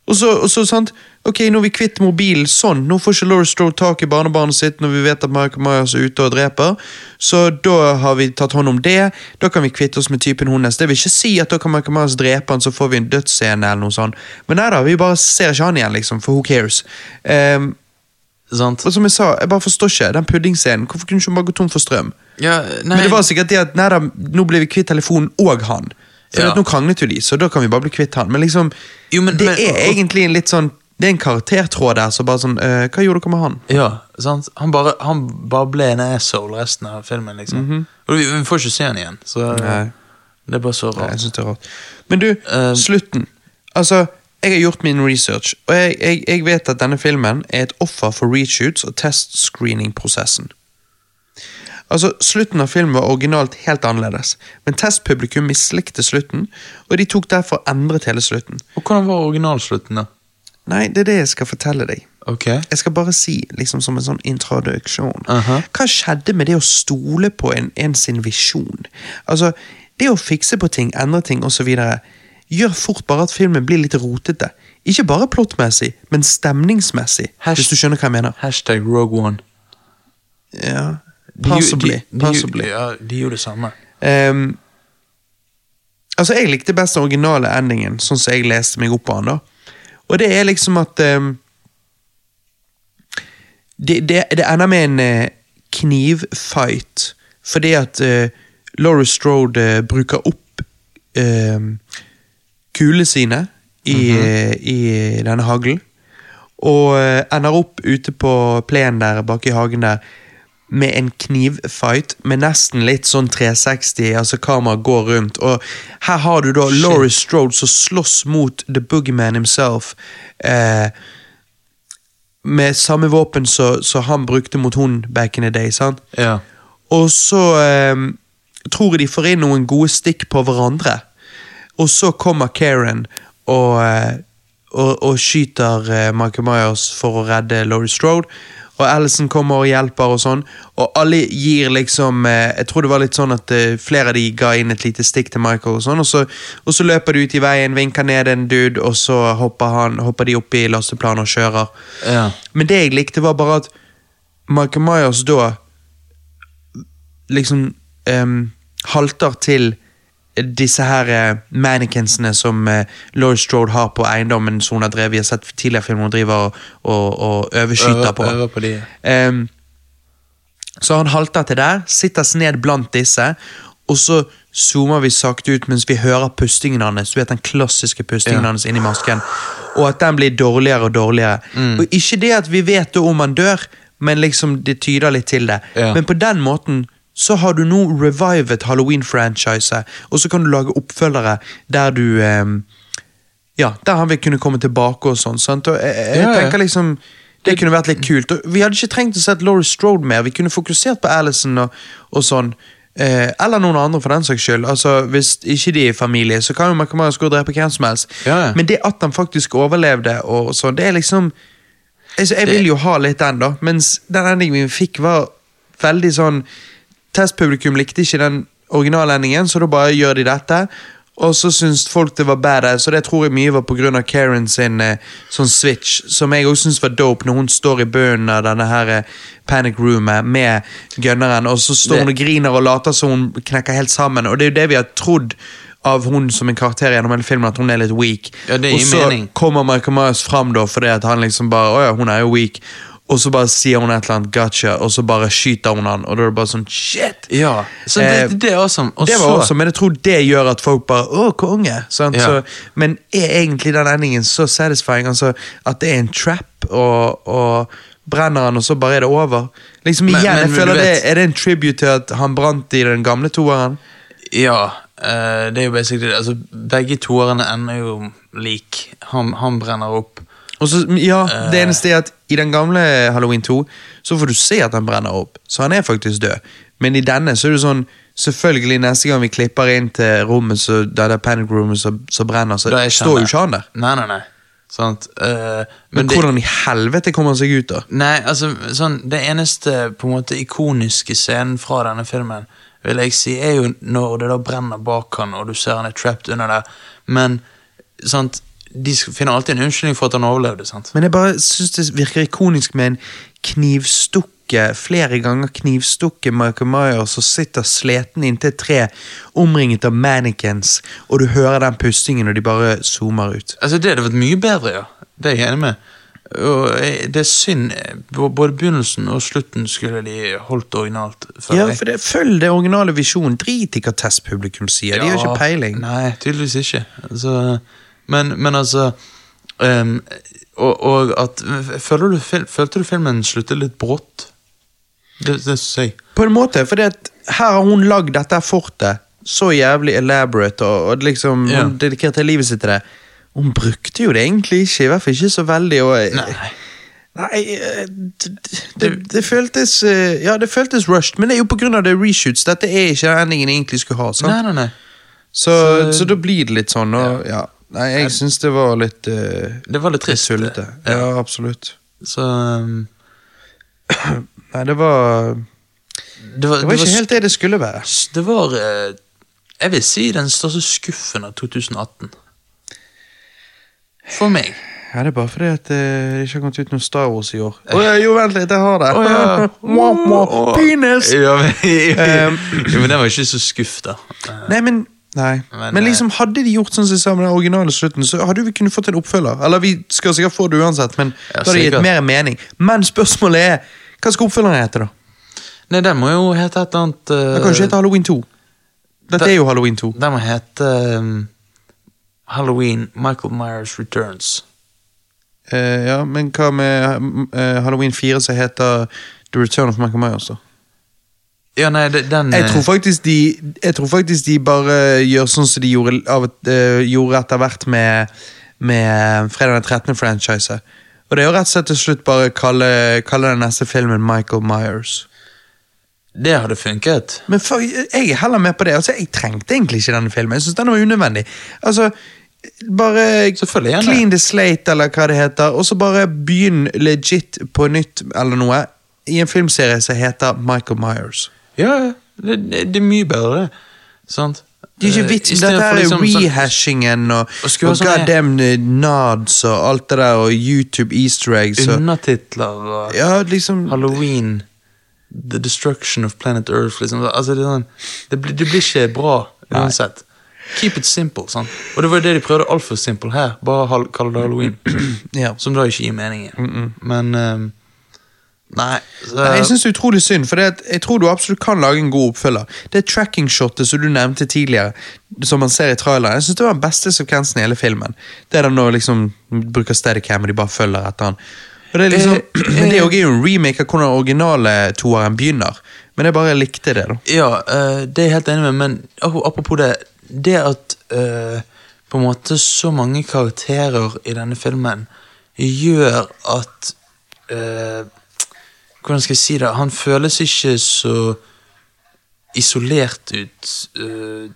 Speaker 1: Og så, og så sant, ok, nå er vi kvitt mobilen, sånn, nå får ikke Laurie Strode tak i barnebarnet sitt når vi vet at Michael Myers er ute og dreper, så da har vi tatt hånd om det, da kan vi kvitte oss med typen hennes. Det vil ikke si at da kan Michael Myers drepe han, så får vi en dødsscene eller noe sånt. Men nei da, vi bare ser ikke han igjen, liksom, for who cares. Ehm,
Speaker 2: sant?
Speaker 1: og som jeg sa, jeg bare forstår ikke, den puddingscenen, hvorfor kunne ikke hun bare gå tom for strøm?
Speaker 2: Ja, nei,
Speaker 1: Men det var sikkert det at nei da, nå ble vi kvitt telefonen og han. For
Speaker 2: Ja.
Speaker 1: at nå kranglet jo de, så da kan vi bare bli kvitt han. Men liksom,
Speaker 2: Jo, men-
Speaker 1: det
Speaker 2: men-
Speaker 1: er egentlig en litt sånn Det er en karaktertråd der, så bare sånn øh, Hva gjorde dere med han?
Speaker 2: ja, sant? Han, bare, han bare ble en asshole resten av filmen, liksom. Og vi, vi får ikke se han igjen, så
Speaker 1: Mhm. Nei.
Speaker 2: det er bare så
Speaker 1: Nei, jeg
Speaker 2: rart.
Speaker 1: synes det er rart. Men du,
Speaker 2: Eh,
Speaker 1: slutten. Altså, jeg har gjort min research, og jeg, jeg, jeg vet at denne filmen er et offer for reshoots og testscreening-prosessen. Altså, Slutten av filmen var originalt helt annerledes, men testpublikum mislikte slutten, og de tok derfor endret hele slutten.
Speaker 2: Og hvordan var originalslutten, da?
Speaker 1: Nei, det er det jeg skal fortelle deg.
Speaker 2: Ok.
Speaker 1: Jeg skal bare si, liksom som en sånn introduksjon
Speaker 2: Aha.
Speaker 1: Hva skjedde med det å stole på en, en sin visjon? Altså, det å fikse på ting, endre ting osv. gjør fort bare at filmen blir litt rotete. Ikke bare plottmessig, men stemningsmessig,
Speaker 2: Hasht-
Speaker 1: hvis du skjønner hva jeg mener.
Speaker 2: Hashtag Rogue One.
Speaker 1: Ja.
Speaker 2: de gjo-
Speaker 1: Possibly,
Speaker 2: de- de gjo-
Speaker 1: possibly.
Speaker 2: Ja, de gjorde det samme.
Speaker 1: Ehm, altså, jeg likte best den originale endingen, sånn som jeg leste meg opp på den. da. Og det er liksom at ehm, det, det, det ender med en eh, knivfight, fordi at uh, Laurie Strode eh, bruker opp ehm, kulene sine i, eh, i denne haglen. Og eh, ender opp ute på plenen der bak i hagen der med en knivfight med nesten litt sånn 360, altså kameraet går rundt. Og her har du da Laurie Strode som slåss mot The Boogeyman himself. Eh, med samme våpen som som han brukte mot hun back in the day. sant?
Speaker 2: Ja.
Speaker 1: Og så eh, tror jeg de får inn noen gode stikk på hverandre. Og så kommer Karen og, eh, og, og skyter eh, Michael Myers for å redde Laurie Strode. Og Allison kommer og hjelper og sånn. Og alle gir liksom eh, Jeg tror det var litt sånn at eh, flere av de ga inn et lite stikk til Michael, og sånn, og så, og så løper de ut i veien, vinker ned en dude, og så hopper, han, hopper de opp i lasteplanet og kjører.
Speaker 2: Ja.
Speaker 1: Men det jeg likte var bare at Michael Myers da liksom ehm, halter til disse her eh, mannequinsene som eh, Laurie Strode har på eiendommen som hun har drevet. Vi har sett tidligere filmer hun driver og, og, og overskyter
Speaker 2: Øver-
Speaker 1: på.
Speaker 2: øver på de.
Speaker 1: Ehm, så han halter til der, sitter seg ned blant disse, og så zoomer vi sakte ut mens vi hører pustingen hans. Du vet den klassiske pustingen
Speaker 2: Ja.
Speaker 1: hans inni masken. Og at den blir dårligere og dårligere.
Speaker 2: Mm.
Speaker 1: Og ikke det at vi vet da om han dør, men liksom det tyder litt til det.
Speaker 2: Ja.
Speaker 1: Men på den måten så har du nå revivet Halloween-franchiset, og så kan du lage oppfølgere der du ehm, ja, der han vil kunne komme tilbake og sånn. sant? Og jeg, jeg
Speaker 2: Ja, ja.
Speaker 1: tenker liksom Det kunne vært litt kult. Og vi hadde ikke trengt å sett Laurie Strode mer. Vi kunne fokusert på Alison og, og sånn. Eh, eller noen andre, for den saks skyld. Altså, Hvis ikke de er i familie, så kan jo Makamaras gå og drepe hvem som helst.
Speaker 2: Ja, ja.
Speaker 1: Men det at han faktisk overlevde, og sånn, det er liksom altså, Jeg vil jo ha litt den, da. Mens den endingen vi fikk, var veldig sånn Testpublikum likte ikke den originale endingen, så da bare gjør de dette. Og så syns folk det var badass, og det tror jeg mye var pga. Karen sin eh, sånn switch, som jeg også syns var dope, når hun står i bunnen av denne her eh, panic roomet med gunneren, og så står
Speaker 2: Det-
Speaker 1: hun og griner og later som hun knekker helt sammen, og det er jo det vi har trodd av hun som en karakter gjennom hele filmen, at hun er litt weak.
Speaker 2: Ja, det
Speaker 1: og
Speaker 2: gir
Speaker 1: så
Speaker 2: mening.
Speaker 1: kommer Michael Myers fram da, fordi at han liksom bare, åja, hun er jo weak, og så bare sier hun et eller annet, gotcha, og så bare skyter hun han, og da er det bare sånn, shit!
Speaker 2: Ja, så
Speaker 1: Eh,
Speaker 2: det, det er awesome. Og
Speaker 1: det var
Speaker 2: så-
Speaker 1: awesome, men jeg tror det gjør at folk bare, åh, konge! Sant?
Speaker 2: Ja.
Speaker 1: Så, men er egentlig den endingen så satisfying, altså, at det er en trap, og, og brenner han, og så bare er det over? Liksom
Speaker 2: Men-
Speaker 1: igjen,
Speaker 2: men
Speaker 1: jeg
Speaker 2: du
Speaker 1: føler det,
Speaker 2: vet-
Speaker 1: er det en tribute til at han brant i den gamle toeren?
Speaker 2: Ja, eh, det er jo basically det. Altså, begge toerne ender jo lik. Han, han brenner opp.
Speaker 1: Og så, ja,
Speaker 2: Eh.
Speaker 1: Det eneste er at i den gamle Halloween 2 så får du se at han brenner opp, så han er faktisk død. Men i denne så er det sånn Selvfølgelig, neste gang vi klipper inn til rommet så, der det er panic roomet som så, brenner, så
Speaker 2: Da er jeg
Speaker 1: står jo
Speaker 2: kjent.
Speaker 1: ikke han der.
Speaker 2: Nei, nei, nei. Sant? Eh,
Speaker 1: Men,
Speaker 2: men det,
Speaker 1: hvordan i helvete kommer han seg ut, da?
Speaker 2: nei, altså, sånn, det eneste på en måte ikoniske scenen fra denne filmen, vil jeg si, er jo når det da brenner bak han, og du ser han er trapped under der. Men sant, de sk- finner alltid en unnskyldning for at han overlevde. sant?
Speaker 1: Men jeg bare syns det virker ikonisk med en knivstukke, flere ganger knivstukke Michael Myers som sitter sleten inntil et tre, omringet av mannequins, og du hører den pustingen, og de bare zoomer ut.
Speaker 2: Altså, det hadde vært mye bedre, ja. Det er jeg enig med. Og jeg- det er synd. B- Både begynnelsen og slutten skulle de holdt originalt. føler
Speaker 1: Ja,
Speaker 2: jeg.
Speaker 1: for det, følg det originale visjonen. Drit i hva testpublikum sier. De har ikke peiling.
Speaker 2: Nei, tydeligvis ikke. Altså, men, men altså ehm, og, og at føler du, fil- Følte du filmen sluttet litt brått? Det, det synes jeg.
Speaker 1: På en måte, for her har hun lagd dette fortet så jævlig elaborate, og, og liksom,
Speaker 2: Ja.
Speaker 1: hun dedikerte livet sitt til det. Hun brukte jo det egentlig ikke, i hvert fall ikke så veldig. Og,
Speaker 2: Nei.
Speaker 1: Nei, eh, d- d- det, det føltes eh, Ja, det føltes rushed, men det er jo på grunn av det reshoots. Dette er ikke den endingen jeg egentlig skulle ha. sant?
Speaker 2: Nei, nei, nei.
Speaker 1: så, så,
Speaker 2: så-
Speaker 1: da blir det litt sånn. Og, ja. Nei, jeg syns det var litt eh,
Speaker 2: Det var litt trist. eh,
Speaker 1: tullete. Ja, absolutt.
Speaker 2: Så ehm,
Speaker 1: Nei, det var
Speaker 2: det var,
Speaker 1: Det var
Speaker 2: det var
Speaker 1: ikke helt det det skulle være.
Speaker 2: s- Det var eh, Jeg vil si den største skuffen av 2018. For meg.
Speaker 1: Ja, det er bare fordi at eh, det ikke har kommet ut noen Star Wars i år. Å, ja, jo, vent litt, jeg har det!
Speaker 2: Å, ja.
Speaker 1: Mwah, mwah. Penis!
Speaker 2: Ja, men,
Speaker 1: Ehm.
Speaker 2: ja, men jeg var ikke så skuff, da.
Speaker 1: Nei, men Nei.
Speaker 2: Men,
Speaker 1: Men,
Speaker 2: eh,
Speaker 1: liksom, hadde de gjort sånn som de sa med den originale slutten, så hadde vi kunnet fått en oppfølger. Eller vi skal sikkert få det uansett, men
Speaker 2: Ja,
Speaker 1: da hadde det
Speaker 2: sikkert.
Speaker 1: gitt mer mening. Men spørsmålet er, hva skal oppfølgeren hete, da?
Speaker 2: Nei, den må jo hete et eller annet eh,
Speaker 1: Den kan jo ikke hete Halloween 2. Dette
Speaker 2: det-
Speaker 1: er jo Halloween 2.
Speaker 2: Den må hete ehm, Halloween Michael Myers Returns.
Speaker 1: Eh, ja, men hva med mm, eh, Halloween 4 som heter The Return of Michael Myers, da?
Speaker 2: Ja, nei, det- den
Speaker 1: Jeg
Speaker 2: eh,
Speaker 1: tror faktisk de, jeg tror faktisk de bare gjør sånn som de gjorde, av, et- eh, gjorde etter hvert med, med Fredag den 13. franchise. Og det er jo rett og slett til slutt bare kalle, kalle den neste filmen Michael Myers.
Speaker 2: Det hadde funket.
Speaker 1: Men for, jeg er heller med på det. Altså, jeg trengte egentlig ikke denne filmen. Jeg synes den var unødvendig. Altså, bare
Speaker 2: Selvfølgelig gjerne.
Speaker 1: clean the slate, eller hva det heter, og så bare begynn legit på nytt eller noe i en filmserie som heter Michael Myers.
Speaker 2: Ja, ja. det, det, det er mye bedre, det. Sant?
Speaker 1: Det er
Speaker 2: Eh,
Speaker 1: ikke vits.
Speaker 2: i
Speaker 1: Dette
Speaker 2: stedet
Speaker 1: her
Speaker 2: for
Speaker 1: er
Speaker 2: liksom sånn-
Speaker 1: rehashingen og,
Speaker 2: Og
Speaker 1: og,
Speaker 2: skulle ha sånne-
Speaker 1: goddamn eh, nods og alt det der, og YouTube easter eggs og
Speaker 2: Undertitler og
Speaker 1: Ja, liksom
Speaker 2: Halloween The Destruction of Planet Earth. Liksom. Altså, det, er sånn, det, blir, det blir ikke bra uansett. Keep it simple. sant? Og det var jo det de prøvde altfor simple her. Bare hal- kalle det halloween.
Speaker 1: ja.
Speaker 2: Som da ikke gir mening. Men ehm, Nei. Så,
Speaker 1: Nei, Jeg synes det er utrolig synd, for det at jeg tror du absolutt kan lage en god oppfølger. Det tracking-shotet som du nevnte tidligere, som man ser i traileren, jeg synes det var den beste sekvensen i hele filmen. Det er da når liksom bruker steadicam og de bare følger etter han. Og det er liksom,
Speaker 2: Eh,
Speaker 1: men det er jo ikke en remake av hvordan originale toeren begynner, men jeg bare likte det, da.
Speaker 2: Ja, eh, det er jeg helt enig med, men ap- apropos det. Det at eh, på en måte så mange karakterer i denne filmen gjør at eh, Hvordan skal jeg si det? Han føles ikke så isolert ut. eh,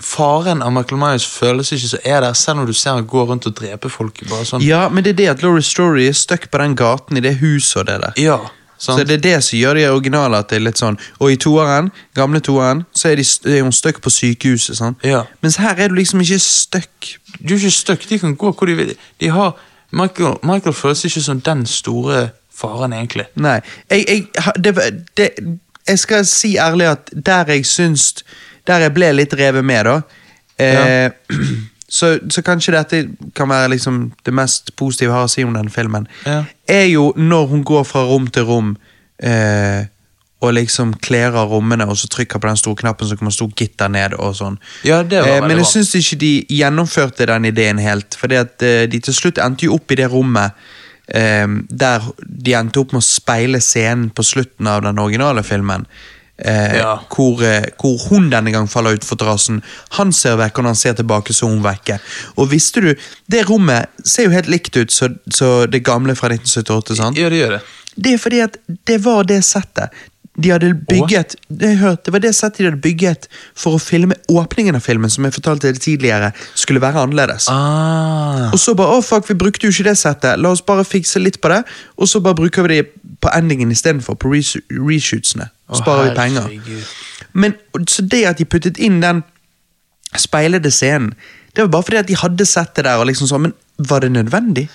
Speaker 2: faren av Michael Myers føles ikke så er der, selv om du ser han går rundt og dreper folk. bare sånn.
Speaker 1: Ja, men det er det at Laurie Story er stuck på den gaten i det huset og det der.
Speaker 2: Ja,
Speaker 1: Så
Speaker 2: sant?
Speaker 1: det er det som gjør de originale at det er litt sånn Og i toeren, gamle toeren, så er, de, st- er hun stuck på sykehuset, sant?
Speaker 2: Ja.
Speaker 1: Mens her er du liksom ikke stuck.
Speaker 2: du er ikke stuck, de kan gå hvor de vil. De har, Michael, Michael føles ikke som den store faren, egentlig.
Speaker 1: Nei. Jeg, jeg, ha- det, var- det, jeg skal si ærlig at der jeg syns Der jeg ble litt revet med, da eh, så, så kanskje dette kan være liksom det mest positive jeg har å si om den filmen.
Speaker 2: Ja.
Speaker 1: Er jo når hun går fra rom til rom eh, og liksom kler av rommene og så trykker på den store knappen, så kommer stor gitter ned og sånn.
Speaker 2: Ja, det var
Speaker 1: Eh,
Speaker 2: veldig
Speaker 1: men jeg
Speaker 2: bra.
Speaker 1: syns ikke de gjennomførte den ideen helt. Fordi at eh, de til slutt endte jo opp i det rommet eh, der de endte opp med å speile scenen på slutten av den originale filmen. Eh,
Speaker 2: Ja.
Speaker 1: hvor, eh, hvor hun denne gang faller utfor terrassen. Han ser vekk, og når han ser tilbake, så er hun vekke. Og visste du, det rommet ser jo helt likt ut som det gamle fra 1978. sant?
Speaker 2: Ja, det gjør det.
Speaker 1: Det er fordi at det var det settet de hadde bygget det, har jeg hørt, det var det settet de hadde bygget for å filme åpningen av filmen, som jeg fortalte dere tidligere, skulle være annerledes.
Speaker 2: Ah.
Speaker 1: Og så bare, å fuck, vi brukte jo ikke det settet, la oss bare fikse litt på det, og så bare bruker vi det på endingen istedenfor, på resh- reshootsene.
Speaker 2: Å,
Speaker 1: Sparer vi penger.
Speaker 2: herregud.
Speaker 1: Men så det at de puttet inn den speilede scenen, det var bare fordi at de hadde sett det der, og liksom sånn, men var det nødvendig?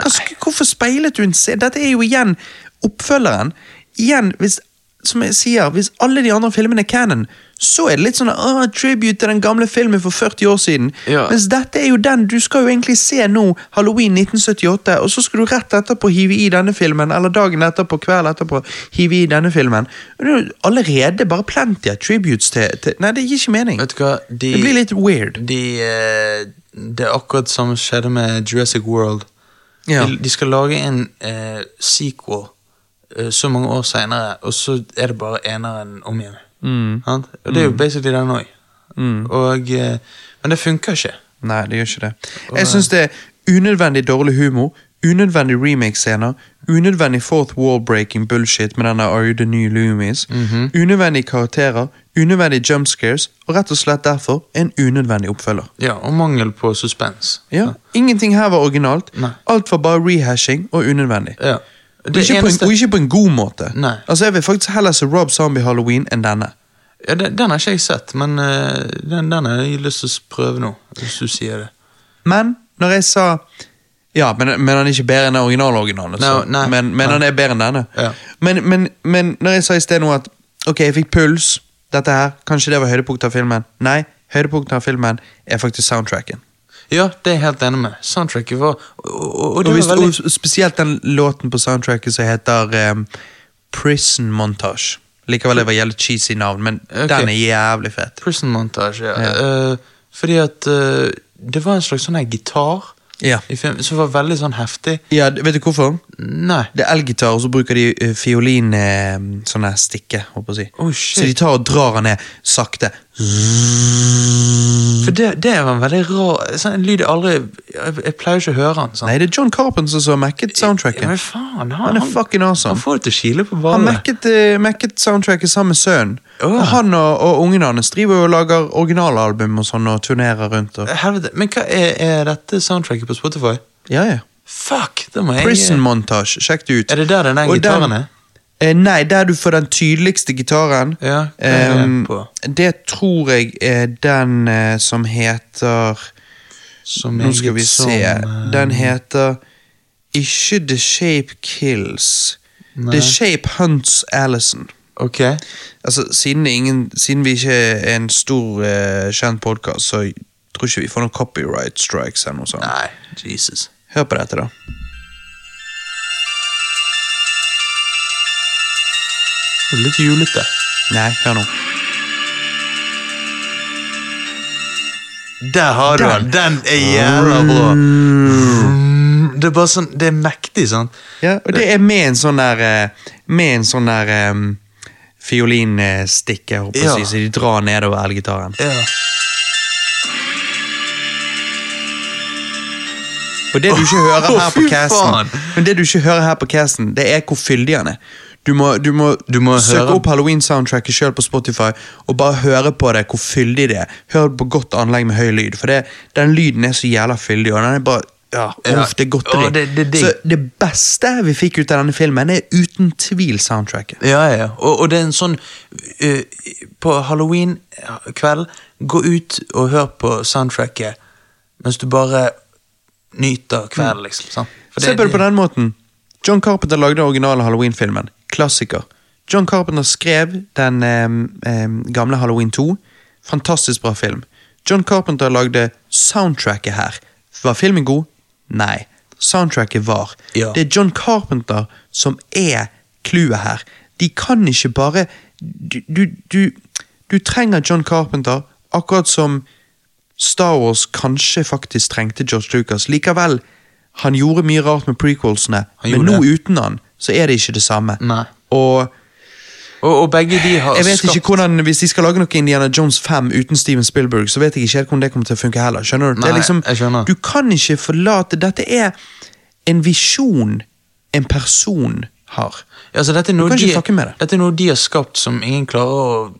Speaker 1: Altså, hvorfor speilet du en scene? Dette er jo igjen oppfølgeren. Igjen, hvis, som jeg sier, hvis alle de andre filmene er canon, så er det litt sånn ah, tribute til den gamle filmen for 40 år siden.
Speaker 2: Ja.
Speaker 1: Mens dette er jo den du skal jo egentlig se nå, Halloween 1978, og så skal du rett etterpå hive i denne filmen, eller dagen etterpå, kvelden etterpå, hive i denne filmen. Og det er jo allerede bare plenty av tributes til, til Nei, det gir ikke mening.
Speaker 2: Vet du hva, de,
Speaker 1: Det blir litt weird.
Speaker 2: de, eh, Det er akkurat som skjedde med Jurassic World.
Speaker 1: Ja.
Speaker 2: De, de skal lage en eh, sequel eh, så mange år seinere, og så er det bare eneren om igjen.
Speaker 1: Mm.
Speaker 2: Sant? Og det er jo basically den òg. Men det funker ikke.
Speaker 1: Nei, det gjør ikke det. Jeg syns det er unødvendig dårlig humor, unødvendig remake-scener, unødvendig fourth wall-breaking bullshit med denne Are you the new Loomis,
Speaker 2: Mhm.
Speaker 1: unødvendige karakterer, unødvendige jumpscares, og rett og slett derfor en unødvendig oppfølger.
Speaker 2: Ja, Og mangel på suspens.
Speaker 1: Ja, Ingenting her var originalt.
Speaker 2: Nei.
Speaker 1: Alt var bare rehashing og unødvendig.
Speaker 2: Ja.
Speaker 1: Og ikke, på en, og ikke på en god måte.
Speaker 2: Nei.
Speaker 1: Altså, Jeg vil faktisk heller se Rob Zombie Halloween enn denne.
Speaker 2: Ja, den, den har ikke jeg sett, men eh, den, den har jeg lyst til å prøve nå, hvis du sier det.
Speaker 1: Men når jeg sa Ja, men, men han er ikke bedre enn original-originalen. Altså.
Speaker 2: Nei, nei,
Speaker 1: men men
Speaker 2: nei.
Speaker 1: han er bedre enn denne.
Speaker 2: Ja.
Speaker 1: Men, men, men når jeg sa i sted nå at ok, jeg fikk puls, dette her, kanskje det var høydepunktet av filmen. Nei, høydepunktet av filmen er faktisk soundtracken.
Speaker 2: Ja, det er jeg helt enig med. Soundtracket var Og, og, og
Speaker 1: Og,
Speaker 2: det
Speaker 1: hvis,
Speaker 2: var veldig
Speaker 1: og spesielt den låten på soundtracket som heter em, Prison Montage. Likevel det var jævlig cheesy navn, men
Speaker 2: Ok.
Speaker 1: den er jævlig fet.
Speaker 2: Prison Montage, ja.
Speaker 1: Ja.
Speaker 2: Eh, fordi at eh, det var en slags sånn her gitar
Speaker 1: Ja.
Speaker 2: i filmen som var veldig sånn heftig.
Speaker 1: ja, d- Vet du hvorfor?
Speaker 2: Nei.
Speaker 1: Det er elgitar, og så bruker de eh, fiolin eh, sånne stikke, håper jeg å
Speaker 2: Oh,
Speaker 1: si.
Speaker 2: shit.
Speaker 1: så de tar og drar han ned sakte.
Speaker 2: For det, det var en veldig rar sånn, En lyd jeg aldri Jeg, jeg pleier ikke å høre den. Sånn.
Speaker 1: Nei, det er John Carpenter som har mekket
Speaker 2: Ja,
Speaker 1: soundtracket.
Speaker 2: men faen, han,
Speaker 1: Han er fucking
Speaker 2: han
Speaker 1: awesome.
Speaker 2: får det til å kile på
Speaker 1: Han
Speaker 2: ballen.
Speaker 1: mekket, eh, mekket soundtracket sammen med sønnen.
Speaker 2: Åh.
Speaker 1: Og han og, og ungene hans driver og lager originalalbum og sånn og turnerer rundt. Og...
Speaker 2: Helvete. Men hva er, er dette soundtracket på Spotify?
Speaker 1: Ja, ja.
Speaker 2: Fuck! Det må jeg
Speaker 1: Prison Montage, sjekk det ut.
Speaker 2: eh, Er det der den der
Speaker 1: Og
Speaker 2: gitaren er?
Speaker 1: Eh, nei, der du får den tydeligste gitaren.
Speaker 2: Ja, hva er det
Speaker 1: Ehm,
Speaker 2: på?
Speaker 1: det tror jeg er den eh, som heter
Speaker 2: Som
Speaker 1: Nå skal vi
Speaker 2: meget som,
Speaker 1: se.
Speaker 2: eh,
Speaker 1: Den heter ikke The Shape Kills.
Speaker 2: Nei.
Speaker 1: The Shape Hunts Alison.
Speaker 2: Ok.
Speaker 1: Altså, siden, det er ingen, siden vi ikke er en stor, eh, kjent podkast, så tror ikke vi får noen copyright strikes eller noe sånt.
Speaker 2: Nei, Jesus.
Speaker 1: Hør på dette, da.
Speaker 2: Det er litt julete.
Speaker 1: Nei, hør nå.
Speaker 2: Der har du den! Den er jævla bra. Mm. Det er bare sånn, det er mektig, sant?
Speaker 1: Ja, og det er med en sånn der eh, Med en sånn der em, fiolinstikke, håper jeg
Speaker 2: Ja.
Speaker 1: å si, så de drar nedover elgitaren.
Speaker 2: Ja.
Speaker 1: Og det du ikke hører
Speaker 2: Åh,
Speaker 1: her på
Speaker 2: fy faen.
Speaker 1: casten, men det du ikke hører her på casten, det er hvor fyldig han er. Du må, du må,
Speaker 2: Du må
Speaker 1: søke
Speaker 2: høre-
Speaker 1: opp Halloween-soundtracket sjøl på Spotify og bare høre på det, hvor fyldig det er. Hør på godt anlegg med høy lyd, for det, den lyden er så jævla fyldig. og den er bare... Ja,
Speaker 2: Ja.
Speaker 1: uff, det er godt
Speaker 2: Åh,
Speaker 1: å
Speaker 2: det- det er digg.
Speaker 1: Så det beste vi fikk ut av denne filmen, er uten tvil soundtracket.
Speaker 2: Ja, ja, ja. Og, og det er en sånn eh, På halloween-kveld, gå ut og hør på soundtracket mens du bare nyter kvelden, liksom. Sant? For
Speaker 1: Mm. Se på det på den måten. John Carpenter lagde den originale Halloween-filmen. Klassiker. John Carpenter skrev den em, em, gamle Halloween 2. Fantastisk bra film. John Carpenter lagde soundtracket her. Var filmen god? Nei. Soundtracket var.
Speaker 2: Ja.
Speaker 1: Det er John Carpenter som er clouet her. De kan ikke bare du, du, du, du trenger John Carpenter, akkurat som Star Wars kanskje faktisk trengte George Lucas. Likevel, han gjorde mye rart med prequelsene,
Speaker 2: Han
Speaker 1: men
Speaker 2: gjorde
Speaker 1: nå
Speaker 2: det.
Speaker 1: uten han, så er det ikke det samme.
Speaker 2: Nei.
Speaker 1: Og
Speaker 2: Og, og begge de har
Speaker 1: jeg vet
Speaker 2: skapt
Speaker 1: ikke hvordan, Hvis de skal lage noe Indiana Jones 5 uten Steven Spielberg, så vet jeg ikke helt hvordan det kommer til å funke heller. Skjønner Du Det er
Speaker 2: Nei,
Speaker 1: liksom,
Speaker 2: jeg skjønner.
Speaker 1: Du kan ikke forlate Dette er en visjon en person har.
Speaker 2: Ja, altså, dette, er noe
Speaker 1: kan ikke
Speaker 2: de,
Speaker 1: fucke med det.
Speaker 2: dette er noe de har skapt som ingen klarer å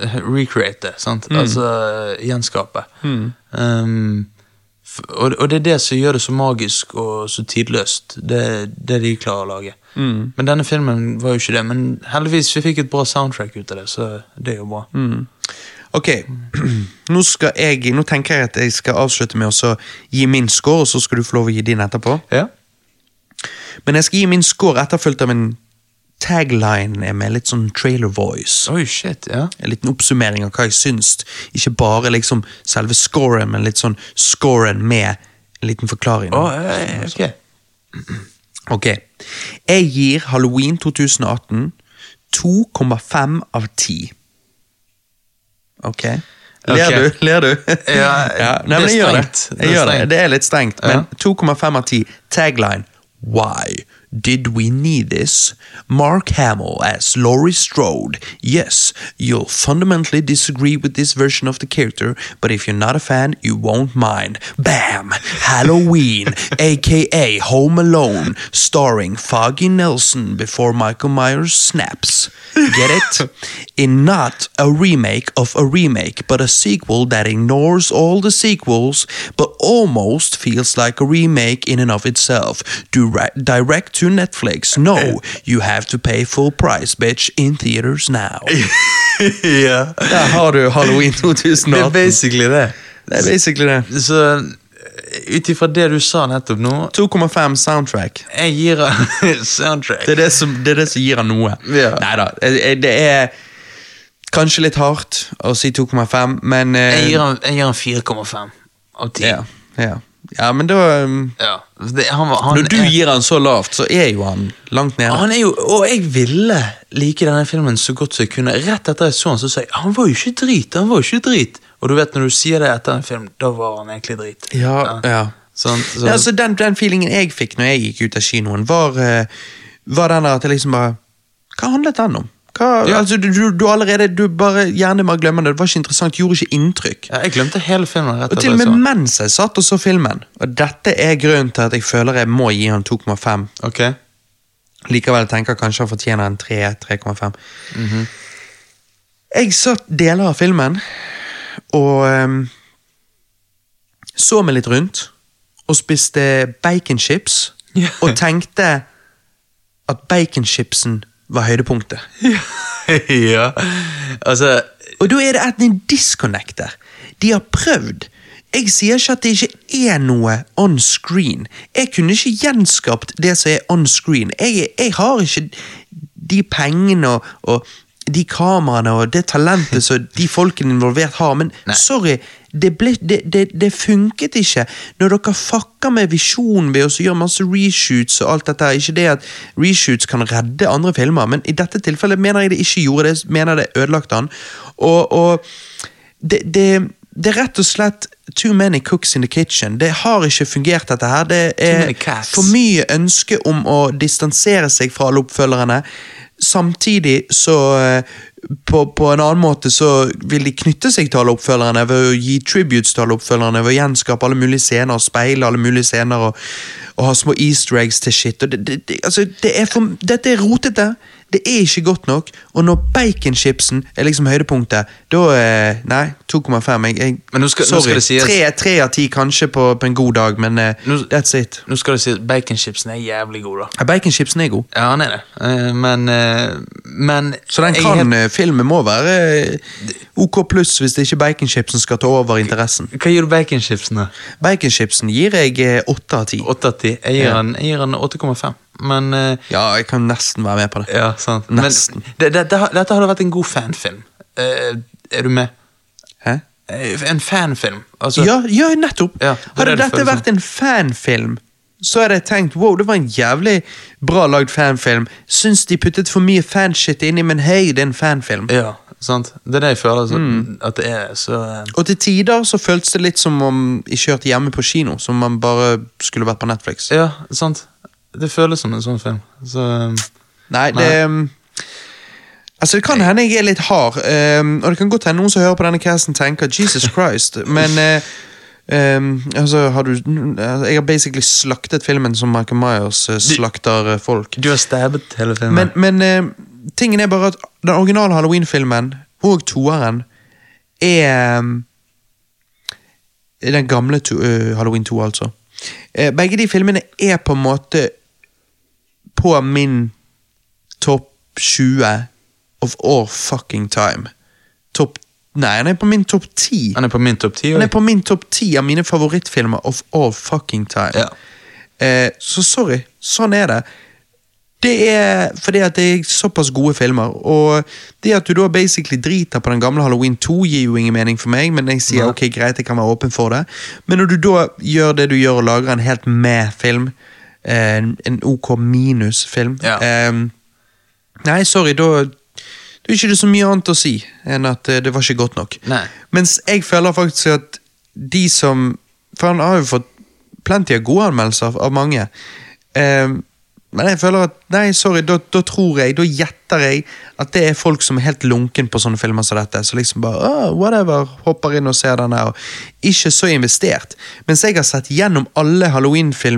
Speaker 2: eh, recreate. Sant?
Speaker 1: Mm.
Speaker 2: Altså eh, gjenskape. Um, f- og, og det er det som gjør det så magisk og så tidløst, det, det de klarer å lage.
Speaker 1: Mm.
Speaker 2: Men denne filmen var jo ikke det. Men heldigvis vi fikk et bra soundtrack ut av det, så det er jo bra.
Speaker 1: Mm. Ok, nå, skal jeg, nå tenker jeg at jeg skal avslutte med å så gi min score, og så skal du få lov å gi din etterpå.
Speaker 2: Ja.
Speaker 1: Men jeg skal gi min score etterfulgt av en tagline med litt sånn trailer voice.
Speaker 2: Oi, shit, ja.
Speaker 1: En liten oppsummering av hva jeg syns. Ikke bare liksom selve scoren, men litt sånn scoren med en liten forklaring.
Speaker 2: Å, eh, ok.
Speaker 1: Ok. Jeg gir Halloween 2018 2,5 av 10. Ok? Ler
Speaker 2: Ok.
Speaker 1: du? Ler du?
Speaker 2: Ja,
Speaker 1: Nei,
Speaker 2: det er
Speaker 1: men jeg gjør det.
Speaker 2: strengt.
Speaker 1: Jeg
Speaker 2: Det er
Speaker 1: gjør det.
Speaker 2: strengt.
Speaker 1: det er litt strengt,
Speaker 2: Ja.
Speaker 1: men 2,5 av 10. Tagline Why did we need this? Mark Hamill as Laurie Strode. Yes, you'll fundamentally disagree with this version of the character, but if you're not a fan, you won't mind. Bam! Halloween, aka Home Alone, starring Foggy Nelson before Michael Myers snaps. Get it? In not a remake of a remake, but a sequel that ignores all the sequels, but almost feels like a remake in and of itself. Direct, direct to Netflix. No, you have to pay full price, bitch, in theaters now.
Speaker 2: ja.
Speaker 1: Der har du Halloween
Speaker 2: Det er
Speaker 1: 2018.
Speaker 2: basically det.
Speaker 1: Det er basically det.
Speaker 2: Så eh, ut ifra det du sa nettopp nå
Speaker 1: 2,5 soundtrack.
Speaker 2: Jeg gir han soundtrack.
Speaker 1: Det er det som, det er det som gir han noe.
Speaker 2: Ja.
Speaker 1: Nei da, det er kanskje litt hardt å si 2,5, men eh,
Speaker 2: Jeg gir han, jeg gir han 4,5 av 10.
Speaker 1: ja, ja. ja, men da um,
Speaker 2: Ja. Det, han, var- han,
Speaker 1: Når du
Speaker 2: er,
Speaker 1: gir han så lavt, så er jo han langt nede.
Speaker 2: han er jo Og jeg ville like denne filmen så godt som jeg kunne. Rett etter jeg så han, så sa jeg han var jo ikke drit. han var jo ikke drit. Og du vet, når du sier det etter en film, da var han egentlig drit.
Speaker 1: Ja, ja.
Speaker 2: Sånn, så,
Speaker 1: Ja, altså, den, den feelingen jeg fikk når jeg gikk ut av kinoen, var, eh, var den der at jeg liksom bare Hva handlet den om? Hva,
Speaker 2: Ja.
Speaker 1: altså, du, du, du allerede, du bare Hjernen bare glemmer det. Det var ikke interessant, gjorde ikke inntrykk.
Speaker 2: ja, jeg glemte hele filmen. rett
Speaker 1: Og til
Speaker 2: etter
Speaker 1: og
Speaker 2: jeg
Speaker 1: med
Speaker 2: så han.
Speaker 1: mens jeg satt og så filmen, og dette er grunnen til at jeg føler jeg må gi han 2,5
Speaker 2: Ok,
Speaker 1: likevel tenker jeg kanskje han fortjener en 3, 3,5.
Speaker 2: Mhm.
Speaker 1: Jeg satt deler av filmen og ehm, så meg litt rundt og spiste baconchips
Speaker 2: Ja.
Speaker 1: og tenkte at baconchipsen var høydepunktet.
Speaker 2: ja. Altså
Speaker 1: Og da er det et- en disconnect der. De har prøvd. Jeg sier ikke at det ikke er noe on screen. Jeg kunne ikke gjenskapt det som er on screen. Jeg, jeg har ikke de pengene og, og de kameraene og det talentet som de folkene involvert har, men sorry, det, ble, det, det, det funket ikke. Når dere fucker med visjonen ved å så gjøre masse reshoots og alt dette, her, ikke det at reshoots kan redde andre filmer, men i dette tilfellet mener jeg det ikke gjorde det, mener det ødelagte han. Og, og det, det, det er rett og slett too many cooks in the kitchen. Det har ikke fungert, dette her. Det er
Speaker 2: many cats.
Speaker 1: for mye ønske om å distansere seg fra alle oppfølgerne. Samtidig så eh, på, på en annen måte så vil de knytte seg til alle oppfølgerne ved å gi tributes til alle oppfølgerne, ved å gjenskape alle mulige scener og speile alle mulige scener og, og ha små easter eggs til shit. Og det, det, det, altså, det er for, dette er rotete. Det er ikke godt nok. Og når baconchipsen er liksom høydepunktet, da eh, Nei, 2,5. Jeg, jeg,
Speaker 2: Men nå skal- nå
Speaker 1: sorry.
Speaker 2: skal det sies-
Speaker 1: tre, tre av ti kanskje på, på en god dag, men eh,
Speaker 2: Nå-
Speaker 1: that's it.
Speaker 2: Nå skal det si at baconchipsen er jævlig god, da.
Speaker 1: Ja, Baconchipsen er god.
Speaker 2: Ja, han er det. Eh, Men, eh, men
Speaker 1: Så den
Speaker 2: jeg
Speaker 1: kan,
Speaker 2: er
Speaker 1: eh,
Speaker 2: helt-
Speaker 1: filmen må være eh, OK pluss hvis det ikke baconchipsen skal ta over interessen.
Speaker 2: Hva gir du baconchipsen, da?
Speaker 1: Baconchipsen gir jeg eh, åtte av ti.
Speaker 2: 8 av 10? Jeg gir han jeg gir han 8,5. Men eh,
Speaker 1: Ja, jeg kan nesten være med på det.
Speaker 2: Ja, sant. Men
Speaker 1: Nesten.
Speaker 2: det, det, det, har- dette hadde vært en god fanfilm. Eh, er du med?
Speaker 1: Hæ?
Speaker 2: Eh, En fanfilm. Altså,
Speaker 1: Ja, ja, nettopp!
Speaker 2: Ja, det er
Speaker 1: Hadde
Speaker 2: det det
Speaker 1: dette
Speaker 2: føles
Speaker 1: vært en fanfilm, så hadde jeg tenkt wow, det var en jævlig bra lagd fanfilm. Syns de puttet for mye fanshit inni, men hei, det er en fanfilm.
Speaker 2: ja, sant. Det er det jeg føler altså,
Speaker 1: Mm.
Speaker 2: at det er. Så eh,
Speaker 1: Og til tider så føltes det litt som om ikke hørte hjemme på kino, som om man bare skulle vært på Netflix.
Speaker 2: Ja, sant. Det føles som en sånn film. Så eh,
Speaker 1: Nei, det um, Altså, det kan hende jeg er litt hard, um, og det kan godt hende noen som hører på denne casten tenker Jesus Christ, men uh, um, altså, har du Jeg har basically slaktet filmen som Michael Myers uh, slakter uh, folk.
Speaker 2: Du har stabbet hele filmen.
Speaker 1: Men, men eh, tingen er bare at den originale Halloween-filmen og toeren er eh, Den gamle to, eh, Halloween 2, altså. Eh, begge de filmene er på en måte på min topp 20 of all fucking time. Topp Nei, han er på min topp 10.
Speaker 2: Han er på min topp ti.
Speaker 1: Han er på min topp 10 av mine favorittfilmer of all fucking time.
Speaker 2: Ja.
Speaker 1: Eh, så sorry, sånn er det. Det er fordi at det er såpass gode filmer, og det at du da basically driter på den gamle Halloween 2 gir jo ingen mening for meg, men jeg sier
Speaker 2: Nei.
Speaker 1: ok, greit, jeg kan være åpen for det. Men når du da gjør det du gjør og lager en helt med film, eh, en, en OK minus film,
Speaker 2: Ja.
Speaker 1: eh, nei, sorry, da da er ikke det så mye annet å si enn at eh, det var ikke godt nok.
Speaker 2: Nei.
Speaker 1: Mens jeg føler faktisk at de som For han har jo fått plenty av gode anmeldelser av- av mange. Eh, men jeg føler at Nei, sorry, da, da tror jeg, da gjetter jeg at det er folk som er helt lunken på sånne filmer som dette. Som liksom bare «Åh, whatever, hopper inn og ser den her. og Ikke så investert. Mens jeg har sett gjennom alle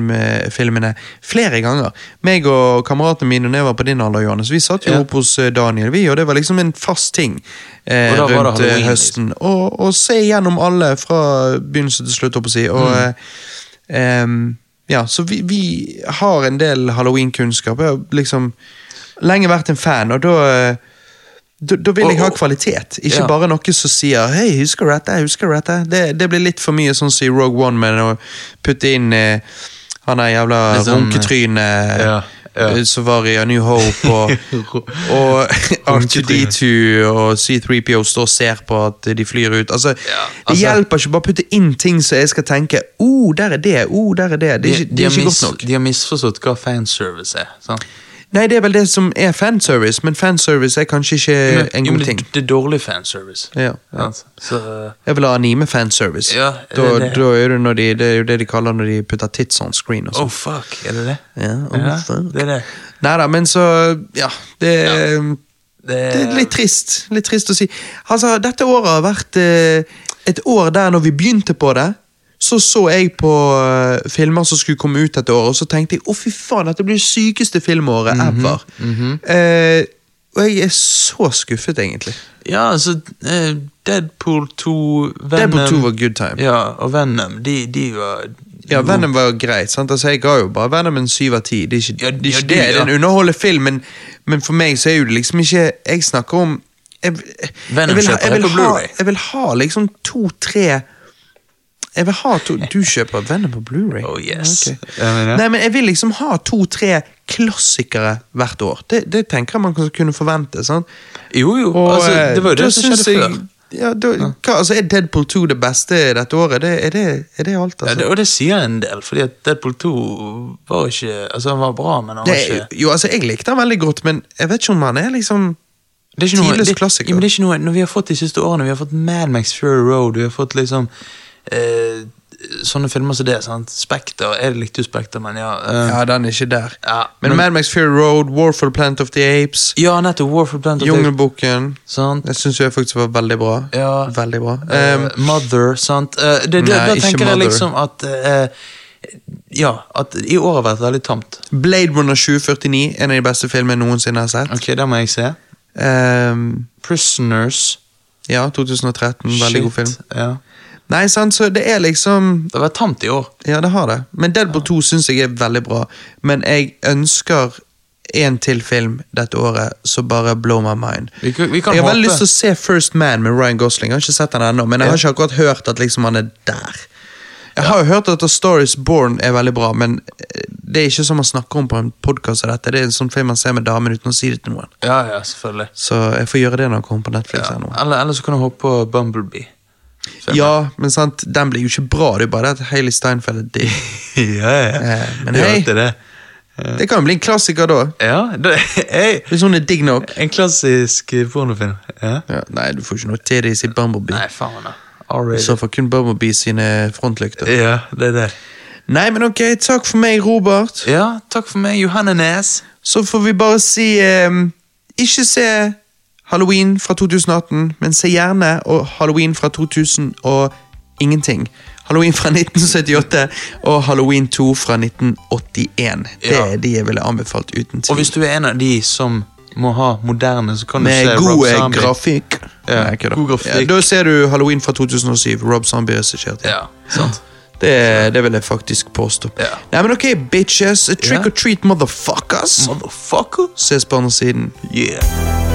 Speaker 1: Halloween-filmene flere ganger. Meg og kameratene mine når jeg var på din alder, Johannes, vi satt jo
Speaker 2: Ja.
Speaker 1: opp hos eh, Daniel, vi, og det var liksom en fast ting. Eh,
Speaker 2: Og da var det
Speaker 1: rundt eh,
Speaker 2: Halloween,
Speaker 1: høsten. Og, og se gjennom alle fra begynnelse til slutt, holdt jeg på å si.
Speaker 2: Mm.
Speaker 1: Og, eh, em, ja, så vi, vi har en del halloween-kunnskap. Jeg har liksom lenge vært en fan, og da eh, Da, da vil
Speaker 2: Og-
Speaker 1: jeg ha
Speaker 2: og-
Speaker 1: kvalitet, ikke
Speaker 2: Ja.
Speaker 1: bare noe som sier 'hei, husker du dette', husker du dette? Det, det blir litt for mye sånn som i Rogue One, med å putte inn eh, han der jævla
Speaker 2: Litt sånn, eh,
Speaker 1: runketrynet
Speaker 2: ja, ja.
Speaker 1: eh, som var i A New Hope, og, og
Speaker 2: Runketrynet.
Speaker 1: R2D2 og C3PO står og ser på at de flyr ut. Altså, Det
Speaker 2: altså-
Speaker 1: hjelper ikke bare å putte inn ting som jeg skal tenke 'oh, der er det', 'oh, der er det'. Det er
Speaker 2: De,
Speaker 1: ikke,
Speaker 2: de,
Speaker 1: det
Speaker 2: har
Speaker 1: er ikke
Speaker 2: mis,
Speaker 1: godt nok.
Speaker 2: de har misforstått hva fanservice er. Sant?
Speaker 1: Nei, det er vel det som er fanservice, men fanservice er kanskje ikke en
Speaker 2: Jo,
Speaker 1: god
Speaker 2: men det,
Speaker 1: ting.
Speaker 2: det er dårlig fanservice.
Speaker 1: Ja, ja.
Speaker 2: Sant? Så eh,
Speaker 1: Jeg vil ha anime-fanservice.
Speaker 2: Ja, det
Speaker 1: da,
Speaker 2: er det.
Speaker 1: da er det, når de, det er jo det de kaller når de putter tits on screen. og
Speaker 2: Oh,
Speaker 1: sånn.
Speaker 2: fuck. Er det det?
Speaker 1: Ja, oh, fuck.
Speaker 2: det er det.
Speaker 1: Nei da, men så Ja, det,
Speaker 2: Det er,
Speaker 1: det er litt trist. Litt trist å si. Altså, dette året har vært eh, et år der når vi begynte på det, så så jeg på eh, filmer som skulle komme ut dette året, og så tenkte jeg å fy faen, dette blir det sykeste filmåret ever. eh, og jeg er så skuffet, egentlig.
Speaker 2: Ja, altså eh, Deadpool 2, Venom
Speaker 1: Deadpool 2 var good time.
Speaker 2: Ja, og Venom, de, de var Mm.
Speaker 1: Ja, Venom var greit. sant? Altså, Jeg ga jo bare Venom en syv av ti. Det er ikke
Speaker 2: Ja,
Speaker 1: det. Er
Speaker 2: ja,
Speaker 1: ikke
Speaker 2: du,
Speaker 1: det. det er en
Speaker 2: ja.
Speaker 1: underholdende film, men, men for meg så er jo det liksom ikke Jeg snakker om Jeg, jeg, jeg,
Speaker 2: Venom
Speaker 1: vil, ha,
Speaker 2: kjøper
Speaker 1: jeg,
Speaker 2: det
Speaker 1: vil,
Speaker 2: på
Speaker 1: ha,
Speaker 2: Blu-ray.
Speaker 1: jeg vil ha liksom to-tre Jeg vil ha to Du kjøper Venom på Blu-ray?
Speaker 2: Oh, yes.
Speaker 1: Ok.
Speaker 2: Ja, men ja.
Speaker 1: Nei, men jeg vil liksom ha to-tre klassikere hvert år. Det, det tenker jeg man kan kunne forvente. sant?
Speaker 2: Jo, jo.
Speaker 1: Og,
Speaker 2: altså, det var jo
Speaker 1: eh, da
Speaker 2: det som
Speaker 1: syns
Speaker 2: skjedde
Speaker 1: jeg-
Speaker 2: før.
Speaker 1: Ja, da, hva, altså, Er Deadpool 2 det beste dette året? Det, er, det, er det alt, altså?
Speaker 2: Ja, det, og det sier en del, fordi at Deadpool 2 var ikke Altså, han var bra, men han var
Speaker 1: Det,
Speaker 2: ikke
Speaker 1: er- jo, altså, jeg likte han veldig godt, men jeg vet ikke om han er liksom
Speaker 2: Det er ikke noe,
Speaker 1: Tidløs
Speaker 2: det,
Speaker 1: klassiker.
Speaker 2: Ja, men det er ikke noe, når vi har fått de siste årene, vi har fått Mad Max Fury Road, vi har fått liksom eh, Sånne filmer som det. sant? Spekter. Jeg likte jo Spekter, men ja. eh,
Speaker 1: Ja, den er ikke der.
Speaker 2: Ja,
Speaker 1: men,
Speaker 2: men-
Speaker 1: Mad Max Fury Road, War for the Planet of the Apes,
Speaker 2: ja, nettopp. War for Planet of the-
Speaker 1: Jungelboken
Speaker 2: Sant?
Speaker 1: Jeg syns jeg faktisk var veldig bra.
Speaker 2: Ja.
Speaker 1: Veldig bra.
Speaker 2: Eh,
Speaker 1: Ehm,
Speaker 2: mother, sant. Eh, det, det,
Speaker 1: Nei,
Speaker 2: da
Speaker 1: ikke
Speaker 2: tenker jeg
Speaker 1: Mother.
Speaker 2: liksom at eh, Ja, at i år har vært veldig tamt.
Speaker 1: Blade Runner 2049, en av de beste filmene jeg noensinne har sett.
Speaker 2: Ok, det må jeg se.
Speaker 1: Ehm,
Speaker 2: Prisoners.
Speaker 1: ja, 2013.
Speaker 2: Mm,
Speaker 1: Veldig god film.
Speaker 2: Ja.
Speaker 1: Nei, sant, så det er liksom
Speaker 2: Det har vært tamt i år.
Speaker 1: Ja, det har det. Men Deadpool 2 syns jeg er veldig bra. Men jeg ønsker en til film dette året som bare blow my mind.
Speaker 2: Vi kan- vi kan
Speaker 1: jeg har
Speaker 2: håpe.
Speaker 1: veldig lyst til å se First Man med Ryan Gosling. Jeg har ikke sett den ennå, men jeg har ikke akkurat hørt at liksom han er der. Jeg har jo hørt at A Star Is Born er veldig bra, men eh, det er ikke som man snakker om på en podkast. Det er en sånn film man ser med damen uten å si det til noen.
Speaker 2: Ja, ja, selvfølgelig.
Speaker 1: Så jeg får gjøre det når han kommer på Netflix.
Speaker 2: Ja.
Speaker 1: eller noe.
Speaker 2: Eller, eller så kan du håpe på Bumblebee.
Speaker 1: Ja, men sant, den blir jo ikke bra. Det er jo bare det at Hailey Steinfeld er digg.
Speaker 2: ja, ja.
Speaker 1: Eh, men
Speaker 2: Det er
Speaker 1: hei.
Speaker 2: alltid det.
Speaker 1: Det kan jo bli en klassiker da.
Speaker 2: Ja, det, hei.
Speaker 1: Hvis hun er digg nok.
Speaker 2: En klassisk eh, pornofilm. Ja.
Speaker 1: Ja, nei, du får ikke noe titties i Bumblebee.
Speaker 2: Nei, faen da.
Speaker 1: I
Speaker 2: R-rated.
Speaker 1: så fall kun Bumblebee sine frontlykter.
Speaker 2: Ja, det er det.
Speaker 1: Nei, men ok, takk for meg, Robert.
Speaker 2: Ja, takk for meg, Johanne Næs.
Speaker 1: Så får vi bare si ehm, Ikke se Halloween fra 2018, men se gjerne og Halloween fra 2000 og ingenting. Halloween fra 1978 og Halloween 2 fra 1981. Det
Speaker 2: Ja.
Speaker 1: er de jeg ville anbefalt uten
Speaker 2: Og
Speaker 1: tvil.
Speaker 2: hvis du er en av de som må ha moderne, så kan du se
Speaker 1: Med
Speaker 2: Rob
Speaker 1: god eh,
Speaker 2: Zombie.
Speaker 1: grafikk.
Speaker 2: Ja,
Speaker 1: Nei, kødda.
Speaker 2: god grafikk.
Speaker 1: Ja, da ser du Halloween fra 2007. Rob Zombie regisserte.
Speaker 2: Ja, sant.
Speaker 1: Det, det vil jeg faktisk påstå.
Speaker 2: Ja.
Speaker 1: Nei, men ok, bitches. Trick
Speaker 2: Ja.
Speaker 1: or treat, motherfuckers.
Speaker 2: Motherfucker.
Speaker 1: Ses på andre siden.
Speaker 2: Yeah.